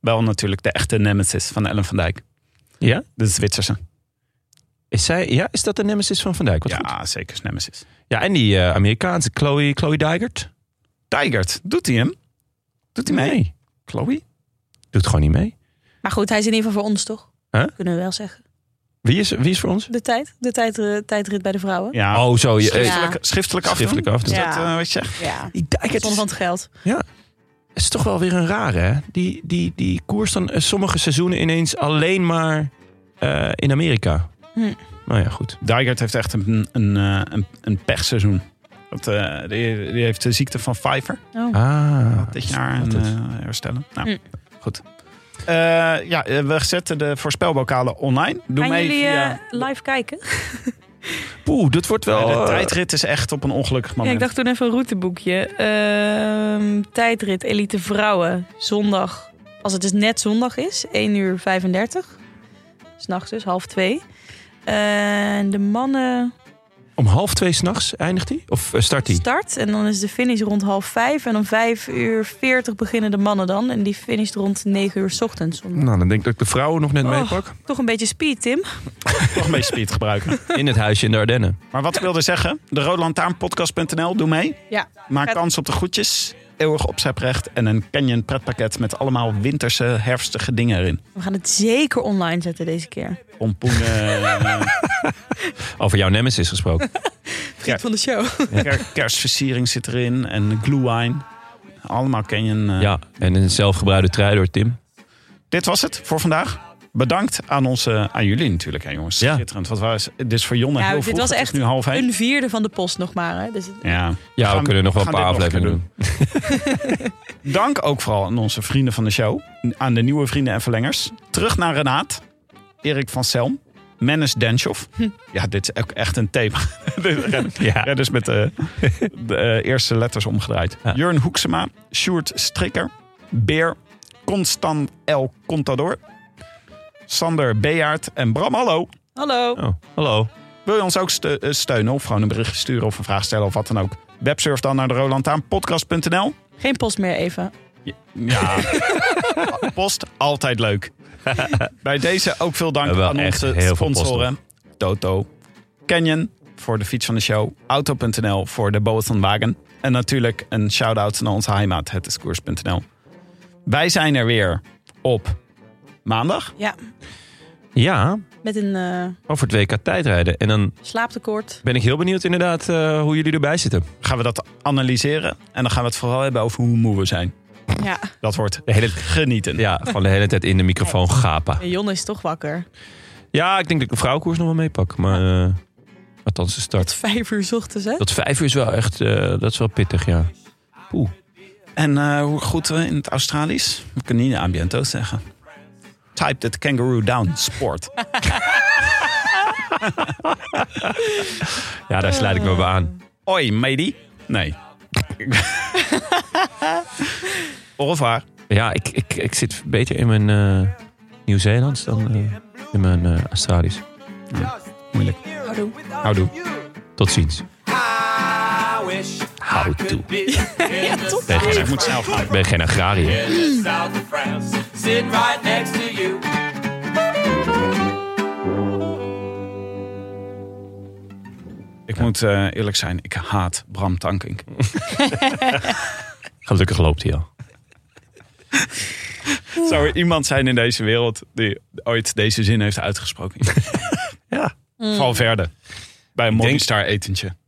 Speaker 2: Wel natuurlijk de echte nemesis van Ellen van Dijk.
Speaker 1: Ja?
Speaker 2: De Zwitserse.
Speaker 1: Is, zij, ja, is dat de nemesis van Van Dijk? Wat goed.
Speaker 2: Ja, zeker is nemesis.
Speaker 1: ja en die eh, Amerikaanse Chloe, Chloe Dijgert?
Speaker 2: Tigert, doet hij hem? Doet hij mee?
Speaker 1: Nee.
Speaker 2: Chloe?
Speaker 1: Doet gewoon niet mee.
Speaker 4: Maar goed, hij is in ieder geval voor ons toch?
Speaker 1: Huh?
Speaker 4: Kunnen we wel zeggen.
Speaker 1: Wie is, wie is voor ons?
Speaker 4: De tijd, de tijd, eh, tijdrit bij de vrouwen.
Speaker 2: Ja,
Speaker 1: Oh, zo. Je, eh,
Speaker 4: Ja.
Speaker 2: schriftelijk, schriftelijk afdoen.
Speaker 1: Schriftelijk afdoen.
Speaker 2: Is
Speaker 4: Ja.
Speaker 2: dat, eh, wat je zegt?
Speaker 4: Ja.
Speaker 1: Die Dijkert
Speaker 4: Zonder
Speaker 1: is,
Speaker 4: van het geld.
Speaker 1: is toch wel weer een rare, hè? Die, die, die koers dan eh, sommige seizoenen ineens alleen maar eh, in Amerika.
Speaker 4: Hm.
Speaker 1: Nou ja, goed.
Speaker 2: Dijkert heeft echt een, een, eh, een, een pechseizoen. Dat, eh, die, die heeft de ziekte van Pfeiffer.
Speaker 1: Ah.
Speaker 2: dit jaar en,
Speaker 1: dat is-
Speaker 2: eh, herstellen. Nou,
Speaker 4: Mm.
Speaker 2: goed. Eh, ja, eh, we zetten de voorspelbokalen online. Doe
Speaker 4: Gaan
Speaker 2: mee
Speaker 4: jullie
Speaker 2: via...
Speaker 4: eh, live kijken?
Speaker 1: Poeh, dat wordt wel...
Speaker 2: de
Speaker 1: eh,
Speaker 2: tijdrit is echt op een ongelukkig
Speaker 4: Ja,
Speaker 2: moment.
Speaker 4: ik dacht toen even een routeboekje. Ehm, tijdrit Elite Vrouwen, zondag. Als het dus net zondag is, 1 uur 35. S'nachts dus, half 2. En de mannen
Speaker 1: Om half twee s'nachts eindigt hij? Of eh, start hij?
Speaker 4: start en dan is de finish rond half 5. En om 5 uur 40 beginnen de mannen dan. En die finisht rond 9 uur 's ochtends. Om-
Speaker 1: Nou, dan denk ik dat ik de vrouwen nog net
Speaker 4: Oh.
Speaker 1: meepak.
Speaker 4: Toch een beetje speed, Tim.
Speaker 2: Toch een beetje speed gebruiken.
Speaker 1: In het huisje in de Ardennen.
Speaker 2: Maar wat ik wilde zeggen, de roodlantaarnpodcast.nl, doe mee.
Speaker 4: Ja.
Speaker 2: Maak
Speaker 4: Gaat-
Speaker 2: kans op de goedjes. Eeuwig opzeprecht en een Canyon pretpakket met allemaal winterse, herfstige dingen erin.
Speaker 4: We gaan het zeker online zetten deze keer.
Speaker 2: Pompoenen, eh,
Speaker 1: Over jouw nemesis gesproken.
Speaker 2: Ja.
Speaker 4: van de show.
Speaker 2: ker- kerstversiering zit erin en glue wine. Allemaal Canyon. eh,
Speaker 1: ja, en een zelfgebruide trui door Tim.
Speaker 2: Dit was het voor vandaag. Bedankt aan, onze, aan jullie natuurlijk, hè, jongens.
Speaker 1: Ja.
Speaker 2: Schitterend. Wat was, dit is voor Jonne
Speaker 4: Ja,
Speaker 2: heel
Speaker 4: dit
Speaker 2: vroeg.
Speaker 4: was
Speaker 2: Het is
Speaker 4: echt
Speaker 2: nu half heen.
Speaker 4: Een vierde van de post nog maar. Hè? Dus het-
Speaker 2: Ja.
Speaker 1: Ja, we
Speaker 2: Gaan-
Speaker 1: kunnen nog wel een
Speaker 2: gaan
Speaker 1: paar
Speaker 2: dit nog een keer
Speaker 1: afleveringen doen.
Speaker 2: Dank ook vooral aan onze vrienden van de show. Aan de nieuwe vrienden en verlengers. Terug naar Renaat. Erik van Selm. Menes Denshoff.
Speaker 4: Hm.
Speaker 2: Ja, dit is ook echt een thema.
Speaker 1: Ja.
Speaker 2: Ja, dus met de, de, eh, eerste letters omgedraaid.
Speaker 1: Ja.
Speaker 2: Jurn Hoeksema, Sjoerd Strikker, Beer, Constant El Contador, Sander Bejaard en Bram Hallo.
Speaker 4: Hallo.
Speaker 1: Oh, hallo.
Speaker 2: Wil je ons ook ste- eh, steunen of gewoon een bericht sturen of een vraag stellen of wat dan ook? Websurf dan naar de rolantaanpodcast.nl.
Speaker 4: Geen post meer even.
Speaker 2: Ja, post altijd leuk. Bij deze ook veel dank
Speaker 1: Wel
Speaker 2: aan
Speaker 1: echt heel
Speaker 2: onze
Speaker 1: veel
Speaker 2: sponsoren. Toto, Canyon voor de fiets van de show, Auto.nl voor de Boateng Wagen en natuurlijk een shout-out naar onze heimaat, het is koers.nl. Wij zijn er weer op maandag.
Speaker 4: Ja,
Speaker 1: Ja,
Speaker 4: met een eh,
Speaker 1: over het WK tijdrijden. En dan
Speaker 4: slaaptekort.
Speaker 1: ben ik heel benieuwd inderdaad eh, hoe jullie erbij zitten.
Speaker 2: Gaan we dat analyseren en dan gaan we het vooral hebben over hoe moe we zijn.
Speaker 4: Ja,
Speaker 2: Dat wordt
Speaker 1: De hele,
Speaker 2: genieten.
Speaker 1: ja, van de hele tijd in de microfoon gapen.
Speaker 4: Jon is toch wakker.
Speaker 1: Ja, ik denk dat ik de vrouwenkoers nog wel meepak. Maar eh, althans de start.
Speaker 4: Tot vijf uur 's ochtends, hè?
Speaker 1: Dat vijf uur is wel echt, eh, dat is wel pittig, ja. Poeh.
Speaker 2: En eh, hoe goed we in het Australisch? We kunnen niet aan biento zeggen. Type that kangaroo down, sport.
Speaker 1: Ja, daar sluit ik me wel aan.
Speaker 2: Oi, matey. Nee. Au revoir.
Speaker 1: Ja, ik, ik, ik zit beter in mijn eh, Nieuw-Zeelands dan eh, in mijn eh, Australisch.
Speaker 2: Moeilijk.
Speaker 1: Nou,
Speaker 2: Houdoe.
Speaker 1: Tot ziens.
Speaker 6: I wish
Speaker 1: Hou toe.
Speaker 4: Ja, toch?
Speaker 1: Ben geen,
Speaker 2: Ik moet snel gaan.
Speaker 1: ik ben geen agrariër.
Speaker 6: in the south of France, sitting right next to you.
Speaker 2: Ik moet eh, eerlijk zijn, ik haat Bram Tankink.
Speaker 1: Gelukkig loopt hij al.
Speaker 2: Zou er iemand zijn in deze wereld die ooit deze zin heeft uitgesproken? ja. Valverde. Bij een
Speaker 1: Mm. denk-
Speaker 2: Morningstar etentje.